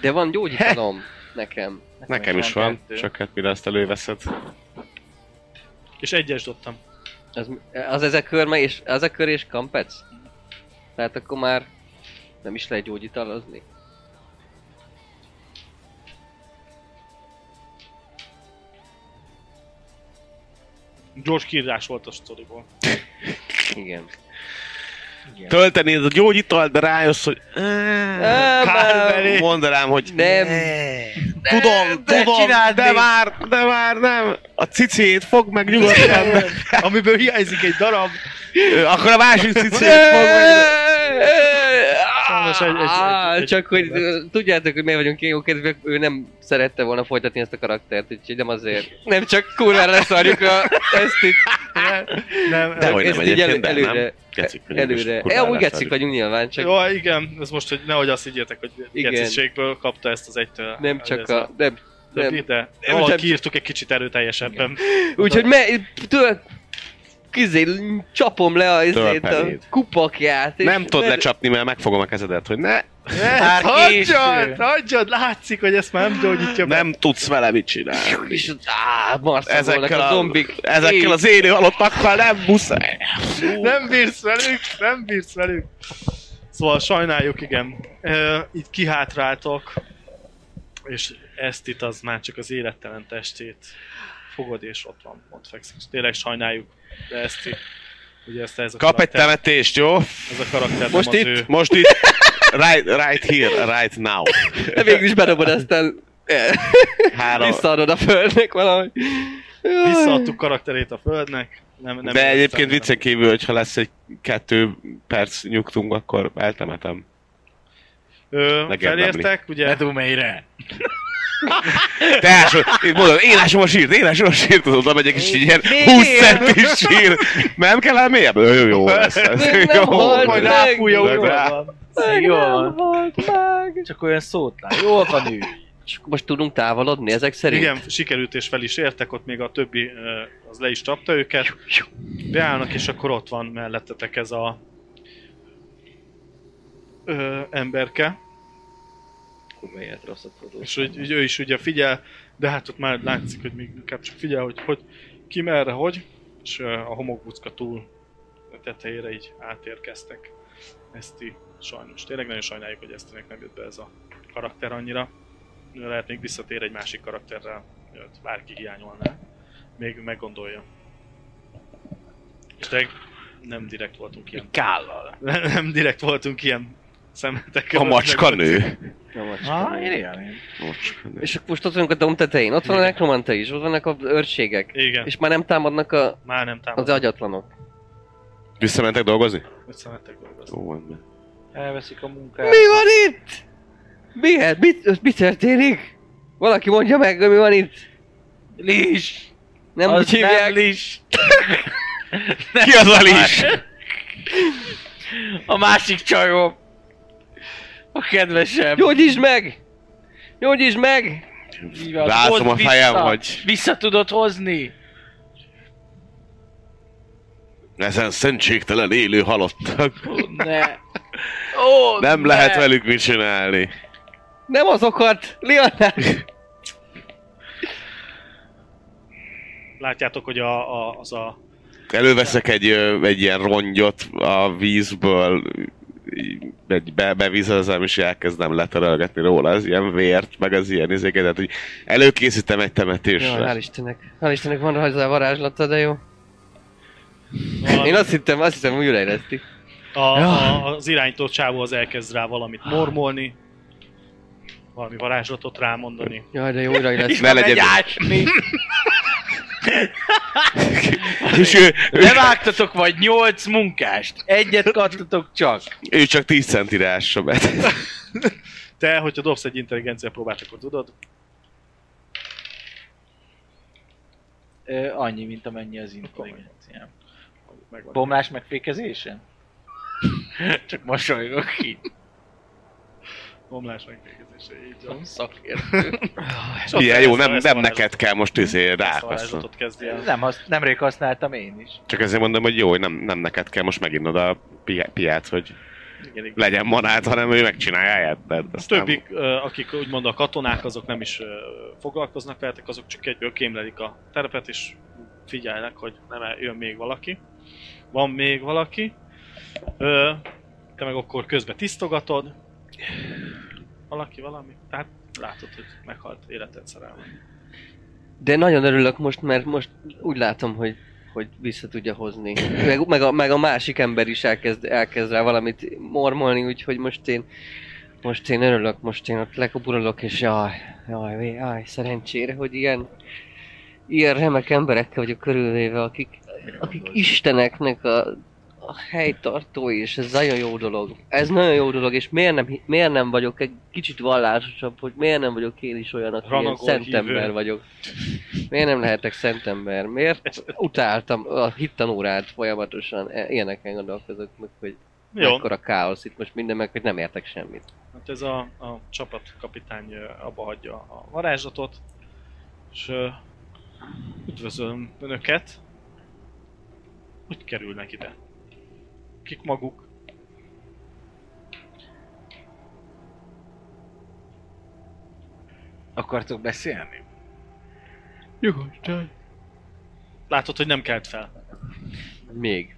De van gyógyítalom nekem.
Nekem is van, csak hát mire ezt előveszed.
És egyes dobtam.
Az, az ez a kör, meg- és az a kör és kampec? Tehát akkor már nem is lehet gyógyítalozni.
Gyors kiírás volt a sztoriból.
Igen.
Tölteni ez a gyógyitalt, de rájössz, hogy...
Kárveri.
Mondanám, hogy...
Nem.
Tudom,
de
tudom,
csináld
de
még.
már, de már nem. A cicét fog meg nyugodtan.
Amiből hiányzik egy darab.
Ö, Akkor a másik cicét fog meg.
Sajnos egy- egy-
Á,
egy- egy-
Ah, Csak hogy ö, tudjátok, hogy miért vagyunk ilyen jó kedvek, ő nem szerette volna folytatni ezt a karaktert, úgyhogy nem azért. Nem csak kurvára leszarjuk a ezt itt.
Nem,
De hogy nem
Ezt így elő-
egyébként, de nem.
előre-
Gecik vagyunk, és
Előre.
kurvára
Ja, úgy
szarjuk.
getszik vagyunk nyilván, csak
Jó, igen, ez most, hogy nehogy azt higgyétek, hogy
Igen.
geciségből kapta ezt az egytől.
nem csak a... Nem,
De,
nem.
de, de
nem
valahogy
csak-
kiírtuk egy kicsit erőteljesebben.
Úgyhogy me... Től... Kizé, csapom le a, izét, a
Törpeléd.
kupakját. és-
Nem tudod
mert-
lecsapni, mert megfogom a kezedet, hogy ne,
Ezt Hát, hagyjad, hagyjad, látszik, hogy ezt már nem gyógyítja meg.
nem tudsz vele mit csinálni.
És ott, á, marszagolnak
Ezekkel
a
a,
zombik.
ezekkel az élő halottakkal nem muszáj.
Nem bírsz velük, nem bírsz velük. Szóval sajnáljuk, igen. Ö, Így kihátráltok, és ezt itt az már csak az élettelen testét fogod, és ott van, ott fekszik. És tényleg sajnáljuk, de ezt így, ugye ezt ez a
Kap egy
karakter,
temetést, jó?
ez a karakter
Most
nem
itt,
az ő.
most itt, right, right here, right now.
De végül is bedobod aztán...
Három.
Visszaadod a földnek valahogy. Jaj.
Visszaadtuk karakterét a földnek. Nem, nem
De egyébként
értem.
viccen kívül, hogyha lesz egy kettő perc nyugtunk, akkor eltemetem.
Ö,
Legjobb
felértek, ugye?
Dumére!
Te ásom, én mondom, én ásom a sírt, én ásom a sírt, az oda megyek és így ilyen 20 centis sír. Nem kell el mélyebb? Jó, jó, jó lesz. lesz.
Még nem halt
lesz.
Majd
meg.
ráfújja,
Meg
úgy
rá.
van.
Meg
Jól van.
nem volt meg.
Csak olyan szótlan. Jól van ő.
És akkor most tudunk távolodni ezek szerint?
Igen, sikerült és fel is értek, ott még a többi ö, az le is csapta őket. Beállnak, és akkor ott van mellettetek ez a ö, emberke.
Kurva élet rosszat tudod.
És hogy, hogy ő is ugye figyel, de hát ott már látszik, hogy még inkább csak figyel, hogy, hogy ki merre, hogy, és ö, a homokbucka túl a tetejére így átérkeztek. Ezt így sajnos. Tényleg nagyon sajnáljuk, hogy ezt nem jött be ez a karakter annyira. Ö, Lehet még visszatér egy másik karakterrel, őt bárki hiányolná. Még meggondolja. És tényleg nem direkt voltunk ilyen.
Kállal.
<laughs> Nem direkt voltunk ilyen szemetek.
A macska nő.
Na, én élném.
Macska nő.
És akkor most ott vagyunk a dom tetején, ott van a nekromanta is, ott vannak a őrségek.
Igen, és
És már nem támadnak a,
már nem támad.
az agyatlanok.
Visszamentek dolgozni?
Összementek dolgozni.
Jó van. van.
Elveszik a munkát.
Mi van itt? Mi, ez? mit, mi történik? Valaki mondja meg, hogy mi van itt?
Lis!
Nem
Az
úgy hívják.
nem Lis!
Ki az a lis?
A másik csajom! A kedvesem!
Gyógyítsd meg! Gyógyítsd meg!
Így van,
Rázom a
hozd
fejem,
vissza!
hogy
Vissza tudod hozni!
ezen szentségtelen élő halottak.
Ó, Ne! Ó,
Nem
ne.
lehet velük mit csinálni.
Nem azokat! Lionel!
Látjátok, hogy a, a, az a
Előveszek egy, ö, egy ilyen rongyot a vízből, így egy be, bevizezem, és elkezdem letörölgetni róla az ilyen vért, meg az ilyen izéket, tehát hogy előkészítem egy
Jó,
temetésre.
hál' Istennek. Hál' Istennek van hozzá varázslata, de jó.
Valami-
Én azt hittem, azt hittem újra érezti.
A, a, az irányító csávó az elkezd rá valamit mormolni, valami varázslatot rámondani.
Jaj, de jó, újra
És
érezti.
ne legyen... <laughs> és ő, ő,
Levágtatok vagy nyolc munkást! Egyet kattatok csak!
ő, csak 10 centire ássa be.
<laughs> Te, hogyha dobsz egy intelligencia próbát, akkor tudod.
Ö, annyi, mint amennyi az intelligenciám.
Megvan.
Bomlás megfékezésen? Csak mosolygok ki.
Bomlás megvégezése, így van. <laughs>
Szakértő.
És ott
Ilyen
ezt
jó,
a-
nem,
ezt
nem
a
neked kell most izé
varázslatot- ezt a
rákasztani.
varázslatot kezdi el.
Nem, azt nemrég használtam én is.
Csak ezért mondom, hogy jó, hogy nem, nem neked kell most meginnod a pi- piát, hogy
Igen, igen.
legyen manát, hanem ő megcsinálja helyetted.
A többi, ö, akik úgymond a katonák, azok nem is ö, foglalkoznak veletek, azok csak egyből kémlelik a terepet, és figyelnek, hogy nem el- jön még valaki. Van még valaki. Ö, Te meg akkor közben tisztogatod. Valaki valami. Tehát látod, hogy meghalt életed szerelme.
De nagyon örülök most, mert most úgy látom, hogy hogy vissza tudja hozni. Meg, meg, a, meg a másik ember is elkezd, elkezd rá valamit mormolni, úgyhogy most én most én örülök, most én ott lekopurolok, és jaj, jaj, vé- jaj, szerencsére, hogy ilyen ilyen remek emberekkel vagyok körülvéve, akik, akik isteneknek a, a helytartói, és ez nagyon jó dolog. Ez nagyon jó dolog, és miért nem, hi- miért nem vagyok egy kicsit vallásosabb, hogy miért nem vagyok én is olyan, aki ilyen
Ranagol
szent
hívő.
ember vagyok. Miért nem lehetek szent ember? Miért utáltam a hittanórát folyamatosan? E- Ilyeneken gondolkozok meg, hogy
Jó,
mekkora káosz itt most minden, meg hogy nem értek semmit.
hát ez a, a csapatkapitány ö, abba hagyja a varázslatot, és ö, üdvözlöm Önöket. Hogy kerülnek ide? Kik maguk?
Akartok beszélni?
Látod, hogy nem kelt fel.
Még.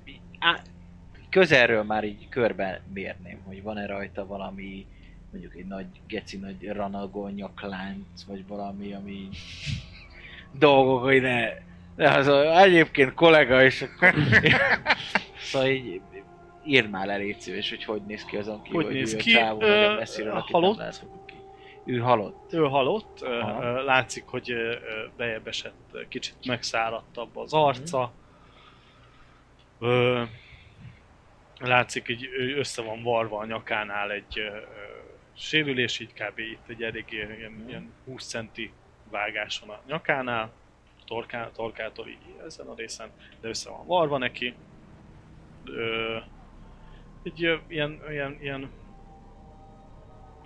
Közelről már így körben mérném, hogy van-e rajta valami mondjuk egy nagy geci, nagy ranagó nyaklánc, vagy valami, ami <laughs> dolgok, hogy ne... ne az, egyébként kollega,
<laughs>
és akkor... szóval így írd már le, légy szíves, hogy hogy néz ki azon kívül,
Hogy
hogy,
néz
ő
ki?
a csávó,
Ö,
nagyon messziről, akit
halott?
nem láthatunk ki. Ő halott.
Ő halott, ö,
Aha.
ö, látszik, hogy ö, ö, bejebb esett, ö, kicsit megszáradtabb az arca. Ö, Látszik, így ö, össze van varva a nyakánál egy ö, ö, sérülés, így kb. itt egy eléggé ilyen, ilyen 20 centi vágás van a nyakánál, torká, torkától így ezen a részen, de össze van varva neki. Ö, egy ö, ilyen, ilyen, ilyen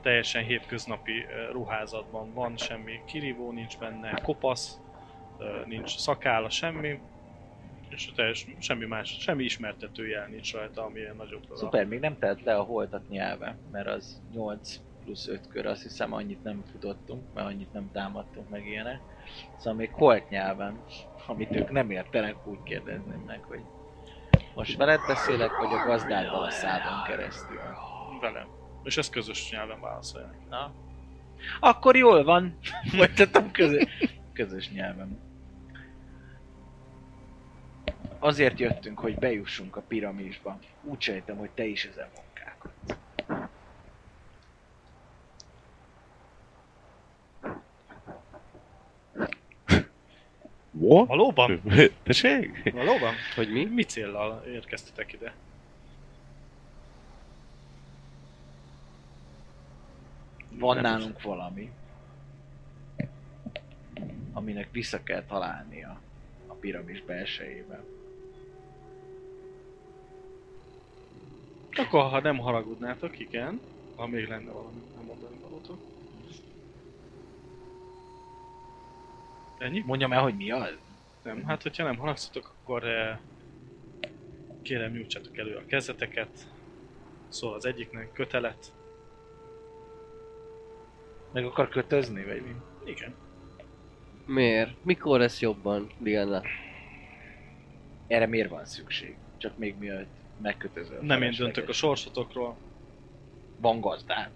teljesen hétköznapi ö, ruházatban van, semmi kirívó nincs benne, kopasz, ö, nincs szakála, semmi, és a teljes, semmi más, semmi ismertető jel nincs rajta, ami ilyen nagyobb darab.
Szuper, még nem telt le a holtat nyelve, mert az 8 plusz 5 kör, azt hiszem annyit nem futottunk, mert annyit nem támadtunk meg ilyenek. Szóval még holt nyelven, amit ők nem értenek, úgy kérdezném meg, hogy most veled beszélek, vagy a gazdáddal a szádon keresztül.
Velem. És ezt közös nyelven válaszolják.
Na. Akkor jól van. Folytatom közö- közös nyelven. Azért jöttünk, hogy bejussunk a piramisba. Úgy sejtem, hogy te is ezen munkálkodsz.
Wo?
Valóban?
Tessék?
Valóban?
Hogy mi?
Mi céllal érkeztetek ide?
Van nem nálunk is. valami, aminek vissza kell találnia a piramis belsejében.
Akkor, ha nem haragudnátok, igen. Ha még lenne valami, nem mondani valótok. Ennyi?
Mondjam el, hogy mi az?
Nem, hát hogyha nem haragszotok, akkor eh, kérem nyújtsátok elő a kezeteket. Szóval az egyiknek kötelet.
Meg akar kötözni, vagy mi?
Igen.
Miért? Mikor lesz jobban, Diana?
Erre miért van szükség? Csak még mielőtt megkötözöl. a
Nem én
feleséget.
döntök a sorsotokról.
Van gazdád.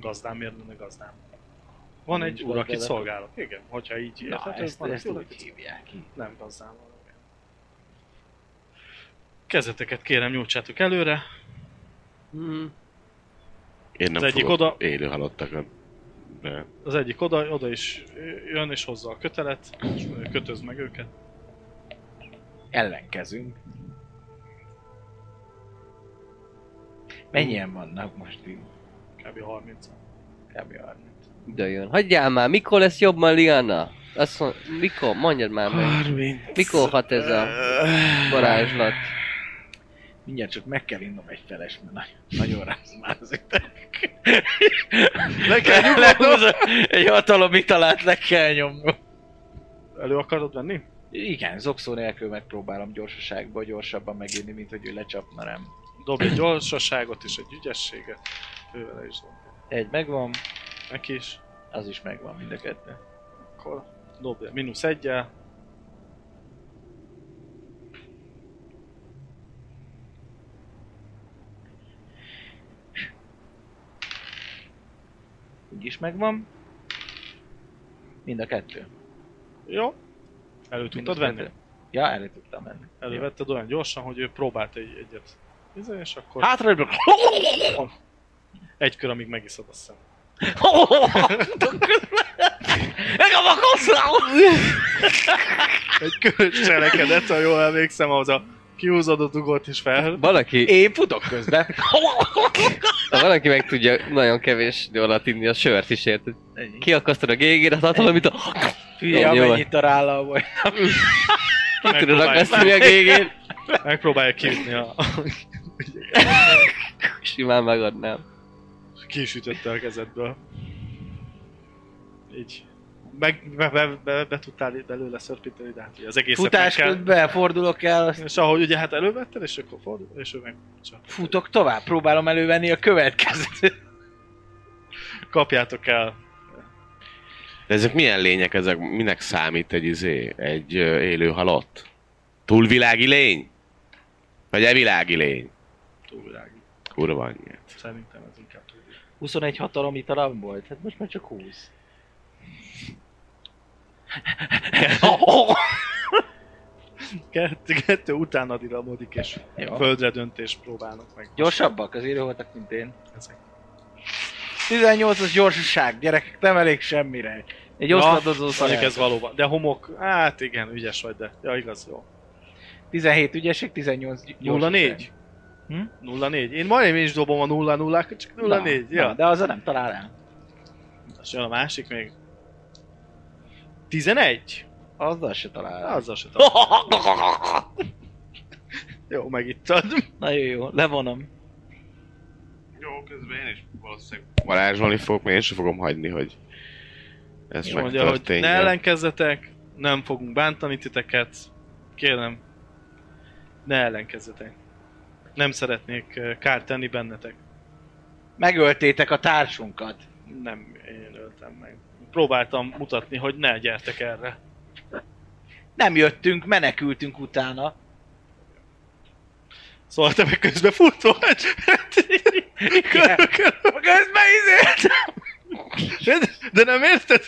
Gazdám, miért lenne gazdám? Van egy
Nincs
úr, akit
gazdálkodás.
szolgálok. Igen, hogyha így
Na,
érted, ez
ezt,
van
ezt
egy úr,
úgy
akit
hívják. így.
Nem gazdám van. igen. Kezeteket kérem nyújtsátok előre.
Hmm.
Én
Az
nem
egyik
fogok
oda-
élő halottakon. De
Az egyik oda, oda is jön és hozza a kötelet, és kötöz meg őket.
Ellenkezünk. Mennyien vannak most így?
Kb. 30
Kb. 30.
Ide jön. Hagyjál már, mikor lesz jobban, Liana? Azt mond, mikor? Mondjad már meg.
30.
Mikor hat ez a varázslat?
Mindjárt csak meg kell innom egy feles, mert nagyon, nagyon ráz már az Le kell egy hatalom italát le kell nyomnom.
Elő akarod venni?
Igen, zokszó nélkül megpróbálom gyorsaságban gyorsabban megírni, mint hogy ő lecsapna rám.
Dobj egy gyorsaságot és egy ügyességet. Ővel is dob.
Egy megvan,
Neki is.
az is megvan mind a kettő.
Akkor dobj mínusz egyel.
Úgy is megvan. Mind a kettő.
Jó. Elő
Mind a
tudtad venni?
kettő. Ja, elő tudtam menni.
Elővetted olyan gyorsan, hogy ő próbált egy, egyet. Izé, És akkor
Hátrább!
egy kör, amíg megiszod a szem.
Nekem a koszlám!
Egy kör cselekedett, ha jól emlékszem, az a kiúzódott, ugott és fel.
Valaki,
Én futok közben.
ha valaki meg tudja nagyon kevés idő alatt inni a sört is, érted?
Ennyi.
Kiakasztod a gégét, azt hatalom, mint a...
Hülye,
Ennyi
amennyit a rállal vagy.
Ki tudod
Megpróbáljuk.
akasztani a gégét?
Megpróbálja kiütni a...
Simán megadnám.
Ki is ütötte a kezedből. Így. Meg be, be, be, be tudtál itt belőle szörpíteni, de hát ugye az egészet
Futás
meg kell-
közben fordulok el, azt
És ahogy ugye hát elővetted, és akkor fordul, és ő meg csak
futok tovább, próbálom elővenni a <laughs> következőt.
kapjátok el.
De ezek milyen lények, ezek minek számít egy izé, egy ö, élő halott? Túlvilági lény? Vagy evilági lény?
Túlvilág.
Kurva anyja.
Szerintem ez inkább túlvilág.
<laughs> 21 hatalom italam volt, hát most már csak 20.
Kettő, kettő utána diramodik, és
Jó.
földre döntés próbálnak meg.
Gyorsabbak az író voltak, mint én.
Ezek.
18-as gyorsaság, gyerekek, nem elég semmire. Egy
Ja,
oszladozó
Mondjuk
szalja.
ez valóban. De homok, hát igen, ügyes vagy, de ja igaz, jó.
17 ügyesek, 18 gy- gyorsaság.
0-4? Hm? 0-4. Én majdnem én is dobom a 0 0 csak 0
Na,
4
na,
ja.
De azzal nem talál el.
És jön a másik még. 11?
Azzal se talál el.
Azzal se tudom. Jó, megittad.
Nagyon jó, levonom.
Jó, közben én is valószínűleg
Varázsolni fogok, mert én sem fogom hagyni, hogy ez
Jó, mondja, hogy ne
megtörténjen.
ellenkezzetek, nem fogunk bántani titeket. Kérem, ne ellenkezzetek. Nem szeretnék eh, kárt tenni bennetek.
Megöltétek a társunkat.
Nem én öltem meg. Próbáltam mutatni, hogy ne gyertek erre.
Nem jöttünk, menekültünk utána.
Szóval te meg közben futó vagy. <laughs> Hát Körül, körül.
Közben izé!
De nem érted?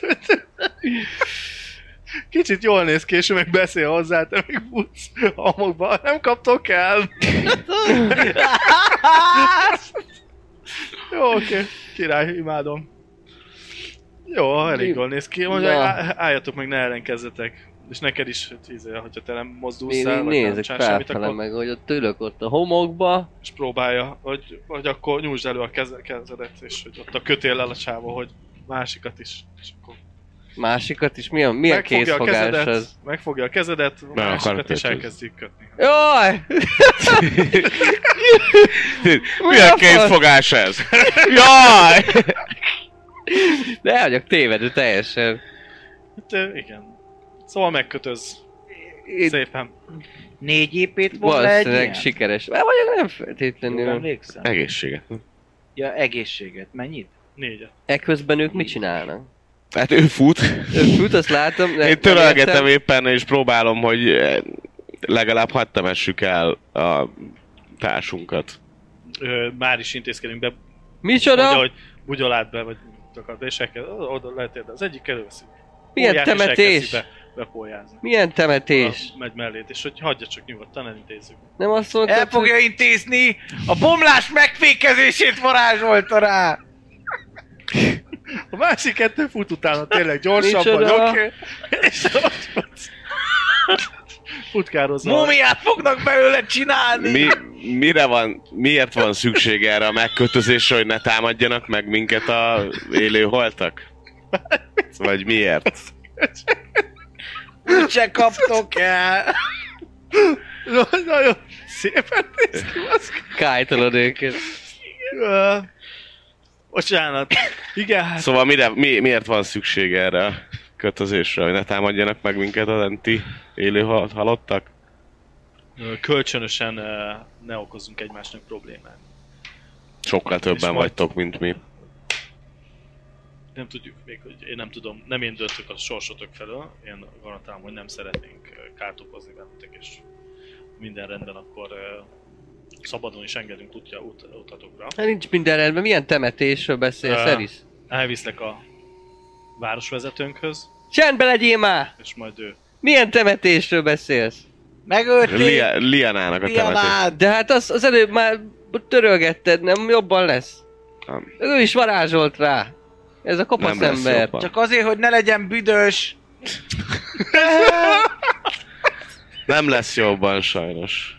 Kicsit jól néz ki, és ő meg beszél hozzá, te meg futsz homokba. Nem kaptok el. Jó, oké. Király, imádom. Jó, elég jól néz ki. Mondja,
Na.
á- álljatok meg, ne ellenkezzetek. És neked is, hogy izé, hogyha te nem mozdulsz
Én
el,
így
vagy nem
nézek
csinál semmit,
felfele
akkor
meg, hogy ott ülök ott a homokba,
és próbálja, hogy, hogy akkor nyújtsd elő a keze- kezedet, és hogy ott a kötéllel a csávó, hogy másikat is. És akkor
másikat is, milyen, milyen
megfogja a
kézfogás
kezedet,
ez?
megfogja a kezedet, a
akar
másikat is
kötni.
elkezdjük kötni.
Jaj!
<laughs> Mi a kézfogás ez? <laughs> Jaj!
De el vagyok tévedő teljesen.
Hát, ö, igen. Szóval megkötöz.
Én
Szépen.
4 épét volna egy ilyen?
valószínűleg sikeres. Már vagyok nem
Jól
feltétlenül.
emlékszem.
Egészséget.
Ja, egészséget. Mennyit?
Négyet.
Ekközben E ők mit csinálnak?
Hát ő fut.
Ők fut, azt látom. de-
Én törölgetem
nem
éppen, és próbálom, hogy eh, legalább hadd temessük el a társunkat.
Ö, már is intézkedünk be.
értem. Micsoda?
Mondja, hogy bugyolát be, vagy takar be, és elkezd, oda letérde. Az egyik előveszi.
Milyen
Pólyát, és
temetés?
elkezdi Be, bepólyázni.
Milyen temetés?
Oda Megy mellét, és hogy hagyja csak nyugodtan, elintézzük.
Nem azt mondtad,
El fogja intézni! A bomlás megfékezését varázsolta rá!
A másik kettő fut utána tényleg gyorsabban, oké.
Micsoda?
És ott fut. Futkározza.
Mumiát fognak belőle csinálni!
Mi, mire van, miért van szükség erre a megkötözésre, hogy ne támadjanak meg minket a élő holtak? Vagy miért?
Se kaptok el!
Nagyon szépen néz ki, az.
kájtolod őket.
Ö, Bocsánat. Igen, hát
Szóval mire, mi, miért van szükség erre a kötözésre, hogy ne támadjanak meg minket az anti élő hal- halottak?
Ö, kölcsönösen ö, ne okozzunk egymásnak problémát.
Sokkal
És
többen
majd-
vagytok, mint mi.
Nem tudjuk még, hogy én nem tudom, nem én döntök a sorsotok felől, én garantálom, hogy nem szeretnénk ö, kárt okozni bennetek, és minden rendben, akkor ö, szabadon is engedünk útja, út, utatokra.
Hát nincs minden rendben, milyen temetésről beszélsz,
Ö.
Eris?
Elviszlek a városvezetőnkhöz,
Csendbe legyél már!
és majd ő
Milyen temetésről beszélsz?
Megölték!
Lia, Lianának a temetés.
Dianát!
De hát az, az előbb már törölgetted, nem jobban lesz.
Nem.
Ő is varázsolt rá. Ez a kopasz
Nem lesz
ember.
jobban.
Csak azért, hogy ne legyen büdös!
Nem lesz jobban sajnos.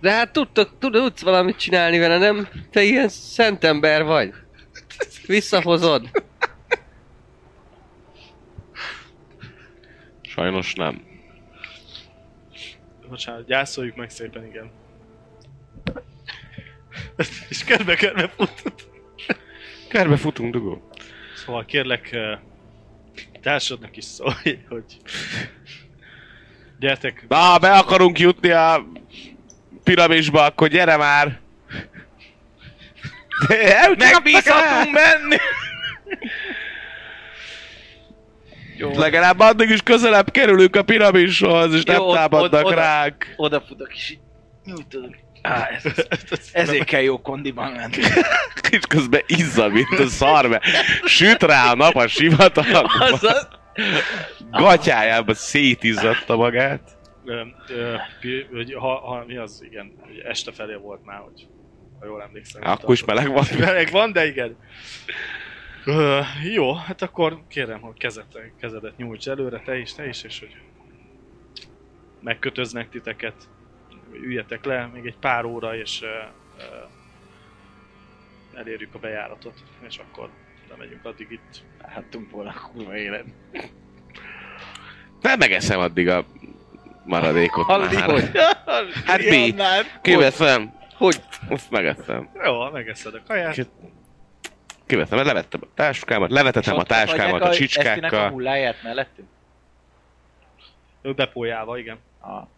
De hát tudtok, tud, tudsz valamit csinálni vele, nem? Te ilyen szent ember vagy. Visszahozod.
Sajnos nem.
Bocsánat, gyászoljuk meg szépen, igen. <laughs> És körbe-körbe futott.
Körbe futunk, dugó.
Szóval kérlek, ö, társadnak is szólj, hogy... Gyertek,
Na, be akarunk jutni a piramisba, akkor gyere már!
Megbízhatunk menni!
Legalább addig is közelebb kerülünk a piramishoz, és
Jó,
nem
ott-
támadnak
ott- oda.
ránk.
Oda futok is így. nyújtodok. Á, ez, ezért kell jó kondiban lenni.
És közben izza, mint a szar, mert süt rá a nap a sivatagba.
Azaz.
gatyájába szétizzadta magát.
Ö, ö, pi- hogy ha, ha, mi az, igen, hogy este felé volt már, hogy ha jól emlékszem.
Á, Akkor is meleg van.
<laughs> Meleg van, de igen. Ö, jó, hát akkor kérem, hogy kezed, kezedet nyújts előre, te is, te is, és hogy megkötöznek titeket, üljetek le még egy pár óra, és ö, ö, elérjük a bejáratot, és akkor nem megyünk addig itt.
Láttunk volna a kurva élet.
Nem megeszem addig a maradékot
Hallod,
már.
hogy?
<laughs>
Hát mi? Kiveszem. Hogy? Azt megeszem.
Jó, megeszed a kaját.
Kiveszem, mert levettem a táskámat, levetettem a táskámat a
Esztinek a
csicskákkal.
hulláját mellettünk?
Ő bepójálva, igen.
Ah.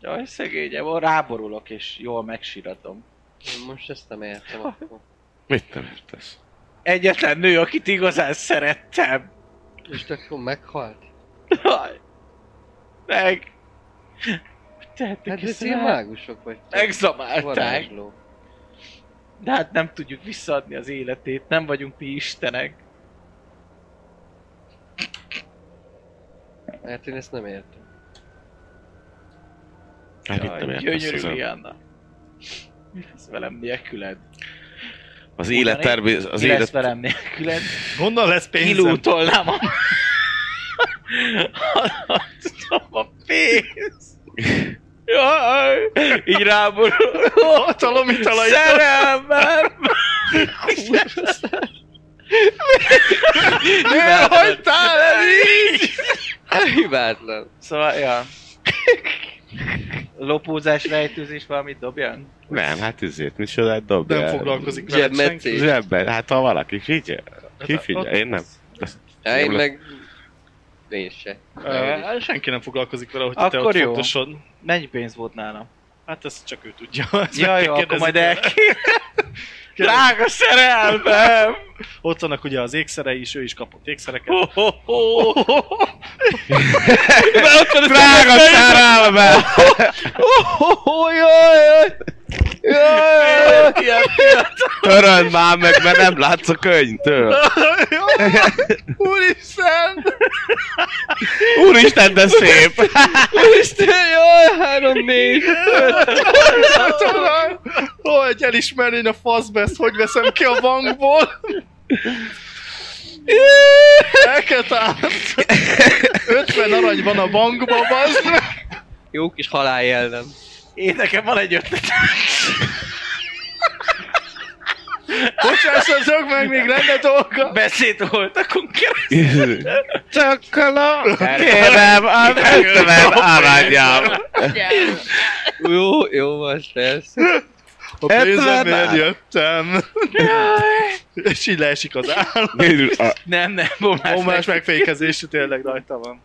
Jaj, szegényem, ráborulok és jól megsiratom.
Én most ezt nem értem akkor.
Mit nem értesz?
Egyetlen nő, akit igazán szerettem.
És akkor meghalt?
Jaj. Meg. Tehetünk
Hát
hát
ez ilyen mágusok vagy.
Megzabálták.
Varázsló.
De hát nem tudjuk visszaadni az életét, nem vagyunk mi istenek.
Hát én ezt nem értem.
Hát mit nem értesz?
gyönyörű
ezen?
Rihanna. Mi lesz velem nélküled?
Az élet termés...
Az
Az
Mi lesz
élet...
velem nélküled?
Honnan lesz pénzem?
Kilútolnám a... Tudom, a <laughs> pénz. Jaj, így ráborul.
Hatalom italait.
Szerelmem! Mivel hagytál el így?
Hibátlan.
Szóval, ja. Lopózás, rejtőzés, valamit dobjan?
Nem, hát ezért, micsodát dobd
Nem
el.
foglalkozik
Zseb
veled senki.
metszés.
Zsebben, hát ha valaki figyel. Ki figyel? Én nem.
Hát én
Jó
meg... Én se.
Ö, Senki nem foglalkozik vele, hogy te
Akkor
ott
jó.
fontosod.
Mennyi pénz volt nálam?
Hát ezt csak ő tudja. <laughs> Ezt meg
Jaj,
kell
jó, akkor
kérdezni
majd
tőle.
el
Kérdezni.
Drága szerelmem!
Ott vannak ugye az ékszerei is, ő is kapott ékszereket.
Ho, ho, ho.
Drága szerelme!
Ho, ho, jaj, jaj. Jaj, jaj.
Töröld már meg, mert nem látsz a <laughs> könyvtől.
Úristen!
Úristen, de szép!
Úristen, jaj, három, négy,
Ó, egy elismerni a faszbe, ezt hogy veszem ki a bankból? El kell találni. 50 arany van a bankban, bazd meg.
Jó kis halál jellem.
Én nekem van egy ötlet.
Bocsássatok meg, még lenne dolga.
Beszéd volt, akkor keresztül.
Kérem, a ötven aranyam!
Jó, jó, most ez.
A pénzemért jöttem. És így leesik az állam.
Nem, nem, bomás.
Omás megfékezés, tényleg rajta van.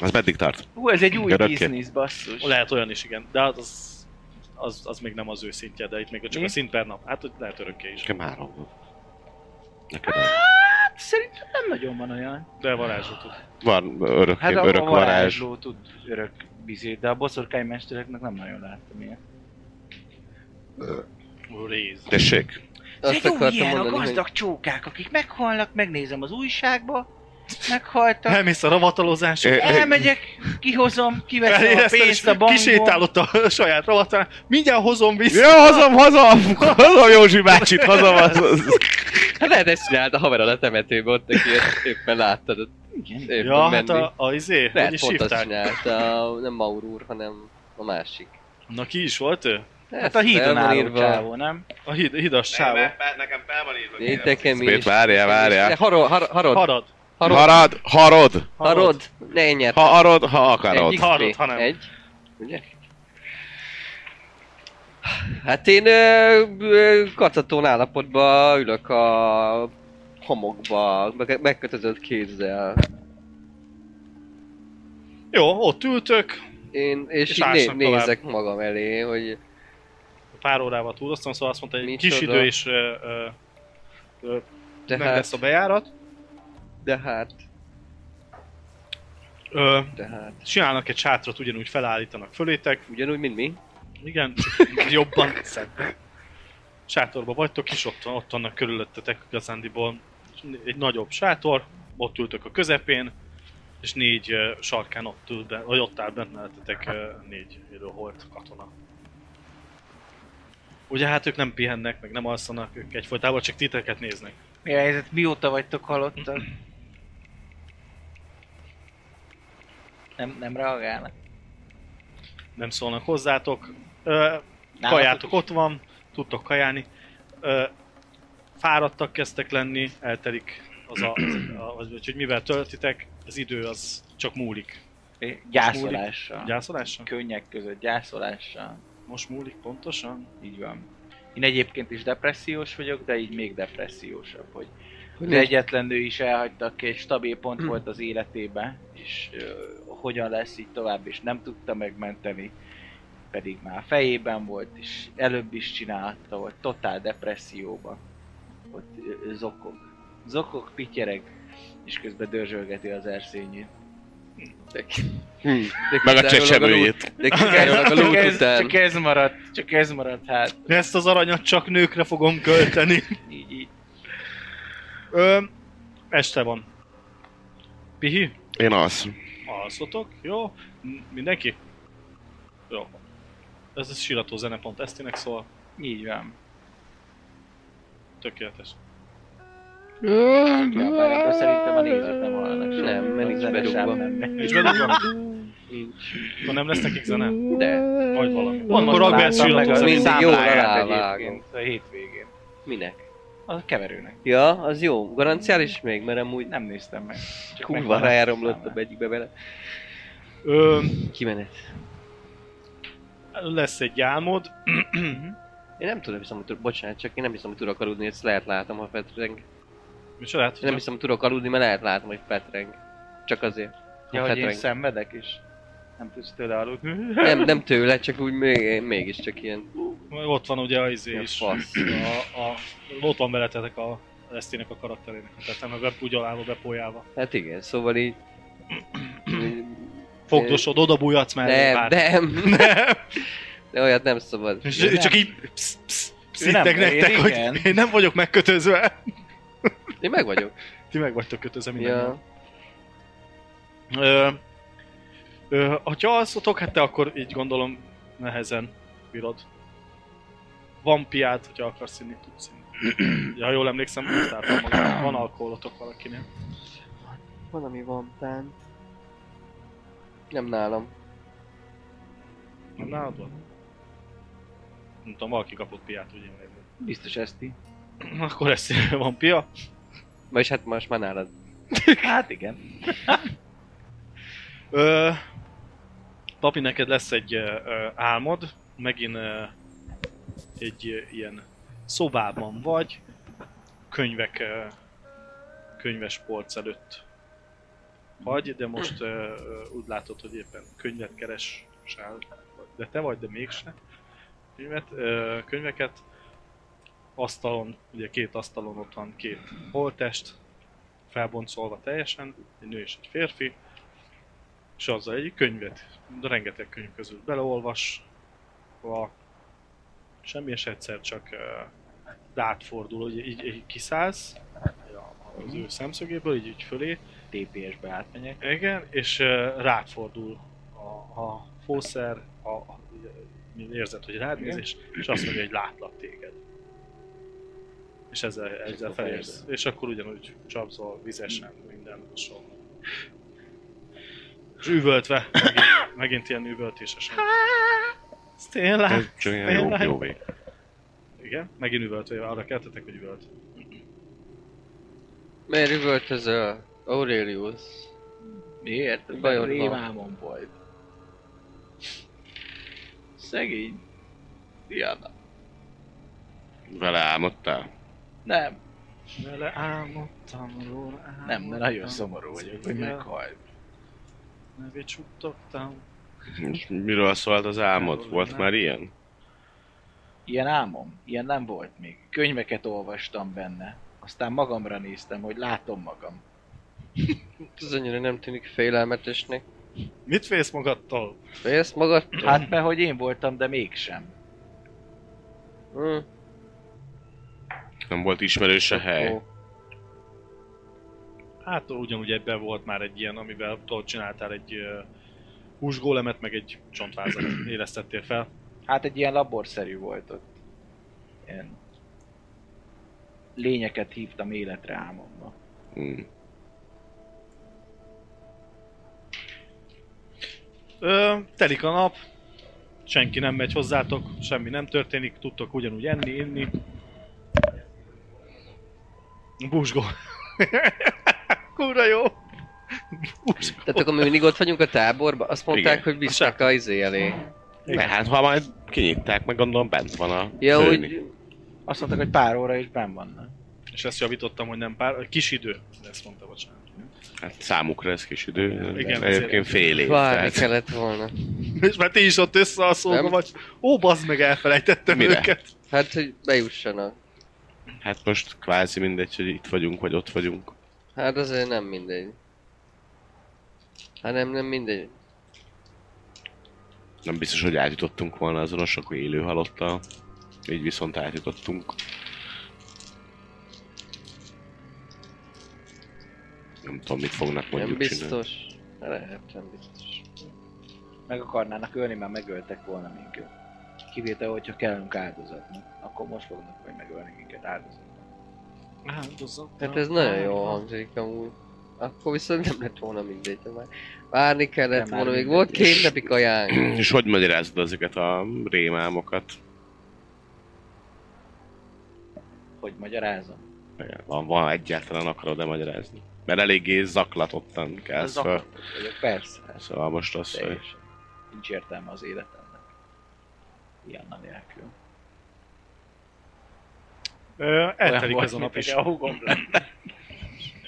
Az meddig tart?
Hú, ez egy új
Örökké.
biznisz, basszus.
Lehet olyan is, igen. De hát az, az, az még nem az ő szintje, de itt még csak
Mi?
a szint per nap. Hát hogy lehet örökké is.
Nekem három van. Neked három.
Hát Szerintem nem nagyon van olyan.
De varázsot tud.
van örök,
Hát a,
örök
a
varázs.
varázsló tud örök bizét, de a boszorkány mestereknek nem nagyon láttam ilyen.
Réz.
Tessék,
Azt akartam mondani, hogy...
gazdag csókák, akik meghalnak, megnézem az újságba,
Hát
meghaltak,
Elmész a ravatalozás,
Ö,
elmegyek, kihozom, kiveszem a
elérezted,
pénzt a bankból.
kisétálott a <laughs> saját ravatán. Mindjárt hozom vissza.
Jó, hozom, hozom! Hozom Józsi bácsit, hozom az... az-
Hát lehet ezt csináld a haverod a temetőbe, ott aki ezt éppen láttad. ott
Igen.
Éppen
Ja, hát
menni.
a, a izé, hogy
Lehet,
is
pont azt
hívták.
csinált. A, nem Maur úr, hanem a másik.
Na ki is volt ő?
Hát a hídon
fel van
álló
írva.
csávó, nem?
A hid, hidas
Nekem,
sávó.
el- fel- nekem fel van írva.
Nézd,
kérem.
de kemény.
Szép, várjál, várjál.
De Harod, har, harod, harod,
Harad.
harod,
Harad, harod!
harod, ne enyed.
Ha arod, ha akarod.
Egy
Harod,
XP.
hanem.
Egy. Ugye? Hát én ö, ö, kacatón állapotban ülök a homokba, meg- megkötözött kézzel.
Jó, ott ültök.
Én, és,
És
így né-
ásnak tovább.
nézek magam elé, hogy
Pár órával túroztam, szóval azt mondta, hogy
Micsoda.
kis idő és ö, ö, ö,
de
meg
hát,
lesz a bejárat.
de hát,
Ö,
de hát.
csinálnak egy sátrat, ugyanúgy felállítanak fölétek.
Ugyanúgy, mint mi.
Igen, csak jobban szednek. Sátorba vagytok, és ott, van- ott vannak körülöttetek igazándiból egy nagyobb sátor, ott ültök a közepén, és négy ö, sarkán ott ül bent, vagy ott áll bent mellettetek ö, négy élőholt katona. Ugye hát ők nem pihennek, meg nem alszanak, ők egyfolytában csak titeket néznek.
Mi a helyzet? Mióta vagytok halottak? Nem, nem reagálnak.
Nem szólnak hozzátok. Ö, kajátok ott van, tudtok kajálni. Ö, fáradtak kezdtek lenni, eltelik az a, az a az, úgyhogy mivel töltitek, az idő az csak múlik.
É, Gyászolással.
Gyászolással?
Könnyek között gyászolással.
Most múlik pontosan?
Így van. Én egyébként is depressziós vagyok, de így még depressziósabb, hogy az
nincs-
egyetlen nő is elhagytak, és stabil pont volt az életébe, és ö, hogyan lesz így tovább, és nem tudta megmenteni, pedig már fejében volt, és előbb is csinálta, volt totál depresszióba. Ott ö, ö, zokog. Zokog, pityereg, és közben dörzsölgeti az erszényét.
Meg a csecsemőjét.
De királyolnak a
Hm. Csak
lút
ez,
után.
csak ez maradt, csak ez maradt hát.
Ezt az aranyat csak nőkre fogom költeni.
Így, így.
Ö, este van. Pihi,
Én az.
alszotok, jó? M- Mindenki? Jó. Ez a sirató zene pont esztének szól.
Így van.
Tökéletes.
Ja, bár ebből szerintem a nézők nem hallanak semmit.
Nem, mert nincs
A zene sem
bedugva.
nem.
Nincs bedugva?
Nincs.
Ha nem lesz nekik zene?
De.
Vagy valami.
Pont
Akkor
most
rakd be ezt
láttam meg
sirató
a
Mindig
zenét.
jó
számláját
alávágom.
egyébként a hétvégén.
Minek?
A keverőnek.
Ja, az jó. Garanciális még, mert amúgy nem.
Nem néztem meg. Csak
Kurva
megmaradt a
rájáromlottam
számlám.
egyikbe bele.
Ö,
Kimenet.
lesz egy álmod.
Mhm. Én nem tudom, hiszem, hogy tud, bocsánat, csak én nem hiszem, hogy tudok aludni, ezt lehet látom, ha petreng. Én
És lehet,
nem
hogy
hiszem, hogy tudok aludni, mert lehet látom, hogy petreng. Csak azért. Ha
Ja, hogy én
petreng.
szenvedek és nem tudsz tőle aludni.
Nem, nem tőle, csak úgy még, mégis csak ilyen.
ott van ugye a izé
Ja,
is.
fasz.
A, a, ott van veletetek a Esztének a karakterének a tetemebe, úgy alálva bepolyálva.
Hát igen, szóval így...
<clears throat> Fogdosod, odabújatsz már.
Nem, nem,
<laughs> nem.
de olyat nem szabad.
És
Ő
ő
nem.
csak így psz, psz,
Ő nem,
pszittek nektek,
én
hogy
igen.
én nem vagyok megkötözve.
Én meg vagyok.
Ti meg vagytok kötözve minden.
Ja.
Ö, ö, ha alszotok, hát te akkor így gondolom nehezen bírod. Van piát, hogyha akarsz inni, tudsz inni. Ja, jól emlékszem, azt láttam magam. Van alkoholotok valakinél.
Valami van tán. Nem nálam.
Nem nálad van? Nem tudom, valaki kapott piát, úgy emlékszem.
<laughs> Biztos Eszti.
Akkor ezt van pia.
Vagyis hát most már nálad.
Hát igen.
Ö, papi, neked lesz egy ö, ö, álmod, megint ö, egy ö, ilyen szobában vagy, könyvek, ö, könyves polc előtt vagy, de most ö, ö, úgy látod, hogy éppen könyvet keresel, de te vagy, de mégse könyvet, ö, könyveket. Asztalon, ugye két asztalon ott van két holtest, felboncolva teljesen, egy nő és egy férfi és azzal egy könyvet, de rengeteg könyv közül beleolvas, a semmi, és egyszer csak uh, átfordul, hogy így, így kiszállsz ja, az ő szemszögéből, így, így fölé,
TPS-be átmegyek.
igen, és uh, rád fordul a, a fószer, a, a, érzed, hogy rád néz,
Igen.
és, és azt mondja, hogy látlak téged. És ezzel, ezzel
akkor
felérsz. És akkor ugyanúgy csapzol vizesen, minden hasonló. És üvöltve, megint, megint ilyen üvöltésesen. Ez Tényleg?
Ez csak ilyen jó, jó vég.
Igen, megint üvöltve, arra keltetek, hogy üvölt.
Miért üvöltözöl? Aurelius.
Miért?
Bajod van.
rémámom volt. Szegény. Diana.
Vele álmodtál?
Nem,
Vele álmodtam róla, álmodtam.
nem, mert nagyon szomorú vagyok, hogy
Igen.
meghalt.
Nevét suttogtam.
És miről szólt az álmod? Volt már ilyen?
Ilyen álmom, ilyen nem volt még. Könyveket olvastam benne. Aztán magamra néztem, hogy látom magam.
Ez annyira nem tűnik félelmetesnek.
Mit félsz magadtól?
Félsz magad?
<laughs> Hát mert hogy én voltam, de mégsem.
Hm.
Nem volt ismerős a hely.
Ó.
Hát ugyanúgy ebben volt már egy ilyen, amivel tudod, csináltál egy uh, húsgólemet, meg egy csontvázat <clears throat> élesztettél fel.
Hát egy ilyen laborszerű volt ott. Ilyen lényeket hívtam életre álmomba.
Mm.
Ö, telik a nap, senki nem megy hozzátok, semmi nem történik, tudtok ugyanúgy enni, inni. Búzsgó. <laughs> Kurva jó. Búzsgó.
Tehát akkor mi mindig ott vagyunk a táborban, azt mondták,
Igen.
hogy visznek a izé elé.
Ne, hát ha majd kinyitták, meg gondolom bent van a
Ja,
lőni.
úgy...
Azt mondták, hogy pár óra is benn vannak.
És ezt javítottam, hogy nem pár, kis idő, ezt mondta, bocsánat.
Hát számukra ez kis idő,
Igen,
Igen, egyébként
azért.
fél év.
Várni
tehát
kellett volna.
És már ti is ott összealszolva
Nem.
vagy. Ó, bazd meg, elfelejtettem
Mire?
őket.
Hát, hogy bejussanak.
Hát most kvázi mindegy, hogy itt vagyunk, vagy ott vagyunk.
Hát azért nem mindegy. Hát nem, nem mindegy.
Nem biztos, hogy átjutottunk volna azon a sok élő halottal. Így viszont átjutottunk. Nem tudom, mit fognak
Nem
mondjuk csinálni.
biztos. Hát Lehet, nem biztos.
Meg akarnának ölni, mert megöltek volna minket. Kivétel, hogyha kellünk áldozatnak, akkor most fognak majd megölni minket áldozatnak.
Hát ez nagyon jól hangzik amúgy. Akkor viszont nem lett volna mindegy, de már várni kellett
Nem, már
volna, még
mindegy.
volt két napig
<clears throat>
ajánl.
És hogy magyarázod ezeket a rémámokat?
Hogy magyarázom?
Igen, Van, van egyáltalán akarod-e magyarázni? Mert eléggé zaklatottan kelsz fel.
Zaklatott vagyok, persze. hát
Szóval most azt, hogy...
Teljesen. Nincs értelme az életemnek. Ilyen a nélkül.
Ö, eltelik
Olyan
ez a nap
volt, mint
is.
egy A húgom lenne.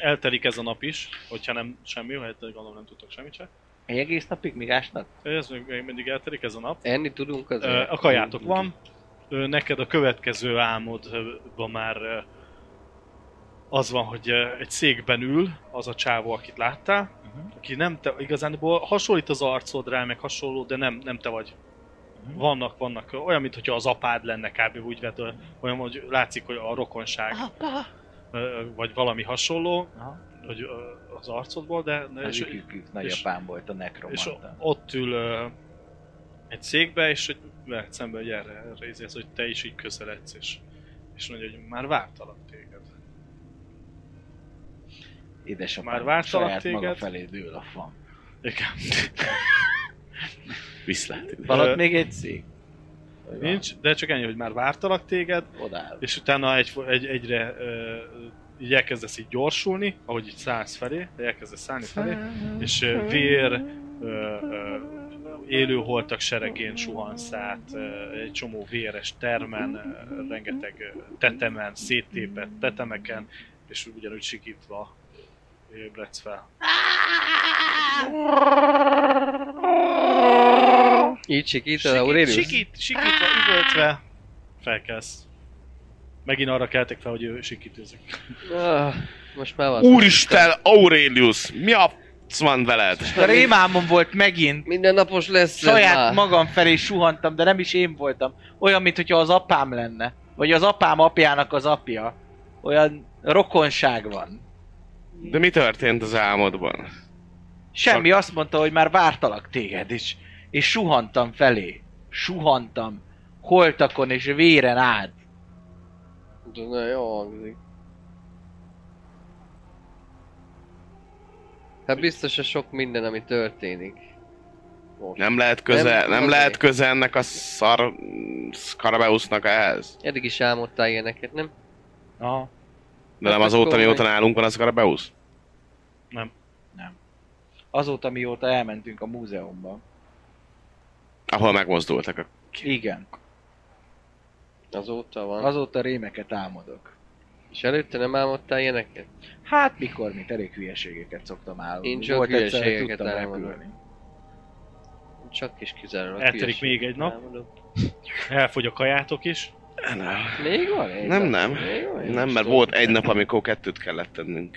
Eltelik ez a nap is, hogyha nem semmi, ha eltelik, gondolom nem tudtok semmit se.
Egy egész napig még ásnak?
Ez még, még mindig eltelik ez a nap.
Enni tudunk az?
Ö, A kajátok van. Ö, Neked a következő álmodban már ö, az van, hogy ö, egy székben ül az a csávó, akit láttál, aki nem te, igazából hasonlít az arcod rá, meg hasonló, de nem, nem te vagy. Vannak, vannak, ö, olyan, mintha az apád lenne kb. úgy vett, ö, olyan, hogy látszik, hogy a rokonság. Ö, Vagy valami hasonló,
Aha.
hogy ö, az arcodból, de... de-
Az
és-
ikükük nagyapám volt a
és o-
nekromanta.
ott ül ö, egy székbe, és hogy veled szembe, hogy erre, erre izélsz, hogy te is így közeledsz, és, és mondja, hogy már vártalak téged.
Édesapám
Már vártalak
saját maga
téged?
felé dől a fan.
Igen.
Viszlát.
Van
Ö,
ott még egy szék? Vagy van?
Nincs, de csak ennyi, hogy már vártalak téged,
Odáll.
és utána egy, egy, egyre ö, így elkezdesz így gyorsulni, ahogy így szállsz felé, de elkezdesz szállni felé, és ö, vér, ö, ö, élő holtak seregén suhansz át, ö, egy csomó véres termen, ö, rengeteg ö, tetemen, széttépett tetemeken, és ugyanúgy sikítva ébredsz fel.
Így sikítod, Aurelius?
sikít, sikítva, üvöltve felkelsz. Megint arra keltek fel, hogy ő sikítőzik.
Ah, most már van.
Úristen, Aurelius, mi a f- van veled?
A rémámom volt megint.
Minden napos lesz ez
Saját
már.
magam felé suhantam, de nem is én voltam. Olyan, mintha az apám lenne. Vagy az apám apjának az apja. Olyan rokonság van.
De mi történt az álmodban?
Semmi azt mondta, hogy már vártalak téged is. És suhantam felé. Suhantam. Holtakon és véren át.
De Nagyon jó hangzik. Hát biztos, hogy sok minden, ami történik. Most.
Nem lehet köze,
Nem,
nem,
az
lehet
mi?
köze ennek a szar... Scarabeusnak ehhez?
Eddig is álmodtál ilyeneket, nem?
Aha.
De nem
Hát
azóta,
akkor
mióta
meg-
nálunk van a Scarabeus?
Azóta, mióta elmentünk a múzeumba.
Ahol megmozdultak a...
Igen.
Azóta van.
Azóta rémeket álmodok.
És előtte nem álmodtál ilyeneket?
Hát mikor, mint elég hülyeségeket szoktam álmodni.
Én csak
Volt egyszer, hogy
hülyeségeket
tudtam
álmodok.
repülni.
Csak is kizárólag.
Eltelik
hülyeség.
még egy nap.
Álmodok.
Elfogy a kajátok is.
Még van
Hát
egy
Nem,
nap?
nem.
Még van egy
Nem,
nap?
mert volt egy nap, amikor kettőt kellett tennünk.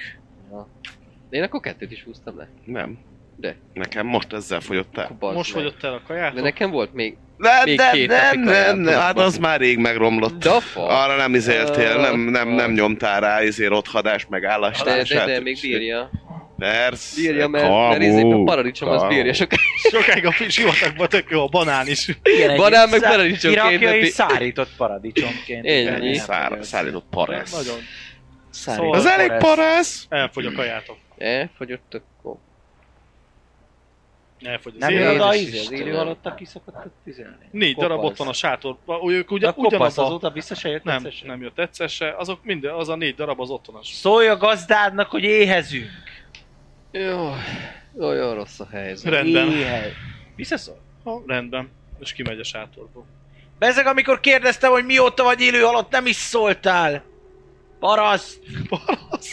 Én akkor kettőt is húztam le.
Nem.
De,
Nekem most ezzel fogyott el.
akkor
Most
meg.
fogyott el a kajátok?
De nekem volt még.
Ne,
Még
ne,
két
ne,
napig
ne,
ajánlom.
ne, hát az már rég megromlott.
De fa.
Arra nem izéltél, nem, nem, nem
Ö,
nyomtál rá izér otthadás, meg
De,
állástását.
de, de, még bírja.
Persze.
Bírja, mert, mert izé, a paradicsom az
kamu.
bírja sokáig.
Sokáig a fi- sivatagban tök jó a banán is.
Igen, egy
Banán meg
szá-
paradicsom két
irakjai
napi.
szárított paradicsomként.
Ennyi.
Igen,
Ennyi
nem
szár,
fogyott.
szállított paresz.
Nagyon.
Szárított
Az elég paresz!
Elfogy a kajátok.
Elfogyott a kó.
Elfogy az
Nem
élet.
jön az
Jézus
ízé, az
Istenem.
élő halott, aki szokott ott tüzelni.
Négy
Kopasz.
darab ott van a sátorban. Ó, Ők
De
ugye,
a kopasz
ugyanaz a...
azóta vissza se jött
Nem,
egyszer se?
nem jött egyszer se. Azok minden, az a négy darab az otthon az.
Szólj a gazdádnak, hogy éhezünk.
Jó, olyan rossz a helyzet.
Rendben.
Éhez. Visszaszól.
Ha, rendben. És kimegy a sátorból.
Bezeg, amikor kérdeztem, hogy mióta vagy élő halott, nem is szóltál. Paraszt.
<laughs> Paraszt.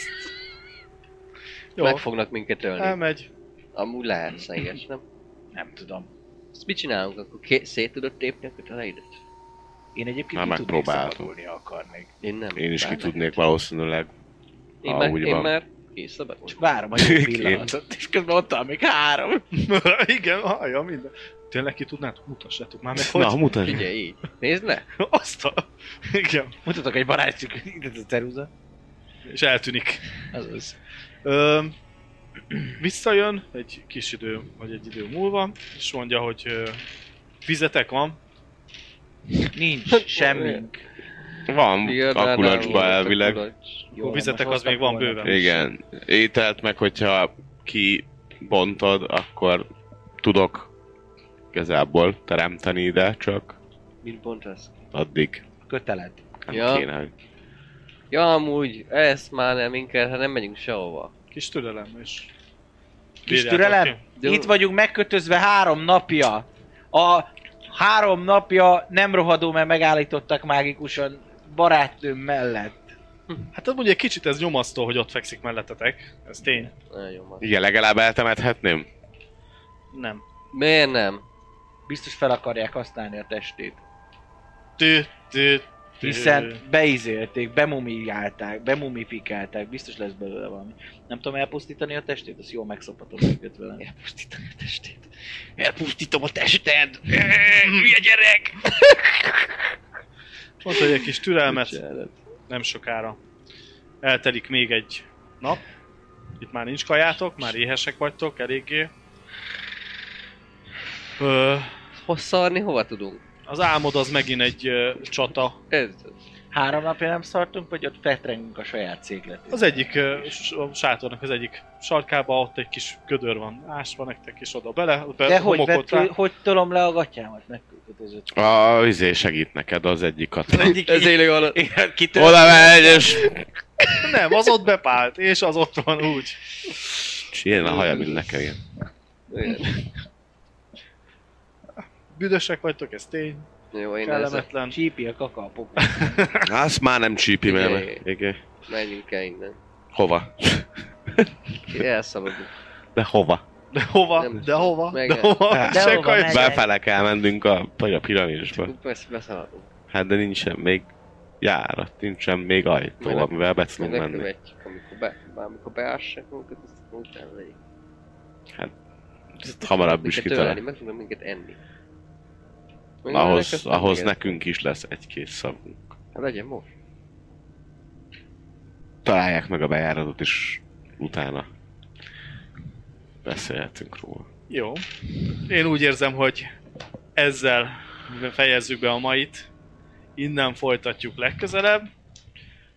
Jó,
Meg fognak minket ölni.
elmegy. <laughs>
Amúgy lehet szeges, nem?
Nem tudom.
Ezt mit csinálunk? Akkor ké- szét tudod tépni a köteleidet?
Én egyébként
Már
ki tudnék
megpróbáltam.
szabadulni, ha akarnék.
Én nem.
Én is ki
Bár-
tudnék valószínűleg.
Hát
Én
Ah,
már,
úgy
én
van.
már készabadultam.
Csak várom a jó pillanatot, és közben ott áll még három.
Igen, hallja minden. Tényleg ki tudnátok? Mutassátok már meg, hogy...
Na, mutasd!
Figyelj így. Nézd le.
Azt a... Igen.
Mutatok egy barátjuk, itt a ceruza.
És eltűnik.
Az az.
Ö, visszajön egy kis idő, vagy egy idő múlva, és mondja, hogy ö, vizetek van.
Hát,
Nincs semmink.
Van,
Ilyedel
a
volt
kulacsba
a
elvileg.
kulacs.
Jó, vizetek az még van bőven.
Igen. Ételt meg, hogyha kibontod, akkor tudok igazából teremteni ide, csak
Mit bontasz?
addig
Köteled.
nem
Ja.
kéne. hogy-
Ja, amúgy, ezt már nem inkább, hát nem megyünk sehova.
Kis türelem, és...
Kis
Bírjátok
türelem?
ki.
De-
Itt vagyunk megkötözve három napja. A három napja nem rohadó, mert megállítottak mágikusan barátnőm mellett.
Hát az mondja, egy kicsit ez nyomasztó, hogy ott fekszik mellettetek. Ez tény.
Nagyon van.
Igen, legalább eltemethetném.
Nem.
Miért nem?
Biztos fel akarják használni a testét.
Tű, tű, tű.
Hiszen beizélték, bemumiálták, bemumifikálták, biztos lesz belőle valami. Nem tudom elpusztítani a testét, azt jól megszopatom őket velem.
Elpusztítani a testét.
Elpusztítom a tested!
Mondta, hogy egy kis türelmet, nem sokára. Eltelik még egy nap. Itt már nincs kajátok, már éhesek vagytok, eléggé. Ö,
Hosszarni hova tudunk?
az álmod az megint egy ö, csata.
Ez.
Három napja nem szartunk, vagy ott fetrengünk a saját cégletét.
Az egyik ö, s- a sátornak az egyik sarkába ott egy kis ködör van ásva nektek, és oda bele, be,
De hogy,
homokot
vett,
rá.
hogy tolom le a gatyámat? Megkötözött.
A izé segít neked az egyik katona.
Ez élő alatt.
Oda megy, és
<laughs> Nem, az ott bepált, és az ott van úgy.
és ilyen a haja, mint nekem. ilyen.
Igen.
Büdösek vagytok, ez tény,
Jó, én ezzel
kellemetlen.
Csípi a kaka a pokol.
Azt már nem csípi,
Igen.
mert... Igen.
menjünk el innen.
Hova?
Elszabadulunk.
De hova?
De hova,
Nem.
de hova,
Meg-
de hova,
De
se
hova,
kaj-
meg-
Befele kell mennünk a, vagy a piramisba.
Persze beszaladunk.
Hát de nincsen még járat, nincsen még ajtó,
Minek-
amivel be tudunk
Meg
menni.
követjük, amikor, be, bár amikor beássák magukat, azt utána legyünk.
Ezt hamarabb is
Minket ölelni,
kitalálni.
Meg tudnak minket enni. Meg ölelnek,
Ahhoz,
azt
ahhoz
minket.
nekünk is lesz egy-két szavunk.
Hát Legyen most.
Találják meg a bejáratot, és utána beszélhetünk róla.
Jó. Én úgy érzem, hogy ezzel fejezzük be a mait. Innen folytatjuk legközelebb.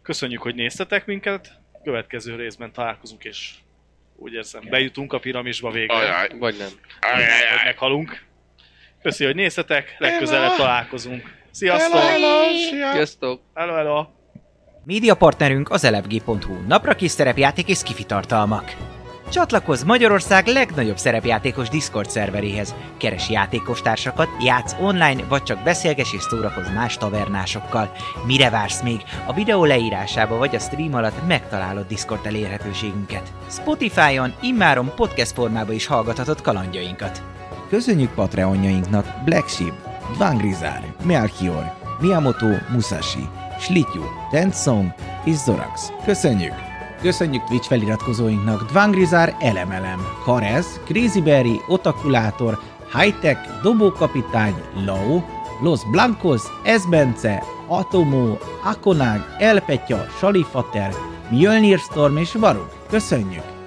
Köszönjük, hogy néztetek minket. Következő részben találkozunk, és úgy érzem, bejutunk a piramisba végre.
Vagy nem.
Vagy meghalunk. Köszi, hogy néztetek. Legközelebb találkozunk. Sziasztok!
Szóval- Sziasztok!
Hello, hello!
Média partnerünk az elefg.hu, napra kis szerepjáték és skifi tartalmak. Csatlakozz Magyarország legnagyobb szerepjátékos Discord szerveréhez, keres játékostársakat, játsz online, vagy csak beszélges és szórakozz más tavernásokkal. Mire vársz még? A videó leírásába vagy a stream alatt megtalálod Discord elérhetőségünket. Spotify-on immáron podcast formába is hallgathatod kalandjainkat.
Köszönjük Patreonjainknak Black Sheep, Dvangrizár, Melchior, Miyamoto Musashi, Slityu, Tensong és Zorax. Köszönjük! Köszönjük Twitch feliratkozóinknak Dvangrizár, Elemelem, Karez, Crazyberry, Otakulátor, Hightech, Dobókapitány, Lau, Los Blancos, Esbence, Atomó, Akonag, Elpetya, Salifater, Mjölnir Storm és Varug. Köszönjük!